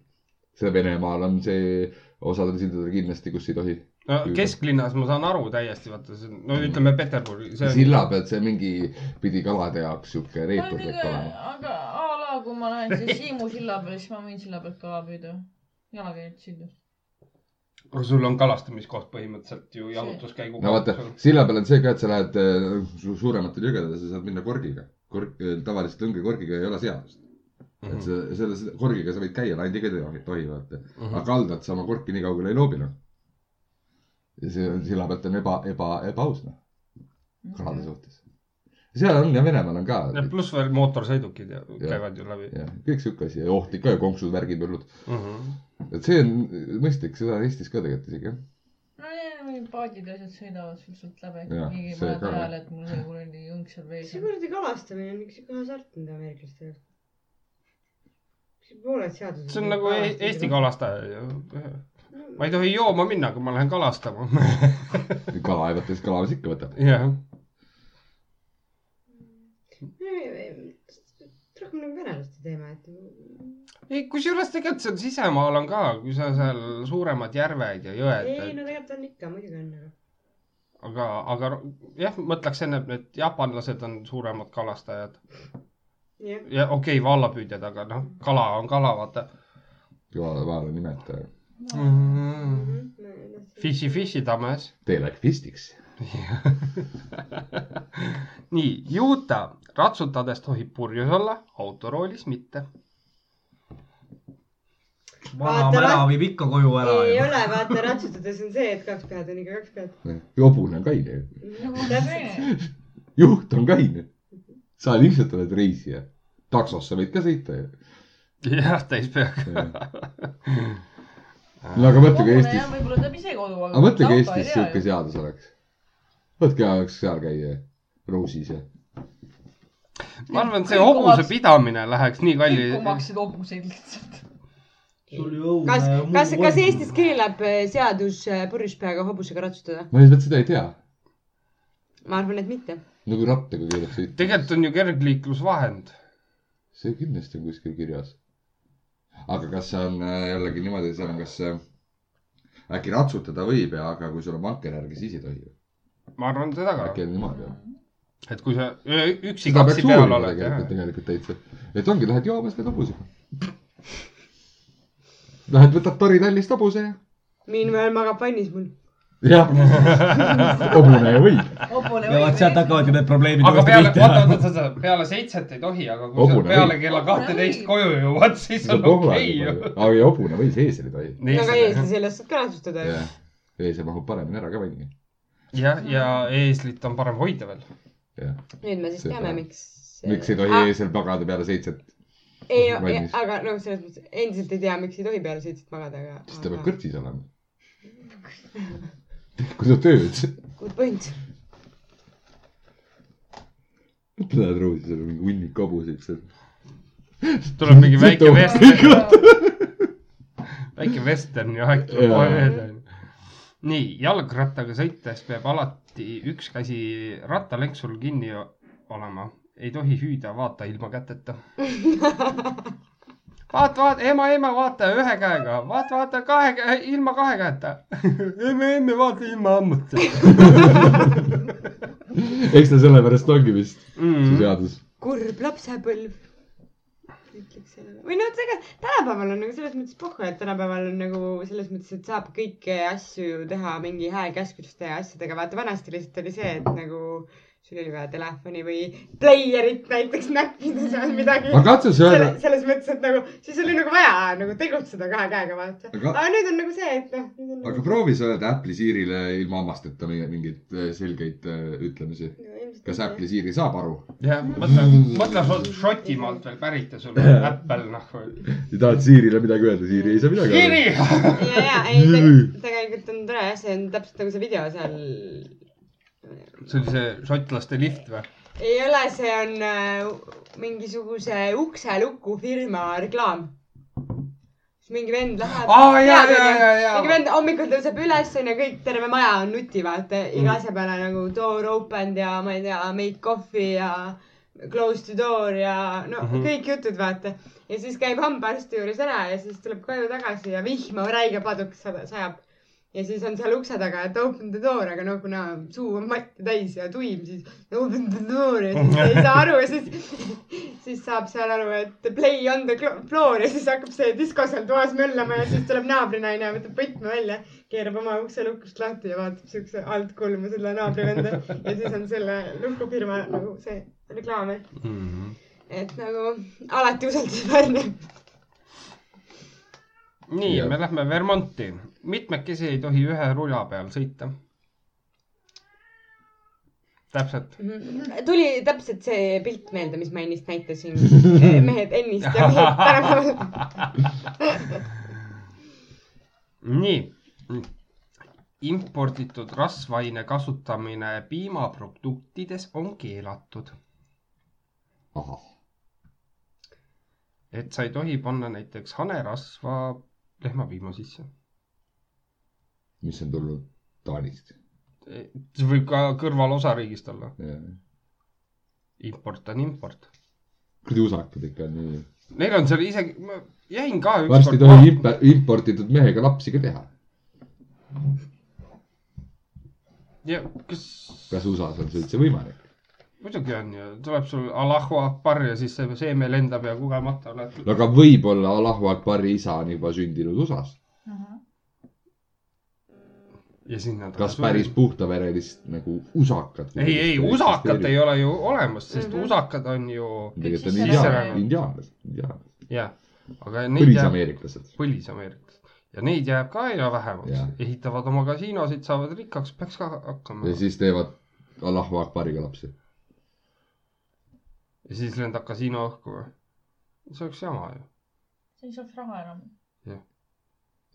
[SPEAKER 1] seda Venemaal on see , osadel sildadel kindlasti , kus ei tohi .
[SPEAKER 3] no kesklinnas ma saan aru täiesti , vaata see , no ütleme Peterburi , see on .
[SPEAKER 1] silla pealt see mingi pidi kalade jaoks sihuke reetur peab olema .
[SPEAKER 5] aga a la , kui ma lähen siia Siimu silla peale , siis ma võin silla pealt kala püüda . jalakäijad sildu .
[SPEAKER 3] aga sul on kalastamiskoht põhimõtteliselt ju jalutuskäigu
[SPEAKER 1] no vaata , silla peal on see ka , et sa lähed äh, su- suurematele jõgedele , sa saad minna korgiga . Kork , tavaliselt lõngakorgiga ei ole seadust .
[SPEAKER 3] Mhm.
[SPEAKER 1] et sa selle selle korgiga sa võid käia , ainult jõgede jookid tohivad .
[SPEAKER 3] Mhm.
[SPEAKER 1] aga kaldad sa oma korki nii kaugele ei loobi , noh . ja see on silla pealt on eba , eba , ebaaus , noh ,
[SPEAKER 3] Mhm.
[SPEAKER 1] kalade suhtes . seal on ja Venemaal on ka .
[SPEAKER 3] ja pluss veel mootorsõidukid ja
[SPEAKER 1] Jah.
[SPEAKER 3] käivad ju läbi .
[SPEAKER 1] jah , kõik sihuke asi ja ohtlik ka ju , konksud , värgid , põllud .
[SPEAKER 3] Mm
[SPEAKER 4] Mhm.
[SPEAKER 3] -hmm.
[SPEAKER 1] et see on mõistlik , seda on Eestis ka tegelikult isegi jah .
[SPEAKER 5] nojah , paadid ja asjad sõidavad sul sealt läbi ,
[SPEAKER 1] Jah,
[SPEAKER 5] keegi ei
[SPEAKER 1] see
[SPEAKER 5] pane
[SPEAKER 1] ka, jah.
[SPEAKER 5] tähele , et mul see kuradi jõnks seal vees
[SPEAKER 4] see
[SPEAKER 5] on .
[SPEAKER 4] kuradi kalastamine on üks siuke hasart , mida ameeriklastel . pooled seadused .
[SPEAKER 3] see on nagu e Eesti . kalastaja ju . ma ei tohi jooma minna , kui ma lähen kalastama . (laughs)
[SPEAKER 1] kalalaevates kalamees ikka võtab .
[SPEAKER 3] jah ,
[SPEAKER 4] eh, rohkem nagu venelaste teema , et .
[SPEAKER 3] ei kusjuures tegelikult seal sisemaal on ka , kui sa seal suuremad järved ja jõed ,
[SPEAKER 4] ei ,
[SPEAKER 3] et
[SPEAKER 4] no tegelikult on ikka , muidugi on , aga .
[SPEAKER 3] aga , aga jah , mõtleks ennem , et jaapanlased on suuremad kalastajad
[SPEAKER 4] jah ,
[SPEAKER 3] ja okei okay, , vallapüüdjad , aga noh , kala on kala , vaata
[SPEAKER 1] kalalaevale nimetaja .
[SPEAKER 3] mm . -hmm.
[SPEAKER 4] mhm .
[SPEAKER 3] Fishy , fishy tammes .
[SPEAKER 1] They like fistiks .
[SPEAKER 3] nii , Utah , ratsutades tohib purjus olla , autoroolis mitte .
[SPEAKER 7] vana
[SPEAKER 3] (laughs)
[SPEAKER 4] Vaata,
[SPEAKER 7] mäla
[SPEAKER 4] vaata.
[SPEAKER 7] viib ikka koju ära
[SPEAKER 4] ei
[SPEAKER 7] ju .
[SPEAKER 4] ole , vaata ratsutades on see , et kaks pead on ikka kaks pead .
[SPEAKER 1] hobune on kaine ,
[SPEAKER 4] täpselt .
[SPEAKER 1] juht on kaine . sa lihtsalt oled reisija . taksos sa võid ka sõita ju .
[SPEAKER 3] jah , täis peaga .
[SPEAKER 1] no aga mõtlege Eestis ,
[SPEAKER 5] võib-olla teab ise kodu ,
[SPEAKER 1] aga mõtlege Eestis sihuke seadus oleks . võtke ajaks seal käia , Roosis ja .
[SPEAKER 3] ma arvan , et see
[SPEAKER 5] Kõik
[SPEAKER 3] hobuse
[SPEAKER 5] omaks-
[SPEAKER 3] pidamine läheks nii
[SPEAKER 5] kõik
[SPEAKER 3] kalli .
[SPEAKER 5] omaksid hobuseid
[SPEAKER 1] (laughs)
[SPEAKER 5] lihtsalt .
[SPEAKER 4] kas , kas , kas Eestis keelab eh, seadus eh, purjus peaga hobusega ratsutada ?
[SPEAKER 1] ma lihtsalt seda ei tea .
[SPEAKER 4] ma arvan , et mitte .
[SPEAKER 1] nagu rattaga keelab sõita .
[SPEAKER 3] tegelikult on ju kergliiklusvahend .
[SPEAKER 1] see kindlasti on kuskil kirjas . aga kas see on äh, jällegi niimoodi , seal on , kas äh, äkki ratsutada võib ja , aga kui sul on vankerjärg , siis ei tohi .
[SPEAKER 3] ma arvan seda ka ,
[SPEAKER 1] äkki on niimoodi .
[SPEAKER 3] et kui sa öö, üksi
[SPEAKER 1] seda peaks
[SPEAKER 3] kaksi peal
[SPEAKER 1] uurima
[SPEAKER 3] oled .
[SPEAKER 1] tegelikult , tegelikult täitsa . et ongi , lähed joomas , lähed hobusega . Lähed , võtad Tori-Tallist hobuse ja .
[SPEAKER 4] Meanwhile magab vannis mul .
[SPEAKER 1] jah , (laughs) hobune ju võib .
[SPEAKER 7] ja vot sealt hakkavadki need probleemid
[SPEAKER 3] aga
[SPEAKER 7] uuesti
[SPEAKER 3] peale , oota ,
[SPEAKER 7] pihta .
[SPEAKER 3] oota , oota , peale seitset ei tohi , aga kui sa
[SPEAKER 1] Hobune
[SPEAKER 3] peale
[SPEAKER 1] võib.
[SPEAKER 3] kella kahteteist koju jõuad , siis on okei ju .
[SPEAKER 1] aga ei hobune või sees ei tohi .
[SPEAKER 4] no aga eestlasi ei lasta ka ratsutada ju .
[SPEAKER 1] ees mahub paremini ära ka vangi .
[SPEAKER 3] jah , ja eeslit on parem hoida veel .
[SPEAKER 4] nüüd me siis
[SPEAKER 1] Seda.
[SPEAKER 4] teame , miks .
[SPEAKER 1] miks ei
[SPEAKER 3] Ah.
[SPEAKER 1] tohi ? eesel magada peale seitset ,
[SPEAKER 4] ei ,
[SPEAKER 1] valmis?
[SPEAKER 4] aga noh , selles mõttes endiselt ei tea , miks ei tohi peale seitset magada , aga .
[SPEAKER 1] siis ta peab kõrtsis olema . (laughs) tehku sa tööd .
[SPEAKER 4] Good point .
[SPEAKER 1] Lähed ruusi , seal on mingi hunnik hobuseid seal .
[SPEAKER 3] tuleb mingi väike
[SPEAKER 1] Sõltub.
[SPEAKER 3] vestern , väike vestern ja aeg tuleb
[SPEAKER 1] Jaa.
[SPEAKER 3] kohe meelde . nii , jalgrattaga sõites peab alati üks käsi rattalenksul kinni olema , ei tohi hüüda vaata ilma
[SPEAKER 1] (laughs)
[SPEAKER 3] käteta . vaata , vaata , ema , ema , vaata ühe käega , vaata , vaata kahe käe , ilma kahe käeta . (laughs) emme , emme , vaata ilma hammuta
[SPEAKER 1] eks ta sellepärast ongi vist see
[SPEAKER 3] mm. .
[SPEAKER 1] seadus .
[SPEAKER 4] kurb lapsepõlv . ütleks sellele . või noh , ega tänapäeval on nagu selles mõttes pohhu , et tänapäeval on nagu selles mõttes , et saab kõiki asju ju teha mingi häälekäskluste ja asjadega . vaata vanasti lihtsalt oli see , et nagu sul oli vaja telefoni või pleierit näiteks näppida seal midagi .
[SPEAKER 1] aga katsu sa
[SPEAKER 4] Selle,
[SPEAKER 1] öelda ,
[SPEAKER 4] selles mõttes , et nagu siis oli nagu vaja nagu tegutseda kahe käega vaata .
[SPEAKER 1] Aga-
[SPEAKER 4] aga nüüd on nagu see , et noh .
[SPEAKER 1] aga proovi sa öelda Apple'i siirile ilma hammasteta mi- mingeid eh, selgeid eh, ütlemisi . kas Apple'i siiri saab aru ?
[SPEAKER 3] jah , mõtle , mõtle , sa oled Šotimaalt veel pärit ja
[SPEAKER 1] (laughs)
[SPEAKER 3] sul on äppel noh. nahku .
[SPEAKER 1] ja tahad siirile midagi öelda , siiri ei saa midagi öelda .
[SPEAKER 3] Siri .
[SPEAKER 4] ja , ja ei teg- tegelikult on tore jah , see on täpselt nagu see video seal .
[SPEAKER 3] (laughs) see oli see šotlaste lift või ?
[SPEAKER 4] ei ole , see on äh, mingisuguse ukseluku firma reklaam . siis mingi vend läheb .
[SPEAKER 3] Aa, jaa, jaa, jaa, jaa.
[SPEAKER 4] mingi vend hommikul tõuseb üles onju , kõik terve maja on nuti vaata , iga asja peale nagu door opened ja ma ei tea , make coffee ja close to door ja no mm
[SPEAKER 3] Mhm.
[SPEAKER 4] -hmm. kõik jutud vaata . ja siis käib hambaarsti juures ära ja siis tuleb koju tagasi ja vihma räige padukas sada- sajab . ja siis on seal ukse taga , et open the door , aga no kuna oh, suu on matti täis ja tuim , siis open the door ja siis ei saa aru ja siis , siis saab seal aru , et play on the clo- floor ja siis hakkab see disko seal toas möllama ja siis tuleb naabrinaine ja võtab võtme välja , keerab oma ukse lukust lahti ja vaatab siukse alt kulmu selle naabrivenda ja siis on selle lukufirma nagu see reklaam , et
[SPEAKER 1] Mhm.
[SPEAKER 6] -hmm.
[SPEAKER 4] et nagu alati usaldusväärne .
[SPEAKER 3] nii
[SPEAKER 1] Jah. ,
[SPEAKER 3] me lähme Vermonti . mitmekesi ei tohi ühe rula peal sõita . täpselt .
[SPEAKER 4] tuli täpselt see pilt meelde , mis ma ennist näitasin . mehed ennist ja mehed tänapäeval .
[SPEAKER 3] nii . imporditud rasvaine kasutamine piimaproduktides on keelatud ,
[SPEAKER 1] ahah ,
[SPEAKER 3] et sa ei tohi panna näiteks hanerasva lehmapiima sisse .
[SPEAKER 1] mis on tulnud Taanist .
[SPEAKER 3] E, see võib ka kõrvalosariigist olla ,
[SPEAKER 1] kuradi
[SPEAKER 3] import on import .
[SPEAKER 1] usakad ikka on nii .
[SPEAKER 3] Neil on seal isegi , ma jäin ka
[SPEAKER 1] varsti ei
[SPEAKER 3] ükskord
[SPEAKER 1] tohi imp- , imporditud mehega lapsi ka teha .
[SPEAKER 3] ja kas ,
[SPEAKER 1] kas USA-s on see üldse võimalik ?
[SPEAKER 3] muidugi on ju , tuleb sul Allahu Akbar ja siis see seeme lendab ja kogemata oled
[SPEAKER 1] no aga võib-olla Allahu Akbari isa on juba sündinud USA-s .
[SPEAKER 3] ja sinna tuleb
[SPEAKER 1] kas päris ? puhtaverelist nagu usakat ?
[SPEAKER 3] ei , ei usakat ei ole ju olemas , sest mm -hmm. usakad on ju
[SPEAKER 1] tegelikult on
[SPEAKER 5] Sisseränne-
[SPEAKER 1] indiaan , indiaanlased , indiaanlased ,
[SPEAKER 3] jah , aga neid jääb ,
[SPEAKER 1] põlisameeriklased .
[SPEAKER 3] põlisameeriklased ja neid jääb ka aina vähemaks
[SPEAKER 1] Jah. ,
[SPEAKER 3] ehitavad oma kasiinosid , saavad rikkaks , peaks ka hakkama
[SPEAKER 1] ja . siis teevad Allahu Akbariga lapsi .
[SPEAKER 3] ja siis lendab kasiino õhku või ? see oleks jama ju .
[SPEAKER 5] siis oleks raha enam .
[SPEAKER 1] ja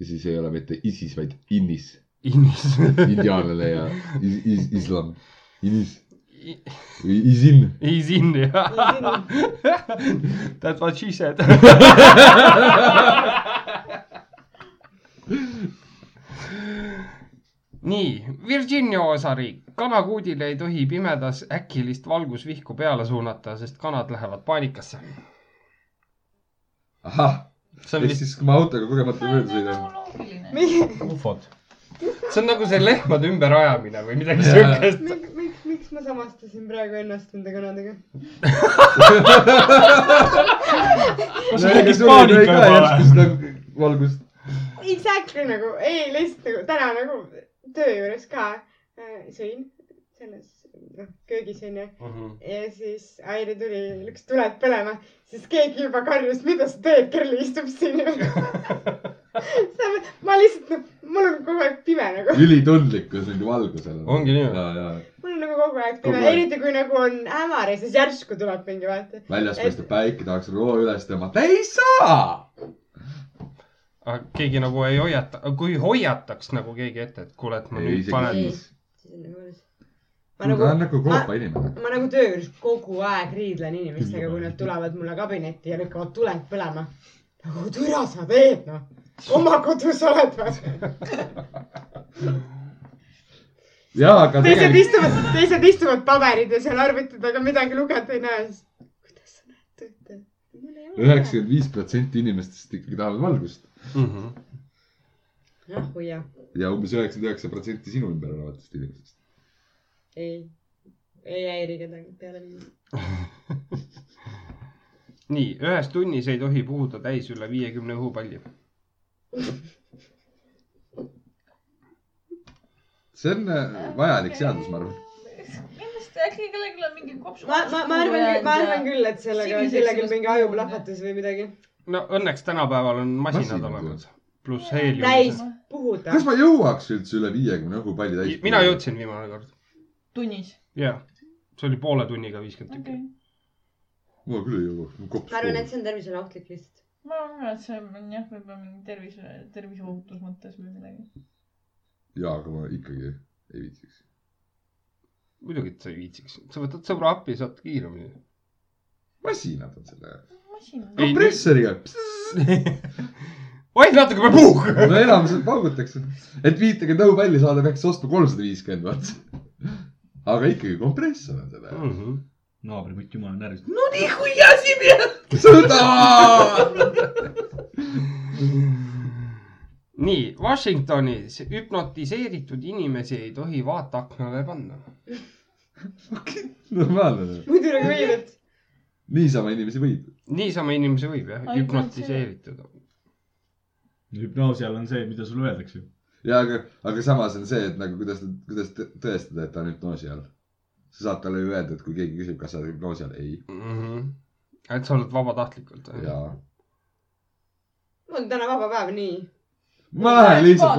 [SPEAKER 1] siis ei ole mitte ISIS , vaid INIS ,
[SPEAKER 3] inimesed (laughs)
[SPEAKER 1] indiaanlane ja is, is, islam , INIS või ISIN .
[SPEAKER 3] ei siin jah . That's what she said . (laughs) nii , Virginia osariik . kanakuudile ei tohi pimedas äkilist valgusvihku peale suunata , sest kanad lähevad paanikasse .
[SPEAKER 1] ahah ,
[SPEAKER 3] see on
[SPEAKER 1] ehk
[SPEAKER 3] vist ,
[SPEAKER 1] siis kui ma autoga kogemata mööda
[SPEAKER 5] see on
[SPEAKER 1] sõidan
[SPEAKER 5] nagu .
[SPEAKER 3] (laughs)
[SPEAKER 5] loogiline .
[SPEAKER 4] miks ,
[SPEAKER 8] ufod .
[SPEAKER 3] see on nagu see lehmade ümberajamine või midagi siukest .
[SPEAKER 4] miks , miks ma samastasin praegu ennast nende kanadega ?
[SPEAKER 8] kas sul tekkis paanika juba või ?
[SPEAKER 1] nagu valgus ,
[SPEAKER 4] Exactly nagu , ei lihtsalt nagu täna nagu töö juures ka äh, sõin selles , noh , köögis onju .
[SPEAKER 3] Mhm.
[SPEAKER 4] ja siis Airi tuli , lükkas tuled põlema , siis keegi juba karjus , mida sa teed , Kerli istub siin . (laughs) ma lihtsalt , noh , mul on kogu aeg pime nagu ,
[SPEAKER 1] ülitundlikkus nagu valgusele .
[SPEAKER 3] Ongi nii.
[SPEAKER 1] ja , ja
[SPEAKER 4] mul on nagu kogu aeg pime
[SPEAKER 1] Kogu , aeg.
[SPEAKER 4] eriti kui nagu on hämar ja siis järsku tuleb mingi vaata .
[SPEAKER 1] väljas
[SPEAKER 4] Et-
[SPEAKER 1] paistab päike , tahaks loo üles tõmmata , ei saa .
[SPEAKER 3] keegi nagu ei hoiata , kui hoiataks nagu keegi ette , et kuule , et ma
[SPEAKER 1] ei ,
[SPEAKER 3] nüüd
[SPEAKER 1] isegi
[SPEAKER 3] panen .
[SPEAKER 1] siis .
[SPEAKER 4] nagu
[SPEAKER 1] ta
[SPEAKER 4] ma
[SPEAKER 1] on
[SPEAKER 4] nagu ,
[SPEAKER 1] nagu koopa inimene .
[SPEAKER 4] ma nagu töö juures kogu aeg riidlen inimestega , kui nad tulevad mulle kabinetti ja lükkavad tuled põlema . nagu türa sa teed noh , oma kodus oled noh. vaata .
[SPEAKER 1] ja , aga
[SPEAKER 4] teised
[SPEAKER 1] tegelikult ,
[SPEAKER 4] istuvad , teised istuvad paberite seal arvuti taga , midagi lugeda ei näe , siis kuidas sa näed tööd ?
[SPEAKER 1] üheksakümmend viis protsenti inimestest ikkagi tahavad valgust
[SPEAKER 3] Mhm.
[SPEAKER 4] ah hoia ,
[SPEAKER 1] ja umbes üheksakümmend üheksa protsenti sinu ümber olevatest inimestest .
[SPEAKER 4] ei , ei häiri kedagi peale viis .
[SPEAKER 3] nii , ühes tunnis ei tohi puhuda täis üle viiekümne õhupalli .
[SPEAKER 1] see on äh, vajalik seadus , ma arvan .
[SPEAKER 5] kindlasti äkki kellelgi on mingi kopsu .
[SPEAKER 4] ma , ma , ma arvan , ma arvan . küll , et sellega on
[SPEAKER 5] Siniseks
[SPEAKER 4] kellelgi
[SPEAKER 5] ilus
[SPEAKER 4] mingi
[SPEAKER 5] kuju,
[SPEAKER 4] ajuplahvatus või midagi .
[SPEAKER 3] no õnneks tänapäeval on masinad
[SPEAKER 1] Masinad,
[SPEAKER 3] olemas , pluss helium .
[SPEAKER 4] täis puhuda
[SPEAKER 1] kas . ma jõuaks üldse üle viiekümne õhupalli täis ?
[SPEAKER 3] mina . jõudsin viimane kord ,
[SPEAKER 5] tunnis .
[SPEAKER 3] jah . see oli poole tunniga viiskümmend
[SPEAKER 5] okei
[SPEAKER 3] tükki .
[SPEAKER 1] ma küll ei jõua , mul kops
[SPEAKER 4] ma arvan , et see on tervisele ohtlik lihtsalt .
[SPEAKER 5] ma arvan , et see on jah , võib-olla mingi tervise , terviseohutuse mõttes või midagi .
[SPEAKER 1] ja , aga ma ikkagi ei viitsiks .
[SPEAKER 3] muidugi , et sa ei viitsiks , sa võtad sõbra appi , saad kiiremini .
[SPEAKER 1] masinad on selle .
[SPEAKER 5] masin .
[SPEAKER 3] Ei,
[SPEAKER 1] kompressoriga .
[SPEAKER 3] oi , natuke peab puhkama .
[SPEAKER 1] no enamused paugutakse . et viitekümmet õhupalli saada , peaks ostma kolmsada viiskümmend vaat . aga ikkagi kompressor on selle .
[SPEAKER 2] naabrimutt , jumala närvis .
[SPEAKER 1] sõda .
[SPEAKER 3] nii , Washingtonis hüpnotiseeritud inimesi ei tohi vaateaknale panna .
[SPEAKER 1] normaalne .
[SPEAKER 4] muidu nagu veidrat .
[SPEAKER 1] niisama inimesi võib .
[SPEAKER 3] niisama inimesi võib jah
[SPEAKER 5] Ai,
[SPEAKER 3] hüpnotiseeritud .
[SPEAKER 7] hüpnoosial on see , mida sulle öeldakse .
[SPEAKER 1] ja aga , aga samas on see , et nagu kuidas , kuidas tõ- tõestada , et ta on hüpnoosi all . sa saad talle ju öelda , et kui keegi küsib , kas sa oled hüpnoosi all , ei
[SPEAKER 3] Mhm. et sa oled vabatahtlikult või ?
[SPEAKER 1] ja .
[SPEAKER 4] mul on täna vaba päev , nii .
[SPEAKER 1] ma lähen lihtsalt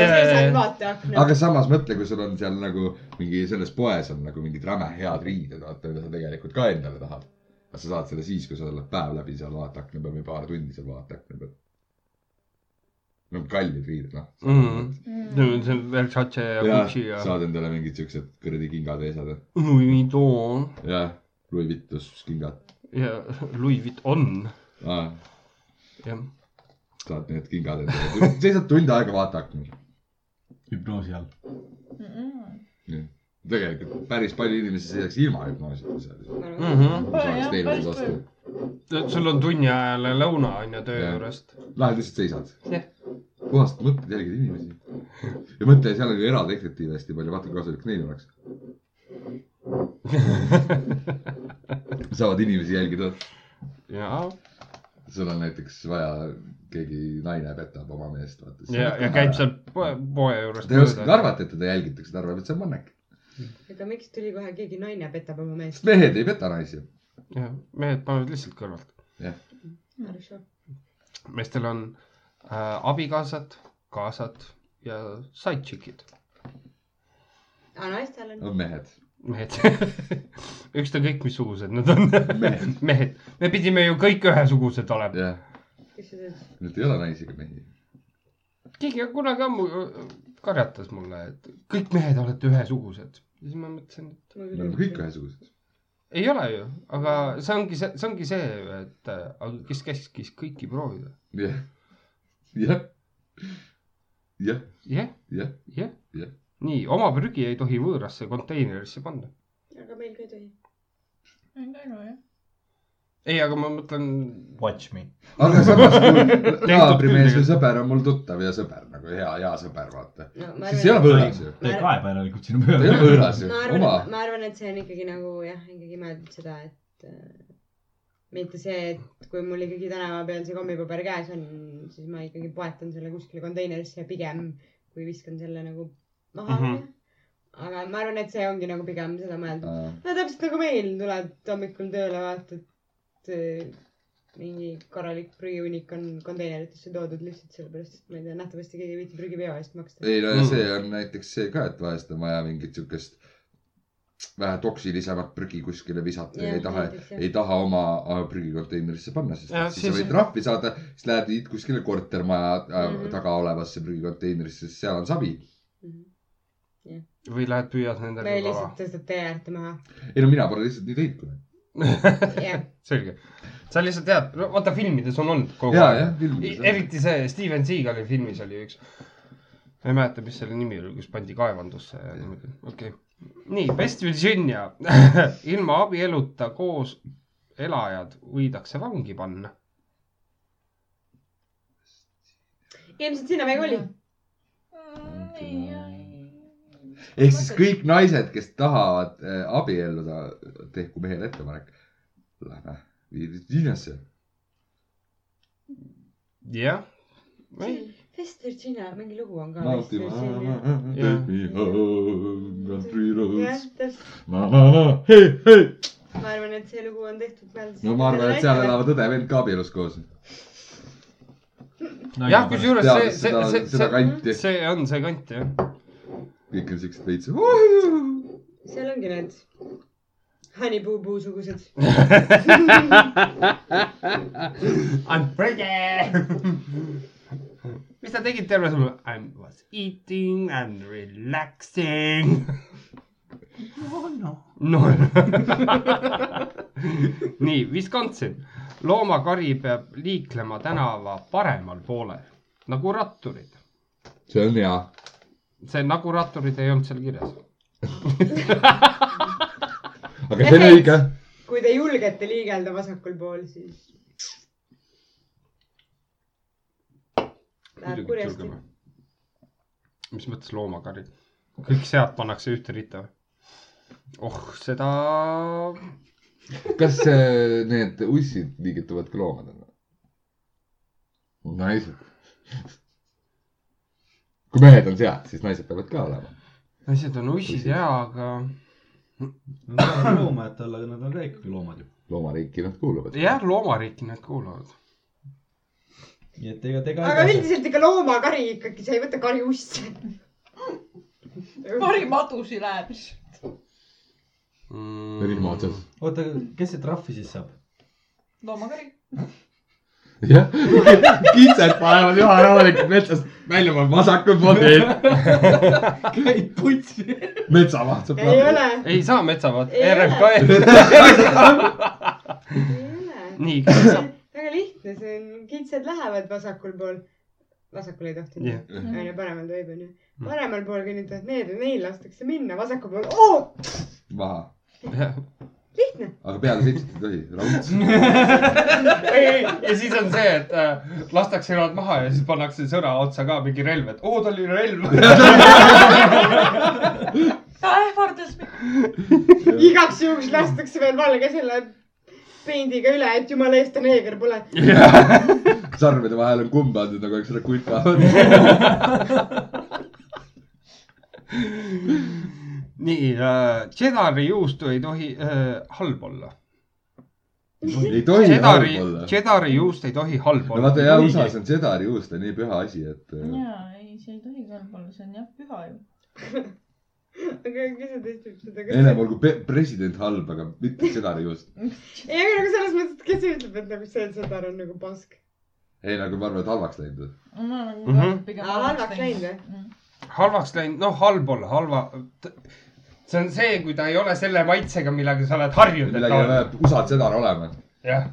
[SPEAKER 1] vaatan .
[SPEAKER 4] ma seisan
[SPEAKER 3] Aga-
[SPEAKER 4] vaateakna .
[SPEAKER 1] aga samas mõtle , kui sul on seal nagu mingi selles poes on nagu mingid räme head riided , vaata , mida sa tegelikult ka endale tahad . aga sa saad selle siis , kui sa oled päev läbi seal vaateakna peal või paar tundi seal vaateakna peal . no kallid riided , noh .
[SPEAKER 3] Mhm.
[SPEAKER 5] mm. .
[SPEAKER 3] see on Versace ja
[SPEAKER 1] ja
[SPEAKER 3] Gucci ja .
[SPEAKER 1] saad endale mingid siuksed kuradi kingad ja asjad .
[SPEAKER 3] Louis Vuitton
[SPEAKER 1] jah , Louis Vuitton kingad .
[SPEAKER 3] ja Louis Vuitton , jah .
[SPEAKER 1] saad need kingad endale . seisad tund aega vaateaknas .
[SPEAKER 7] hüpnoosi all .
[SPEAKER 1] tegelikult päris palju inimesi seisaks ilma hüpnoosita seal .
[SPEAKER 4] Mm.
[SPEAKER 3] Mhm.
[SPEAKER 1] saaks
[SPEAKER 5] Jah,
[SPEAKER 1] teineteise
[SPEAKER 5] päris
[SPEAKER 1] vastu
[SPEAKER 5] palju. .
[SPEAKER 3] Et sul on tunni ajal lõuna on ju töö
[SPEAKER 1] Jah. (laughs)
[SPEAKER 3] juurest .
[SPEAKER 1] Lähed lihtsalt seisad
[SPEAKER 3] Jah. .
[SPEAKER 1] puhast mõtted , jälgid inimesi . ja mõtle , seal oli eradetektiive hästi palju , vaata kui kasulik neil oleks . saavad inimesi jälgida .
[SPEAKER 3] ja ,
[SPEAKER 1] sul on näiteks vaja , keegi naine petab oma meest , vaata .
[SPEAKER 3] ja , ja käib . seal poe , poe juures .
[SPEAKER 1] Te ei oskagi . arvata , et teda jälgitakse , ta arvab , et see on mannek .
[SPEAKER 4] aga miks tuli kohe keegi naine petab oma meest ?
[SPEAKER 1] sest mehed ei peta naisi .
[SPEAKER 3] mehed panevad lihtsalt kõrvalt . meestel on äh, abikaasad , kaasad ja sidechick'id ,
[SPEAKER 4] aga naistel on .
[SPEAKER 1] on mehed .
[SPEAKER 3] mehed . (laughs) ükskõik missugused nad on ,
[SPEAKER 1] (laughs) mehed ,
[SPEAKER 3] mehed . me pidime ju kõik ühesugused olema .
[SPEAKER 1] jah .
[SPEAKER 4] kes see ütles ?
[SPEAKER 1] Need ei ole naisi ega mehi .
[SPEAKER 3] keegi kunagi ammu äh, karjatas mulle , et kõik mehed olete ühesugused . siis ma mõtlesin , et
[SPEAKER 1] me oleme kõik . ühesugused .
[SPEAKER 3] ei ole ju , aga see ongi see , see ongi see , et äh, aga kes käskis kõiki proovida .
[SPEAKER 1] jah , jah , jah ,
[SPEAKER 3] jah ,
[SPEAKER 1] jah ,
[SPEAKER 3] jah
[SPEAKER 1] Jah. ,
[SPEAKER 3] nii oma prügi ei tohi võõrasse konteinerisse panna .
[SPEAKER 4] aga meil ka ei tohi .
[SPEAKER 3] ei , aga ma mõtlen ,
[SPEAKER 8] Watch me .
[SPEAKER 1] aga samas kui naabrimees või
[SPEAKER 3] tegelikult.
[SPEAKER 1] sõber on mul tuttav ja sõber nagu hea , hea sõber , vaata .
[SPEAKER 4] no ma
[SPEAKER 1] siis ei ole
[SPEAKER 4] arvan ,
[SPEAKER 1] võõras ju ,
[SPEAKER 8] ta ei
[SPEAKER 4] Ma-
[SPEAKER 8] kaeba järelikult sinu
[SPEAKER 1] ta ei ole
[SPEAKER 8] peale .
[SPEAKER 1] võõras ju
[SPEAKER 4] ma ,
[SPEAKER 1] oma
[SPEAKER 4] arvan , ma arvan , et see on ikkagi nagu jah , ikkagi mõeldud seda , et äh, mitte see , et kui mul ikkagi tänava peal see kommipaber käes on , siis ma ikkagi poetan selle kuskile konteinerisse pigem , kui viskan selle nagu maha mm .
[SPEAKER 3] Mhm.
[SPEAKER 4] -hmm. aga ma arvan , et see ongi nagu pigem seda mõeldud .
[SPEAKER 1] äh,
[SPEAKER 4] no täpselt nagu meil , tuled hommikul tööle , vaatad äh, mingi korralik prügihunnik on konteineritesse toodud lihtsalt sellepärast , et ma ei tea , nähtavasti keegi ei viitsi prügiveo eest maksta .
[SPEAKER 1] ei no ja
[SPEAKER 3] Mm.
[SPEAKER 1] see on näiteks see ka , et vahest on vaja mingit siukest vähe toksilisemat prügi kuskile visata ja
[SPEAKER 4] Jah,
[SPEAKER 1] ei taha ,
[SPEAKER 4] näiteks, jah.
[SPEAKER 1] ei taha oma äh, prügikonteinerisse panna , sest
[SPEAKER 3] Jah,
[SPEAKER 1] ja, siis sa
[SPEAKER 3] siis-
[SPEAKER 1] võid trahvi saada , siis lähed viid kuskile kortermaja äh, mm
[SPEAKER 4] Mhm.
[SPEAKER 1] -hmm. taga olevasse prügikonteinerisse , siis seal on savi .
[SPEAKER 4] Mhm.
[SPEAKER 3] või lähed püüad
[SPEAKER 1] Nagu
[SPEAKER 4] me
[SPEAKER 3] nendega
[SPEAKER 4] lihtsalt tõstad tee äärde maha .
[SPEAKER 1] ei no mina pole lihtsalt nii teinud kunagi .
[SPEAKER 3] kala . (laughs)
[SPEAKER 4] jah ,
[SPEAKER 3] selge , sa lihtsalt tead , no vaata filmides on olnud kogu
[SPEAKER 1] ja ,
[SPEAKER 3] aeg
[SPEAKER 1] jah ,. filmides .
[SPEAKER 3] eriti see Steven Seagali filmis oli üks , ma ei mäleta , mis selle nimi oli , kus pandi kaevandusse ja niimoodi , okei okay. . nii , West Virginia , (laughs) ilma abieluta koos elajad võidakse vangi panna .
[SPEAKER 4] ilmselt sinna me ei koli .
[SPEAKER 1] Mm, ehk siis kõik naised , kes tahavad äh, abielluda , tehku mehele ettepanek . Lähme Viinasse .
[SPEAKER 3] jah , või
[SPEAKER 4] West Virginia , mingi lugu on ka .
[SPEAKER 1] nautima .
[SPEAKER 3] Jah.
[SPEAKER 1] Take me home , country roads
[SPEAKER 4] jah , täpselt ,
[SPEAKER 1] na, . Na, na. Hey, hey.
[SPEAKER 4] ma arvan , et see lugu on tehtud mõeldes .
[SPEAKER 1] no ma arvan , et seal . elavad õde vend ka abielus koos .
[SPEAKER 3] jah ,. kusjuures see ,
[SPEAKER 1] teades
[SPEAKER 3] see
[SPEAKER 1] seda ,,
[SPEAKER 3] see ,
[SPEAKER 1] seda
[SPEAKER 3] see ,
[SPEAKER 1] kanti ,
[SPEAKER 3] see on see kant jah .
[SPEAKER 1] kõik on siuksed veits .
[SPEAKER 4] seal ongi need honeypoo-poo sugused .
[SPEAKER 3] I m pretty . mis ta tegi terve sõna ? I was eating and relaxing . no . (laughs) nii , Wisconsin . loomakari peab liiklema tänava paremal poolel nagu ratturid .
[SPEAKER 1] see on hea .
[SPEAKER 3] see nagu ratturid ei olnud seal kirjas .
[SPEAKER 1] aga see on õige .
[SPEAKER 4] kui te julgete liigelda vasakul pool , siis . Läheb kurjasti .
[SPEAKER 3] mis mõttes loomakarid ? kõik sead pannakse ühte ritta või ? oh , seda
[SPEAKER 1] kas äh, need ussid liigituvad ka loomadena ? naised . kui mehed on sead , siis naised peavad ka olema .
[SPEAKER 3] naised on ussid jaa , aga
[SPEAKER 6] Nad on loomad tal , aga nad on ka ikkagi loomad ju .
[SPEAKER 1] loomariiki nad kuuluvad .
[SPEAKER 3] jah , loomariiki nad kuuluvad .
[SPEAKER 6] nii et ega tega
[SPEAKER 4] aga . üldiselt ikka loomakari ikkagi , sa ei võta kari usse .
[SPEAKER 5] pari madusi läheb siis .
[SPEAKER 3] Mm.
[SPEAKER 1] rihma . otsas .
[SPEAKER 6] oota , kes see trahvi siis saab ?
[SPEAKER 5] loomakari .
[SPEAKER 1] jah , (laughs) kitsed panevad Juha rahulikult metsast välja oma vasakul pool teed .
[SPEAKER 6] käid putsi .
[SPEAKER 1] metsamaht saab
[SPEAKER 4] ei . ole ,
[SPEAKER 3] ei saa metsavaat ,
[SPEAKER 4] Ei ole.
[SPEAKER 3] RMK .
[SPEAKER 4] ei ole .
[SPEAKER 3] nii , kas saab ?
[SPEAKER 4] väga lihtne , see on , kitsed lähevad vasakul pool . vasakul ei tohtinud
[SPEAKER 3] Jah.
[SPEAKER 4] yeah. ,
[SPEAKER 1] Mhm.
[SPEAKER 4] onju , paremal tohib , onju . paremal pool kõnnitavad need ja neil lastakse minna , vasakul pool oh! ,
[SPEAKER 1] (laughs) maha ,
[SPEAKER 4] lihtne .
[SPEAKER 1] aga peale seitset ei tohi , raudselt .
[SPEAKER 3] ei , ei , ja siis on see , et äh, lastakse jalad maha ja siis pannakse sõna otsa ka mingi relv , et oo , tal oli relv .
[SPEAKER 5] ähvardas mind .
[SPEAKER 4] igaks juhuks lastakse veel valge selle peindiga üle , et jumala eest ta neeger pole .
[SPEAKER 1] sarvede vahel on kumb pandud nagu eks ole kulka .
[SPEAKER 3] nii äh, , Jedari juustu ei tohi äh, halb olla .
[SPEAKER 1] ei tohi
[SPEAKER 3] Jedari
[SPEAKER 1] halb olla ,.
[SPEAKER 3] Jedari juust ei tohi halb
[SPEAKER 1] no
[SPEAKER 3] olla .
[SPEAKER 1] vaata jah , USA-s on sedari juust on nii püha asi , et äh,
[SPEAKER 5] jaa , ei , see ei tohi kõrb olla , see on jah püha ju .
[SPEAKER 4] aga kes see testab seda , kas
[SPEAKER 1] ennem olgu pe- president halb , aga mitte sedari juust .
[SPEAKER 4] ei , aga nagu selles mõttes , et kes ütleb , et nagu see sõdar on nagu pask .
[SPEAKER 1] ei , nagu ma arvan , et halvaks läinud .
[SPEAKER 5] ma olen nagu
[SPEAKER 3] Mhm.
[SPEAKER 5] ka pigem Mm.
[SPEAKER 4] Aa, halvaks läinud,
[SPEAKER 5] või ?
[SPEAKER 3] halvaks läinud , noh , halb olla , halva . see on see , kui ta ei ole selle maitsega , millega sa oled harjunud , et
[SPEAKER 1] midagi
[SPEAKER 3] ta
[SPEAKER 1] ei
[SPEAKER 3] on
[SPEAKER 1] ole . USA-d sedar olema ,
[SPEAKER 3] jah ,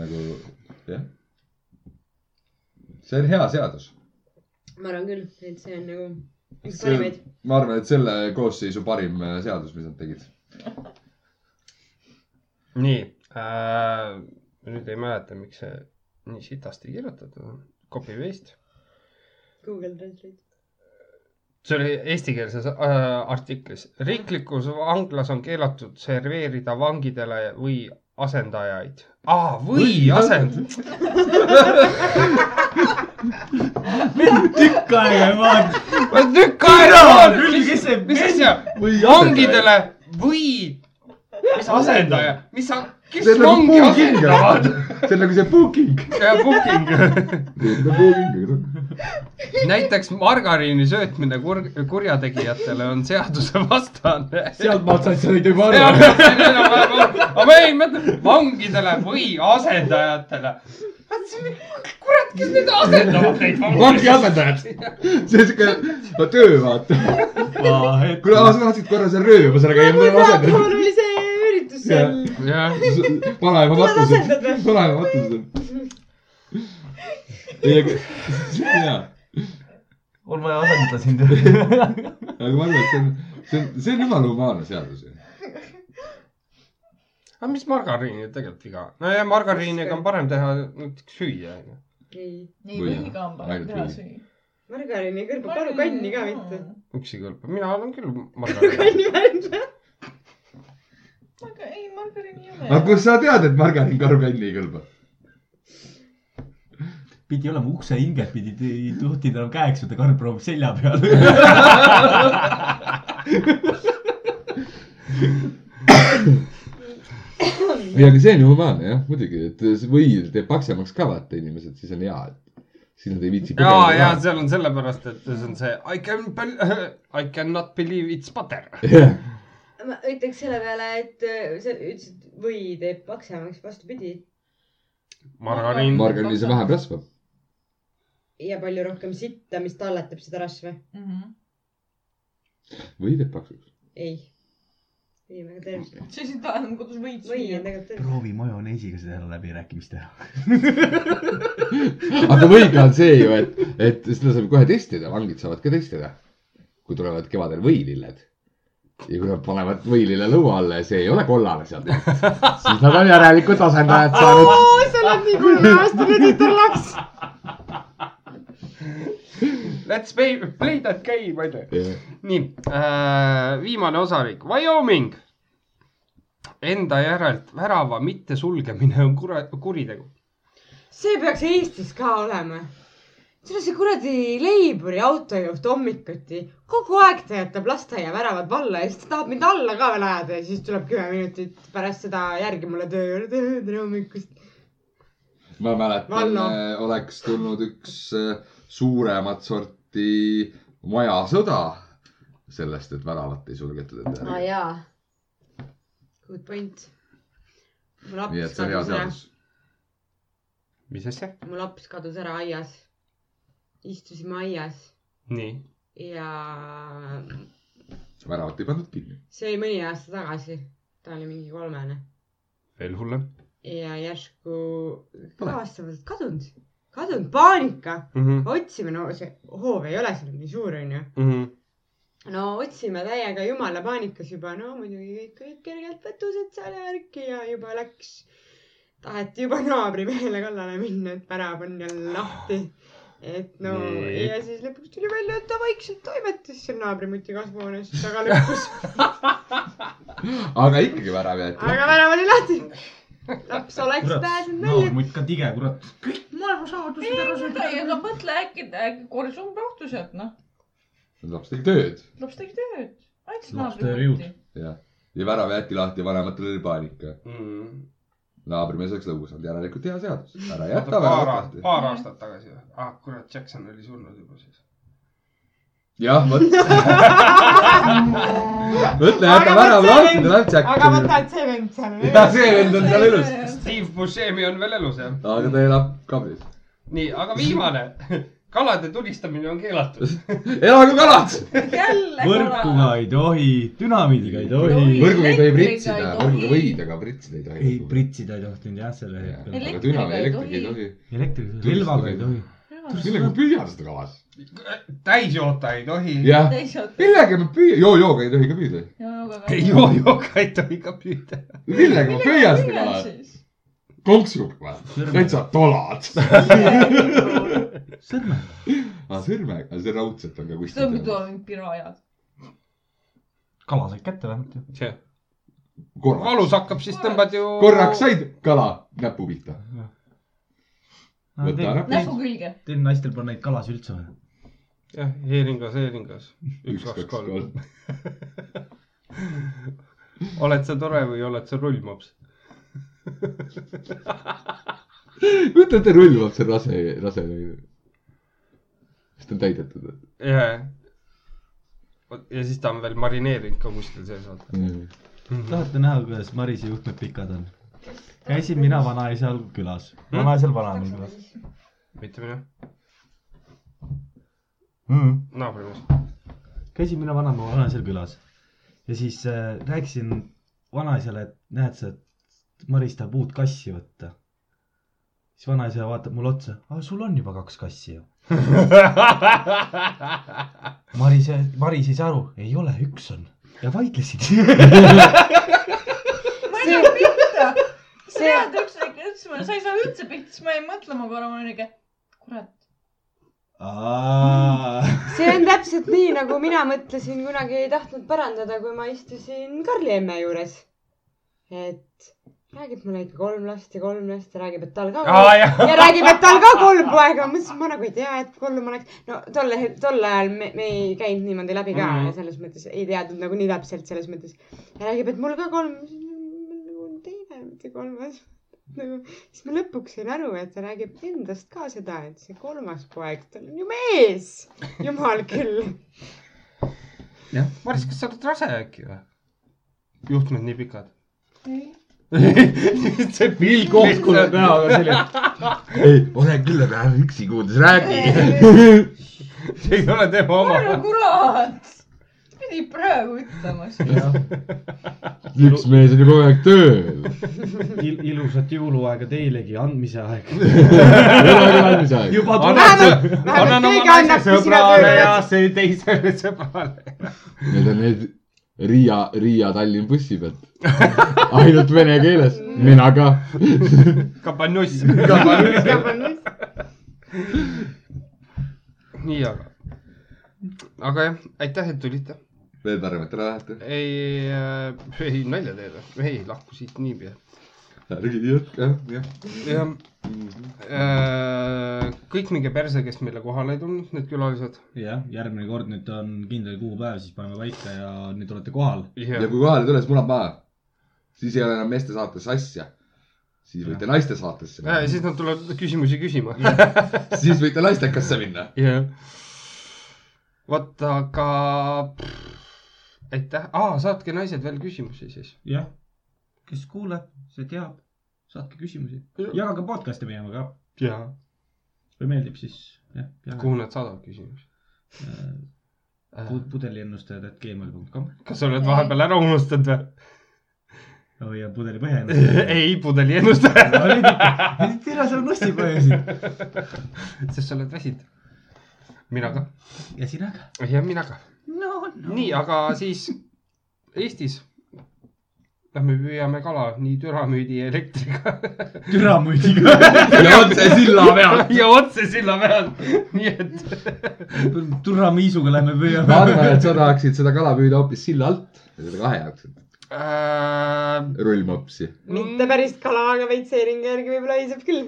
[SPEAKER 1] nagu jah . see on hea seadus .
[SPEAKER 4] ma arvan küll , et see on nagu üks
[SPEAKER 1] See-
[SPEAKER 4] parimaid .
[SPEAKER 1] ma arvan , et selle koosseisu parim äh, seadus , mis nad tegid .
[SPEAKER 3] nii äh, . nüüd ei mäleta , miks see nii sitasti kirjutatud on . Copy paste .
[SPEAKER 4] Google Translate .
[SPEAKER 3] see oli eestikeelses äh, artiklis . riiklikus vanglas on keelatud serveerida vangidele või asendajaid ah, . või asend- ,
[SPEAKER 1] (laughs)
[SPEAKER 8] tükk aega ei vaadanud .
[SPEAKER 3] ma tükk aega olen ,
[SPEAKER 8] kes see
[SPEAKER 3] mis asja ,
[SPEAKER 1] või
[SPEAKER 3] vangidele või , mis asendaja , mis sa , kes
[SPEAKER 1] see on nagu
[SPEAKER 3] vangi
[SPEAKER 1] booking ,
[SPEAKER 3] asendavad ?
[SPEAKER 1] see on nagu see nagu booking .
[SPEAKER 3] Booking ,
[SPEAKER 1] booking ,
[SPEAKER 3] näiteks margariini söötmine kur- , kurjategijatele on seadusevastane .
[SPEAKER 8] sealtmaalt said sa neid juba aru .
[SPEAKER 3] aga ma jäin mõtlema , vangidele või asendajatele . kurat , kes neid asendavad neid
[SPEAKER 1] vangi
[SPEAKER 3] vange ?
[SPEAKER 1] asendajad . see on siuke , no töö vaata . kuule , sa tahtsid korra seal röövimas ära käia , mul on asendajad .
[SPEAKER 4] mul oli see üritus seal .
[SPEAKER 3] jah ,
[SPEAKER 1] vanaema
[SPEAKER 4] Tuleb
[SPEAKER 1] matused
[SPEAKER 4] asendada. ,
[SPEAKER 1] vanaema matused . ei , aga , (laughs) jaa ,
[SPEAKER 2] on vaja asendada
[SPEAKER 8] (laughs)
[SPEAKER 2] sind .
[SPEAKER 1] aga ma arvan , et see on , see on , see on jumala humaanne seadus ju .
[SPEAKER 3] aga mis margariini tegelikult viga on ? nojah , margariiniga on parem teha näiteks süüa , onju .
[SPEAKER 4] ei ,
[SPEAKER 5] ei
[SPEAKER 1] Või-
[SPEAKER 5] või ka , ma
[SPEAKER 1] ainult
[SPEAKER 5] olen ka
[SPEAKER 1] või.
[SPEAKER 5] süüa .
[SPEAKER 4] margariini ei kõrba , palu kanni ka mitte .
[SPEAKER 3] üksi kõlbab , mina olen küll
[SPEAKER 4] palu
[SPEAKER 3] margariini .
[SPEAKER 4] kanni värve .
[SPEAKER 5] aga ei , margariini ei
[SPEAKER 1] aga
[SPEAKER 5] ole .
[SPEAKER 1] kust sa tead , et margariin karukanni ei kõlba ?
[SPEAKER 8] pidi olema ukse hinged pidid juhtida enam käeks , vaata karp proovib selja (laughs) peal .
[SPEAKER 1] ei , aga see on ju humaanne jah , muidugi , et äh, see võil teeb paksemaks ka vaata inimesed , siis on hea , et siis nad ei viitsi
[SPEAKER 3] ja , ja . seal on sellepärast , et see on see I can , (laughs) I cannot believe it's butter .
[SPEAKER 1] (laughs) jah ,
[SPEAKER 4] ma ütleks selle peale , et äh, sa ütlesid , või teeb paksemaks , vastupidi .
[SPEAKER 3] margariin ,
[SPEAKER 1] margariin , see vähem rasva .
[SPEAKER 4] ja palju rohkem sitta , mis talletab seda rasva .
[SPEAKER 5] Mhm.
[SPEAKER 1] või teeb paksuks .
[SPEAKER 4] ei . ei , väga tervist .
[SPEAKER 5] see siin tähendab , kuidas võid
[SPEAKER 4] või
[SPEAKER 5] süüa
[SPEAKER 4] on . tegelikult tervist .
[SPEAKER 8] proovi majoneesiga seda läbirääkimist teha .
[SPEAKER 1] aga võiga on see ju , et , et seda saab kohe testida , vangid saavad ka testida . kui tulevad kevadel võililled ja kui nad panevad võilille lõua alla ja see ei ole kollane seal , siis nad on järelikult asendajad
[SPEAKER 4] (laughs)
[SPEAKER 1] saanud .
[SPEAKER 4] sa oled nii kolmeaastane tütarlaps .
[SPEAKER 3] let's play , play that game , onju . nii äh, , viimane osariik , Wyoming enda järelt värava mittesulgemine on kura- , kuritegu .
[SPEAKER 4] see peaks Eestis ka olema . selle see kuradi Leiburi autojuht hommikuti kogu aeg ta jätab lasteaia väravad valla ja siis ta tahab mind alla ka veel ajada ja siis tuleb kümme minutit pärast seda järgi mulle töö juurde . tere hommikust .
[SPEAKER 1] ma mäletan äh,
[SPEAKER 4] Vallo. ,
[SPEAKER 1] oleks tulnud üks äh, suuremat sorti majasõda sellest , et väravat ei suletud enda
[SPEAKER 4] aa
[SPEAKER 1] järgi .
[SPEAKER 4] Ah, jaa . Good point . mul
[SPEAKER 1] nii
[SPEAKER 4] laps
[SPEAKER 1] et see on hea
[SPEAKER 4] kadus ära ,
[SPEAKER 1] seadus .
[SPEAKER 3] mis asja ?
[SPEAKER 4] mul laps kadus ära aias . istusime aias
[SPEAKER 3] nii .
[SPEAKER 4] ja
[SPEAKER 1] väravat ei pandud kinni .
[SPEAKER 4] see oli mõni aasta tagasi . ta oli mingi kolmene
[SPEAKER 3] veel hullem
[SPEAKER 4] ja järsku
[SPEAKER 1] Pole.
[SPEAKER 4] avastavad , et kadunud , kadunud paanika .
[SPEAKER 3] mm . -hmm.
[SPEAKER 4] otsime , no see hoov ei ole seal nii suur , onju .
[SPEAKER 3] Mm -hmm.
[SPEAKER 4] no otsime täiega jumala paanikas juba , no muidugi kõik olid kergelt petused seal ja värki ja juba läks . taheti juba naabrimehele kallale minna , et värav on jälle lahti . et no
[SPEAKER 3] Nii.
[SPEAKER 4] ja siis lõpuks tuli välja , et ta vaikselt toimetas seal naabrimuti kasvuhoones taga lõpus ,
[SPEAKER 1] aga ikkagi värav jäeti .
[SPEAKER 4] aga värav oli lahti . laps oleks pääsenud välja .
[SPEAKER 8] noormutt ka tige , kurat . kõik maailmasaatused ära
[SPEAKER 5] ei , aga mõtle äkki , äkki korisum kohtus , et noh ,
[SPEAKER 1] laps tegi tööd
[SPEAKER 5] laps tegi tööd , aitas
[SPEAKER 8] Laps
[SPEAKER 5] naabri
[SPEAKER 8] teeb jõud.
[SPEAKER 5] kotti .
[SPEAKER 1] ja värav jäeti lahti , vanematel oli paanika .
[SPEAKER 3] Mm -hmm.
[SPEAKER 1] naabrimees oleks lõbus olnud , järelikult hea seadus . ära jäta
[SPEAKER 3] paar,
[SPEAKER 1] väravat
[SPEAKER 3] aast-
[SPEAKER 1] lahti .
[SPEAKER 3] paar aastat tagasi või ? ah kurat , Jackson oli surnud juba siis .
[SPEAKER 1] jah , vot . (laughs) mõtle , jäta värav lahti , ta läheb
[SPEAKER 4] aga vaata ,
[SPEAKER 1] tšäkki .
[SPEAKER 4] et see vend seal
[SPEAKER 1] ja see vend on seal elus .
[SPEAKER 3] Steve Buscemi on veel elus jah ?
[SPEAKER 1] aga ta elab kabris .
[SPEAKER 3] nii , aga viimane . (laughs) kalade tulistamine on keelatud .
[SPEAKER 1] elagu kalad !
[SPEAKER 5] jälle
[SPEAKER 8] võrkuga . ei tohi , dünaamidiga ei tohi .
[SPEAKER 1] võrguga ei tohi
[SPEAKER 5] Elektriga ei
[SPEAKER 1] pritsida ,
[SPEAKER 5] tohi.
[SPEAKER 1] võrguga võid , aga pritsida ei
[SPEAKER 8] ei
[SPEAKER 1] tohi .
[SPEAKER 8] pritsida ei tohtinud jah , selle hetkel .
[SPEAKER 1] aga
[SPEAKER 5] Elektriga
[SPEAKER 1] dünaami
[SPEAKER 5] ei
[SPEAKER 1] elektriga ei
[SPEAKER 5] tohi.
[SPEAKER 1] tohi .
[SPEAKER 8] elektriga , relvaga ei tohi .
[SPEAKER 1] millega me püüame seda kalas ?
[SPEAKER 3] täis joota ei tohi .
[SPEAKER 1] jah ,
[SPEAKER 5] teisalt .
[SPEAKER 1] millega me püüame , joo-jooga ei tohi ka püüda .
[SPEAKER 3] joo-jooga ei tohi ka püüda .
[SPEAKER 1] millega ma püüan seda kala ? konksuga või ? täitsa tolad .
[SPEAKER 8] sõrme .
[SPEAKER 1] aga sõrmega , see raudselt on ka
[SPEAKER 5] see on muidu
[SPEAKER 1] kuskil .
[SPEAKER 5] on pirajad .
[SPEAKER 8] kala said kätte vähemalt ju .
[SPEAKER 1] korraks ,
[SPEAKER 3] valus hakkab , siis tõmbad ju .
[SPEAKER 1] korraks . said kala näpu pihta . Võta ära.
[SPEAKER 5] näpu külge .
[SPEAKER 8] Teil naistel pole neid kalasid üldse vaja .
[SPEAKER 3] jah , heeringas , heeringas .
[SPEAKER 1] üks , kaks , kolm .
[SPEAKER 3] oled sa tore või oled sa rullmops ?
[SPEAKER 1] kujuta ette , rullab see rase , rase . sest ta on täidetud .
[SPEAKER 3] jajah . ja siis ta on veel marineerinud ka kuskil sees , vaata . Mhm. Noh,
[SPEAKER 8] tahate näha , kuidas Marise juhtmed pikad on ? käisin mina vanaisa külas . vanaisal vanaema külas
[SPEAKER 3] mitte mina ,
[SPEAKER 8] mm. .
[SPEAKER 3] naabrimees .
[SPEAKER 8] käisin mina vanaema vanaisal külas ja siis äh, rääkisin vanaisale , et näed sa , et Maris tahab uut kassi võtta . siis vanaisa vaatab mulle otsa , aa sul on juba kaks kassi ju . Maris , Maris ei saa aru , ei ole , üks on ja
[SPEAKER 1] (laughs)
[SPEAKER 8] vaidlesid . (laughs)
[SPEAKER 5] ma ei saa pihta . sa
[SPEAKER 4] See-
[SPEAKER 5] tead , üks väike ütles mulle , sa ei saa üldse pihta , siis ma jäin mõtlema korra , ma olin ikka , kurat .
[SPEAKER 4] see on täpselt nii , nagu mina mõtlesin , kunagi ei tahtnud parandada , kui ma istusin Karli emme juures . et räägib mulle ikka kolm last ja kolm last ja räägib , et tal ka
[SPEAKER 3] (laughs) aa
[SPEAKER 4] kolm
[SPEAKER 3] jah ,
[SPEAKER 4] ja räägib , et tal ka kolm poega . ma mõtlesin , ma nagu ei tea , et kolm oleks . no tol ajal , tol ajal me, me ei käinud niimoodi läbi ka
[SPEAKER 3] Mhm.
[SPEAKER 4] mm. selles mõttes , ei teadnud nagu nii täpselt selles mõttes . ja räägib , et mul ka kolm . nagu on teine , mitte kolmas . nagu , siis ma lõpuks sain aru , et ta räägib endast ka seda , et see kolmas poeg , tal on ju mees . jumal küll .
[SPEAKER 3] jah . Maris , kas sa oled rase äkki või ? juhtmed nii (laughs) pikad . see pilk lihtsalt-
[SPEAKER 7] näoga selline .
[SPEAKER 1] ei , olen küll , aga ära üksi kuuldes räägi .
[SPEAKER 3] see (laughs) ei ole tema oma .
[SPEAKER 5] ära kurat . pidid praegu ütlema siis .
[SPEAKER 1] üks mees on ju kogu aeg tööl .
[SPEAKER 7] Il, ilusat jõuluaega teilegi , andmise aeg .
[SPEAKER 1] elagu andmise aeg .
[SPEAKER 7] juba
[SPEAKER 4] vähemalt ,
[SPEAKER 3] annan
[SPEAKER 4] vähemalt
[SPEAKER 3] oma
[SPEAKER 4] keegi
[SPEAKER 3] naise
[SPEAKER 4] annab sina
[SPEAKER 3] sõbrale
[SPEAKER 4] tööle
[SPEAKER 3] ja . see teisele (laughs) sõbrale .
[SPEAKER 1] Need on need Riia , Riia-Tallinn bussi pealt . ainult vene keeles , mina ka .
[SPEAKER 3] kabanuss . nii , aga , aga jah , aitäh , et tulite .
[SPEAKER 1] veel pärmetele lähete ?
[SPEAKER 3] ei , ei nalja tee või ? ei , lahku siit niipea .
[SPEAKER 1] ärge jätke , jah . Mhm.
[SPEAKER 3] jah , kõik minge perse , kes meile kohale ei tulnud , need külalised .
[SPEAKER 2] (laughs) jah , järgmine kord nüüd on kindel kuupäev , siis paneme paika ja nüüd olete kohal .
[SPEAKER 1] ja kui kohale tuleb , siis munad maha . siis ei ole enam meeste saates asja . siis võite naiste saatesse
[SPEAKER 3] ja
[SPEAKER 1] minna .
[SPEAKER 3] Äh, siis nad tulevad küsimusi küsima .
[SPEAKER 1] siis võite naistekasse minna .
[SPEAKER 3] jah . vot , aga aitäh , aa , saatke naised veel küsimusi siis .
[SPEAKER 2] jah , kes kuuleb , see teab , saatke küsimusi , jagage podcast'e meiega ka ,
[SPEAKER 3] ja
[SPEAKER 2] kui meeldib , siis jah , jagage
[SPEAKER 3] kuhu nad saadavad küsimusi ? Äh,
[SPEAKER 2] pudeliennustajad at gmail punkt kom
[SPEAKER 3] kas sa oled vahepeal ära unustanud või ? (laughs)
[SPEAKER 2] oh, ja pudeli
[SPEAKER 7] (laughs)
[SPEAKER 2] põhjaennustajad .
[SPEAKER 3] ei , pudeli ennustaja ,
[SPEAKER 2] tere , sa nussipojasid
[SPEAKER 7] (laughs)
[SPEAKER 3] (laughs) sest sa oled väsinud . mina ka .
[SPEAKER 2] ja sina ka .
[SPEAKER 3] ja mina ka .
[SPEAKER 2] no , no .
[SPEAKER 3] nii , aga siis Eestis lähme püüame kala nii türamüüdi ja elektriga
[SPEAKER 2] türa
[SPEAKER 7] (laughs)
[SPEAKER 2] muidugi .
[SPEAKER 1] ja otse silla peal .
[SPEAKER 3] (laughs) ja otse silla peal , (laughs) nii et
[SPEAKER 2] türa miisuga lähme
[SPEAKER 1] ma
[SPEAKER 2] püüame .
[SPEAKER 1] arvan , et sa tahaksid seda kala püüda hoopis silla alt ja selle kahe jaoks .
[SPEAKER 3] äh, .
[SPEAKER 1] rullmopsi .
[SPEAKER 4] mitte päris kala , aga veits seeringe järgi võib-olla haiseb küll .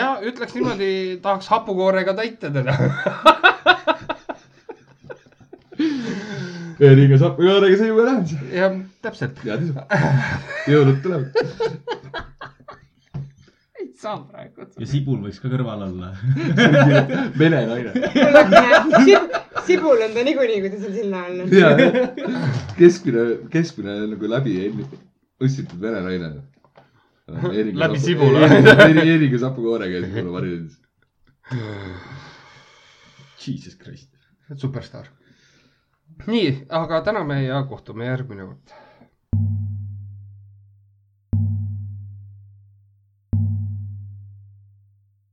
[SPEAKER 3] ja ütleks niimoodi , tahaks hapukoorega täita teda . (laughs)
[SPEAKER 1] Eeriga saab , Eeriga see juba lähen siis .
[SPEAKER 3] jah , täpselt .
[SPEAKER 1] head isu . jõulud tulevad .
[SPEAKER 9] ei saa praegu .
[SPEAKER 2] ja sibul võiks ka kõrval olla . (laughs)
[SPEAKER 1] vene naine .
[SPEAKER 4] sibul on ta niikuinii , kui ta seal silla all on .
[SPEAKER 1] ja , keskmine , keskmine nagu läbi ossitud vene naine .
[SPEAKER 3] Läbi sibula.
[SPEAKER 1] Eeriga sapukoorega ja sibula varjendis .
[SPEAKER 2] Jesus Christ .
[SPEAKER 3] superstaar . nii , aga täname ja kohtume järgmine kord .